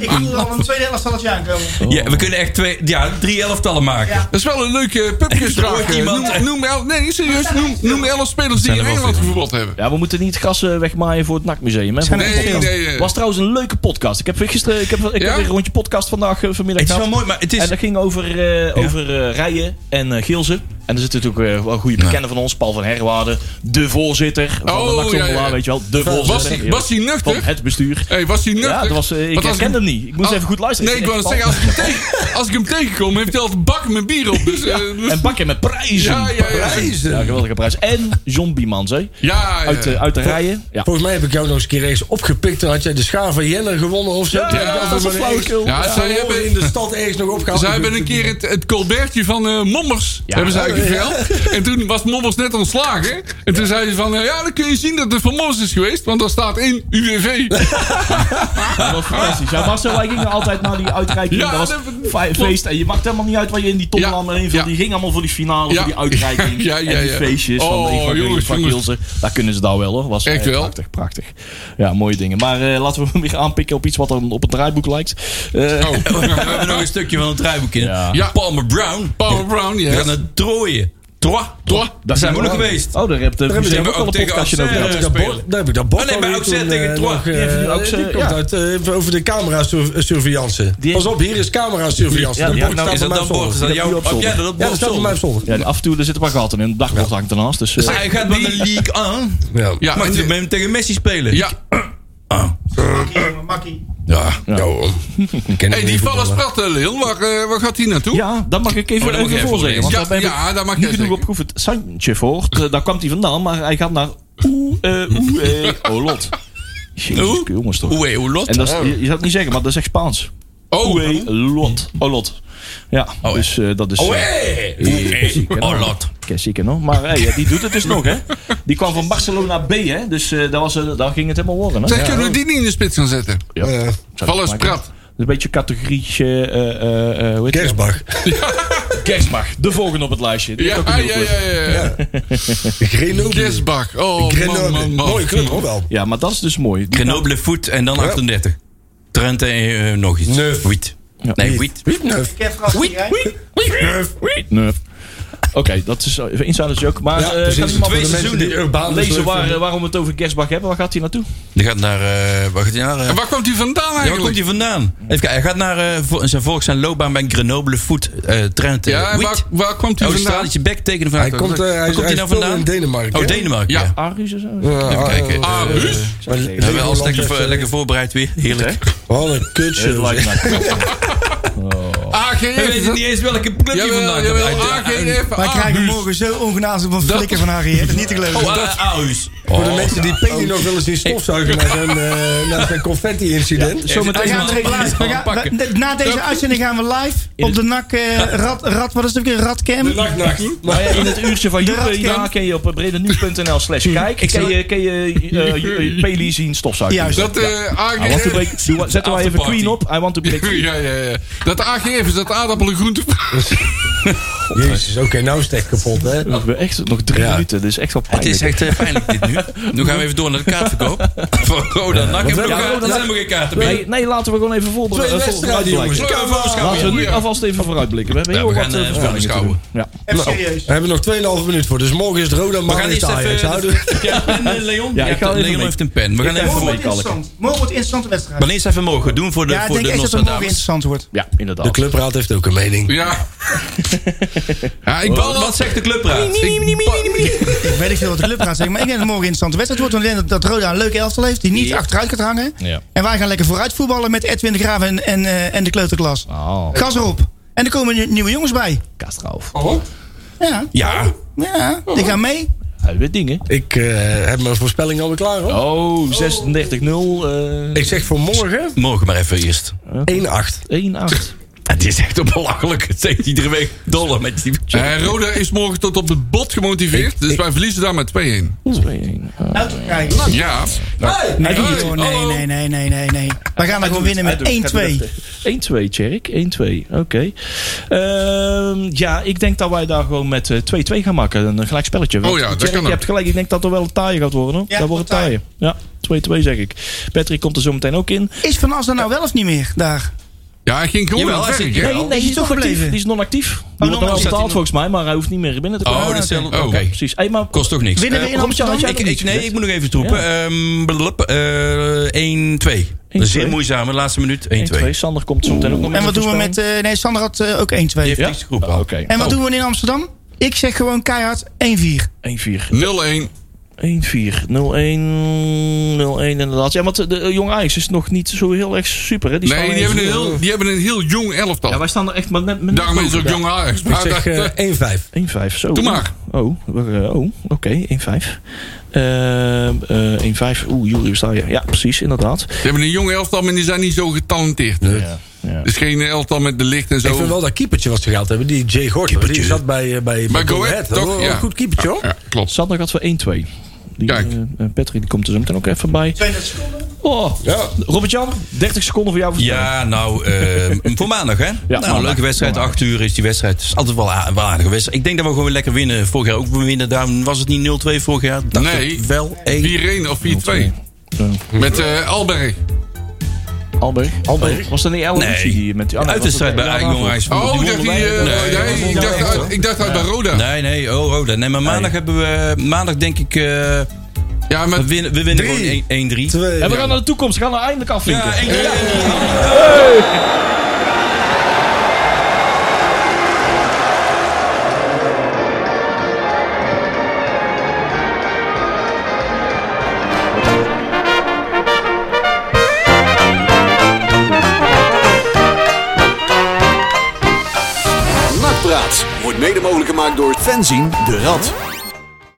Speaker 8: Ik voel al een tweede helft zal aankomen.
Speaker 4: Ja, we kunnen echt twee, ja, drie elftallen maken.
Speaker 5: Dat is wel een leuke pupjesvraag.
Speaker 4: Er hoort iemand,
Speaker 5: Noem,
Speaker 4: hè?
Speaker 5: noem elf, nee, serieus, noem, noem elf spelers die
Speaker 4: Zijn
Speaker 5: in
Speaker 4: er wel
Speaker 5: Engeland
Speaker 4: veel.
Speaker 5: gevoetbald hebben.
Speaker 9: Ja, we moeten niet het gas eh, wegmaaien voor het NAC-museum. hè.
Speaker 5: Nee, nee, nee.
Speaker 9: was trouwens een leuke podcast. Ik heb gisteren ik heb, ik
Speaker 5: Ja?
Speaker 9: heb weer een rondje podcast vandaag eh, vanmiddag
Speaker 4: Het is wel
Speaker 9: gehad.
Speaker 4: mooi, maar het
Speaker 9: En
Speaker 4: is...
Speaker 9: dat ging over, eh over eh, rijen en eh Geelze. En er zitten natuurlijk eh, wel goede bekenden van ons. Paul van Herwaarden, de voorzitter van
Speaker 5: Oh,
Speaker 9: de Nachtzombelaar,
Speaker 5: ja, ja.
Speaker 9: weet je wel. De
Speaker 5: Was
Speaker 9: voorzitter. eh,
Speaker 5: hij- was hij nuchter?
Speaker 9: Van het bestuur.
Speaker 5: Hey, was hij nuchter?
Speaker 9: Ja, dat was, eh, ik
Speaker 5: Want als
Speaker 9: herkende hem niet. Ik moest
Speaker 5: als-
Speaker 9: even goed luisteren.
Speaker 5: Nee, ik wou
Speaker 9: dacht,
Speaker 5: net zeggen, als ik, hem tegen- als ik hem tegenkom, heeft hij altijd een bak met bier op. Dus, eh,
Speaker 9: Paul. En bakken met prijzen.
Speaker 5: Ja, ja, ja.
Speaker 9: Prijzen. Ja, geweldige prijzen. En John Biemans, hè.
Speaker 5: ja, ja.
Speaker 9: Uit, eh, de- uit de rijen. Ja.
Speaker 6: Volgens mij heb ik jou nog eens een keer ergens opgepikt. Dan had jij de schaar van Jenner gewonnen of zo.
Speaker 9: Ja,
Speaker 6: Toen heb ik
Speaker 5: dat
Speaker 6: altijd
Speaker 5: was
Speaker 6: maar
Speaker 9: een
Speaker 6: ergens-
Speaker 9: flauwekul.
Speaker 5: Ja, zij hebben-
Speaker 6: in de stad ergens nog opgehaald.
Speaker 5: Zij hebben een keer het, het colbertje van eh, Mommers. hebben ze eigenlijk geveld. En toen was Mommers net ontslagen. En toen zei ze van, eh, Oh, ja, dan kun je zien dat het van Mommers is geweest. Want daar staat in UWV.
Speaker 9: Ja, dat was fantastisch. Ja, Marcel, wij gingen altijd naar die uitreiking.
Speaker 5: Ja,
Speaker 9: dat was
Speaker 5: dat-
Speaker 9: fe- feest. En je maakt helemaal niet uit waar je in die
Speaker 5: Ja,
Speaker 9: toplam heen viel.
Speaker 5: ja.
Speaker 9: Die ging allemaal voor die finale,
Speaker 5: Ja.
Speaker 9: voor die uitreiking.
Speaker 5: Ja, ja,
Speaker 9: en die
Speaker 5: ja.
Speaker 9: feestjes
Speaker 5: Oh,
Speaker 9: van de van
Speaker 5: jongens,
Speaker 9: Jurgen van
Speaker 5: jongens.
Speaker 9: Gielsen. Daar kunnen ze daar wel hoor. Was
Speaker 5: Echt
Speaker 9: eh,
Speaker 5: wel?
Speaker 9: Prachtig, prachtig. Ja, mooie dingen. Maar eh, laten we weer aanpikken op iets wat dan op het draaiboek lijkt.
Speaker 5: Oh,
Speaker 9: Eh,
Speaker 4: We hebben nog een stukje van het draaiboek in.
Speaker 9: Ja.
Speaker 5: Ja.
Speaker 4: Palmer Brown.
Speaker 5: Paul Brown,
Speaker 4: We gaan
Speaker 5: ja.
Speaker 4: naar Troje. Trois.
Speaker 5: Toch?
Speaker 4: Daar zijn we ook nog geweest.
Speaker 9: Oh, daar heb je
Speaker 4: hebben
Speaker 9: museum
Speaker 4: we
Speaker 9: ook al
Speaker 4: ook
Speaker 9: een
Speaker 4: tegen
Speaker 9: podcastje over
Speaker 4: Auxerre.
Speaker 9: gehad.
Speaker 6: Dat bo- daar heb ik dat bord
Speaker 4: Oh, nee, maar
Speaker 6: alweer
Speaker 4: Auxerre
Speaker 6: toen,
Speaker 4: tegen
Speaker 6: eh,
Speaker 4: Troyes.
Speaker 6: nog, eh,
Speaker 9: heeft nu
Speaker 6: die
Speaker 9: Auxerre,
Speaker 6: komt
Speaker 9: ja.
Speaker 6: uit, eh, even over de camera-surveillance.
Speaker 9: Die-
Speaker 6: Pas op, hier is camera-surveillance.
Speaker 9: Ja,
Speaker 6: Dat
Speaker 9: die-
Speaker 6: bord
Speaker 9: nou,
Speaker 6: staat
Speaker 4: Is dat
Speaker 6: bij mij
Speaker 4: dan
Speaker 6: op zolder.
Speaker 4: bord? Is dat jouw?
Speaker 9: op zolder.
Speaker 4: Heb jij oh, dat op
Speaker 6: Ja, dat
Speaker 4: bord?
Speaker 6: staat bij mij op
Speaker 4: zolder?
Speaker 6: zolder.
Speaker 9: Ja, die af en toe er zitten wat gaten in. Het dagblad hangt ernaast. Dus, eh,
Speaker 4: Hij gaat wel de league aan.
Speaker 6: Ja.
Speaker 5: Ja,
Speaker 4: Mag je met hem tegen Messi spelen?
Speaker 5: ja.
Speaker 8: Makkie.
Speaker 5: Ja, ja hoor.
Speaker 6: ken
Speaker 5: Hey,
Speaker 6: ik
Speaker 5: die
Speaker 6: niet
Speaker 5: vallen
Speaker 6: voetballen.
Speaker 5: sprat, eh, Lil. Waar, eh, waar gaat die naartoe?
Speaker 9: Ja, dat mag ik even,
Speaker 4: Oh, dat mag
Speaker 9: even
Speaker 4: jij
Speaker 9: voorzeggen. Want
Speaker 5: Ja,
Speaker 9: daar ben ik
Speaker 5: ja, dat mag
Speaker 9: niet
Speaker 5: jij
Speaker 9: genoeg
Speaker 5: zeggen.
Speaker 9: op proef het Santje voort. Eh, daar kwam hij vandaan, maar hij gaat naar Oeh, eh, Oeh, eh, Olot. Jezus,
Speaker 4: Oeh?
Speaker 9: jongens toch.
Speaker 4: Oeh, hoe lot?
Speaker 9: En dat is, je, je zou het niet zeggen, maar dat is echt Spaans.
Speaker 5: Oh,
Speaker 9: Oeh, eh, Olot. Olot. Ja, dus eh, dat is... eh,
Speaker 4: Oeh, oh, lot.
Speaker 9: Kijk, zieke nog. Maar hey, die doet het dus nog, hè. Die kwam van Barcelona B, hè. Dus eh daar, was, eh, daar ging het helemaal worden, hè.
Speaker 5: Zeg, kunnen we die niet in de spits gaan zetten?
Speaker 9: Ja. Zou dat
Speaker 5: Vallen
Speaker 9: maken?
Speaker 5: sprat.
Speaker 9: Dus Een beetje categorietje... eh, eh, eh, hoe heet dat?
Speaker 6: Kersbach.
Speaker 9: Kersbach. De volgende op het lijstje. Die heeft ook
Speaker 5: Ja, ah,
Speaker 9: een
Speaker 5: ja,
Speaker 9: doelpunt.
Speaker 5: ja, ja. ja.
Speaker 6: Grenoble.
Speaker 5: Kesbach. Oh, man,
Speaker 6: Grenoble.
Speaker 5: man, man.
Speaker 6: Mooie club, hoor wel.
Speaker 9: Ja, maar dat is dus mooi. Die-
Speaker 4: Grenoble voet en dan 38. Trent en eh, nog iets.
Speaker 6: Neuf.
Speaker 4: Wiet. Nee, wiet.
Speaker 6: Wietneuf.
Speaker 9: Nerf. Oké, dat is eh, insiders ook. Maar
Speaker 6: Ja,
Speaker 9: eh,
Speaker 6: precies.
Speaker 9: kan iemand
Speaker 6: Twee seizoenen. Die urbanen
Speaker 9: lezen
Speaker 6: soort
Speaker 9: waar,
Speaker 6: van-
Speaker 9: eh, waarom we het over Gersbach hebben? Waar gaat hij naartoe?
Speaker 4: Die gaat naar... eh, waar gaat hij naar? eh?
Speaker 5: En waar komt hij vandaan
Speaker 4: Ja, waar komt
Speaker 5: eigenlijk?
Speaker 4: hij vandaan? Even kijken, hij gaat naar eh, vo- zijn volk zijn loopbaan bij Grenoble Foot eh Trent.
Speaker 5: Ja,
Speaker 4: Ja,
Speaker 5: en waar,
Speaker 4: Wiet.
Speaker 5: waar komt hij
Speaker 4: Oh,
Speaker 5: vandaan?
Speaker 4: Straletje Bek tekenen van
Speaker 6: Hij komt, eh,
Speaker 4: Waar
Speaker 6: hij,
Speaker 4: komt hij nou
Speaker 6: vandaan?
Speaker 4: vandaan?
Speaker 6: in Denemarken.
Speaker 4: Oh, Denemarken.
Speaker 5: Ja.
Speaker 4: Ja.
Speaker 9: Aarhus of zo?
Speaker 4: Even kijken.
Speaker 5: Ah,
Speaker 4: Eh,
Speaker 5: Ruud?
Speaker 4: we hebben alles lekker, voor- lekker voorbereid weer. Heerlijk.
Speaker 6: Wat een
Speaker 9: Het
Speaker 6: kutsje.
Speaker 9: lijkt me.
Speaker 4: We weten
Speaker 5: AGF.
Speaker 4: niet eens welke club hij
Speaker 5: Jawel,
Speaker 4: vandaan
Speaker 5: jawel, Ah,
Speaker 4: komt. Uit-
Speaker 5: AGF.
Speaker 8: Wij krijgen
Speaker 5: Aarhus.
Speaker 8: morgen zo ongenaamd op een flikker van Harry. hè. Dat is niet te geloven.
Speaker 5: ah,
Speaker 4: Oh, eh, Aarhus.
Speaker 6: Voor de mensen die Penny nog wel eens zien stofzuigen naar zijn, eh, naar zijn confetti-incident.
Speaker 8: Wij gaan
Speaker 4: Even
Speaker 8: er
Speaker 4: alles
Speaker 8: live- wij gaan-
Speaker 4: pakken.
Speaker 8: wij- na deze uitzending gaan we live op de NAC eh, rad, rad, wat is het ook weer, Radcam.
Speaker 9: Nou ja, in het uurtje van Juppe,
Speaker 8: Radcamp.
Speaker 9: ja, kun je op bredenu.nl slash kijk.
Speaker 4: Ik
Speaker 9: Kun
Speaker 4: zou-
Speaker 9: je, kun je eh, eh, Peli zien stofzuigen.
Speaker 8: Juist.
Speaker 5: Dat eh
Speaker 9: I want to
Speaker 5: AGF.
Speaker 9: break- doe- zetten wij even
Speaker 4: Afterparty.
Speaker 9: Queen op. I want to break free.
Speaker 5: Ja, ja, ja. Dat AGF is dat aardappelen
Speaker 6: Jezus, oké, nou is het echt kapot, hè?
Speaker 9: We hebben echt nog drie
Speaker 6: Ja.
Speaker 9: minuten. Dit is echt wel
Speaker 4: Het
Speaker 9: pijnlijk.
Speaker 4: is echt eh, pijnlijk dit nu. Nu gaan we even door naar de kaartverkoop. Van Roda NAC. hebben we nog
Speaker 9: Ja,
Speaker 4: kaarten?
Speaker 9: Roda
Speaker 4: Er zijn
Speaker 9: NAC.
Speaker 4: helemaal geen kaarten meer.
Speaker 9: Nee, nee, laten we gewoon even
Speaker 6: Twee
Speaker 9: voorbereiden. eh,
Speaker 6: wedstrijden, jongens.
Speaker 4: Laten we
Speaker 9: Laten we nu
Speaker 4: voorbeschouwen.
Speaker 9: alvast even vooruitblikken. We hebben
Speaker 4: Ja,
Speaker 9: heel
Speaker 4: we
Speaker 9: wat
Speaker 4: gaan,
Speaker 9: eh,
Speaker 4: eh,
Speaker 9: voorspellingen te
Speaker 4: voorbeschouwen.
Speaker 9: doen. Ja.
Speaker 8: Even serieus.
Speaker 6: We hebben nog 2,5 minuut voor, dus morgen is het Roda,
Speaker 4: We gaan
Speaker 6: maandag is
Speaker 4: eerst
Speaker 6: het Ajax.
Speaker 4: even...
Speaker 6: Houden we-
Speaker 4: Ja, en, eh, Leon,
Speaker 9: Ja, ik ga even
Speaker 4: Leon
Speaker 9: mee.
Speaker 4: heeft een pen. We gaan
Speaker 9: ga
Speaker 4: even
Speaker 9: even
Speaker 8: Morgen
Speaker 9: mee.
Speaker 4: voor.
Speaker 8: wordt interessant. Morgen wordt een interessante wedstrijd.
Speaker 4: Maar eerst even morgen doen voor de,
Speaker 8: Ja, ik
Speaker 4: voor
Speaker 8: denk
Speaker 4: de
Speaker 8: echt dat het morgen
Speaker 4: Nostradamus.
Speaker 8: interessant wordt.
Speaker 9: Ja, inderdaad.
Speaker 6: De clubraad heeft ook een mening.
Speaker 5: Ja. Ja, ik bal
Speaker 4: Wat
Speaker 5: dat.
Speaker 4: zegt de clubraad?
Speaker 8: Ik weet niet veel wat de club gaat zeggen, maar ik denk dat het morgen een interessante wedstrijd wordt. Want ik denk dat, dat Roda een leuke elftal heeft die niet achteruit gaat hangen.
Speaker 9: Ja.
Speaker 8: En wij gaan lekker vooruit voetballen met Edwin de Graaf en, en, eh, en de kleuterklas.
Speaker 9: Oh,
Speaker 8: Gas erop. En er komen nu- nieuwe jongens bij.
Speaker 9: Kastrauf.
Speaker 8: Ja,
Speaker 4: Ja.
Speaker 8: ja. die gaan mee.
Speaker 9: Hij weet dingen.
Speaker 6: Ik eh, heb mijn voorspelling alweer klaar, hoor.
Speaker 9: Oh, 36-0. eh
Speaker 6: Ik zeg voor morgen
Speaker 4: Morgen maar even eerst.
Speaker 6: 1-8.
Speaker 9: 1-8.
Speaker 4: Het is echt een belachelijke. Het heeft iedere week dollar met die...
Speaker 5: Eh, Roda is morgen tot op het bot gemotiveerd. Dus wij verliezen daar met 2-1.
Speaker 9: Ah,
Speaker 8: Nou, Uitkijken.
Speaker 5: Ja.
Speaker 8: Nee,
Speaker 5: Hey,
Speaker 8: joh, nee,
Speaker 5: hallo.
Speaker 8: nee, nee, nee, nee, nee. We gaan daar gewoon winnen met 1-2.
Speaker 9: 1-2, Tjerk. 1-2. Oké. Ehm, ja, ik denk dat wij daar gewoon met eh, 2-2 gaan maken. Een gelijk spelletje.
Speaker 5: Oh ja, dat kan
Speaker 9: Je
Speaker 5: ook.
Speaker 9: hebt gelijk. Ik denk dat er wel een taaie gaat worden. Hoor.
Speaker 8: Ja,
Speaker 9: dat wordt een taaie. Ja, 2-2 zeg ik. Patrick komt er zo meteen ook in.
Speaker 8: Is Van As er nou wel of niet meer daar?
Speaker 5: Ja, hij ging gewoon
Speaker 4: Jawel,
Speaker 5: aan het
Speaker 4: hij
Speaker 5: werk,
Speaker 4: zit-
Speaker 5: hè?
Speaker 4: Nee,
Speaker 8: Is hij toch
Speaker 9: non-actief.
Speaker 8: gebleven?
Speaker 9: Die is non-actief. Die wordt wel
Speaker 8: non-actief.
Speaker 9: betaald volgens mij, maar hij hoeft niet meer binnen te komen.
Speaker 4: Oh, dat is
Speaker 9: Ja,
Speaker 4: heel... Oké.
Speaker 5: Oké.
Speaker 9: Precies. Hey, maar
Speaker 4: Kost toch niks. Eh,
Speaker 8: Winnen we in
Speaker 9: Robert-Jan, had
Speaker 8: Amsterdam?
Speaker 9: jij
Speaker 4: Ik,
Speaker 9: nog
Speaker 4: ik,
Speaker 9: iets
Speaker 4: nee,
Speaker 9: gezegd?
Speaker 4: ik moet nog even troepen. Ehm, blub, eh, 1-2. Dat is zeer
Speaker 9: 1-2.
Speaker 4: moeizaam, de laatste minuut. 1-2.
Speaker 9: 1-2. Sander komt zo meteen ook nog
Speaker 8: En wat doen we met... eh, nee, Sander had eh, ook 1-2.
Speaker 4: Die heeft
Speaker 9: Ja?
Speaker 4: niks geroepen.
Speaker 9: Oh,
Speaker 4: al.
Speaker 9: Oké.
Speaker 8: En wat doen we in Amsterdam? Ik zeg gewoon keihard 1-4.
Speaker 9: 1-4.
Speaker 5: 0-1.
Speaker 9: 1-4. 0-1. 0-1 inderdaad. Ja, want de, de Jong Ajax is nog niet zo heel erg super. Hè?
Speaker 5: Die nee, die hebben, een
Speaker 9: eh,
Speaker 5: heel, die hebben een heel jong elftal.
Speaker 9: Ja, wij staan er echt maar net... net
Speaker 5: Daarom is het ook Jong Ajax.
Speaker 6: Ik zeg uh,
Speaker 9: 1-5. 1-5, zo.
Speaker 5: Doe maar.
Speaker 9: Oh, oh oké. Okay, 1-5. Uh, uh, 1-5. Oeh, Julius daar. Ja. ja, precies, inderdaad.
Speaker 5: Ze hebben een jong elftal, maar die zijn niet zo getalenteerd. Ja, ja. Dus geen elftal met de licht en zo.
Speaker 6: Ik vind wel dat keepertje wat ze gehaald hebben. Die Jay Gorter. Die zat bij, uh, bij,
Speaker 5: bij Go Ahead.
Speaker 6: Toch? Ja. Een goed keepertje hoor. Ja,
Speaker 5: klopt.
Speaker 9: Sander had voor 1-2. Die,
Speaker 5: Kijk.
Speaker 9: Uh, Patrick die komt er zo meteen ook even bij.
Speaker 8: 32 seconden.
Speaker 9: Oh, ja. Robert-Jan, 30 seconden voor jou. Voor
Speaker 4: ja, nou, uh, voor maandag hè. Ja, nou, maandag. leuke wedstrijd. 8 uur is die wedstrijd. is altijd wel, a- wel aardig geweest. Ik denk dat we gewoon lekker winnen. Vorig jaar ook winnen. Daarom was het niet 0-2 vorig jaar. Dacht
Speaker 5: nee,
Speaker 4: wel
Speaker 5: 1. 4-1 of 4-2. Met uh, Alberg.
Speaker 9: Alberg.
Speaker 6: Alberg.
Speaker 9: Oh, was dat niet El
Speaker 4: nee.
Speaker 9: die met die Ah,
Speaker 4: andere? Uit de strijd bij Eigen Jong Ajax.
Speaker 5: Oh, ik dacht, die, uh, nee, nee, ik dacht, uit, ik dacht uit bij Roda.
Speaker 4: Nee, nee, oh, Roda. Nee, maar maandag hebben we... Maandag denk ik... Uh, ja, maar we winnen, we winnen drie, gewoon 1-3.
Speaker 9: En we gaan naar de toekomst. We gaan er eindelijk afvinken.
Speaker 4: Ja, 1-3. Hey.
Speaker 9: Hey.
Speaker 3: wordt mede mogelijk gemaakt door Fenzin de Rad.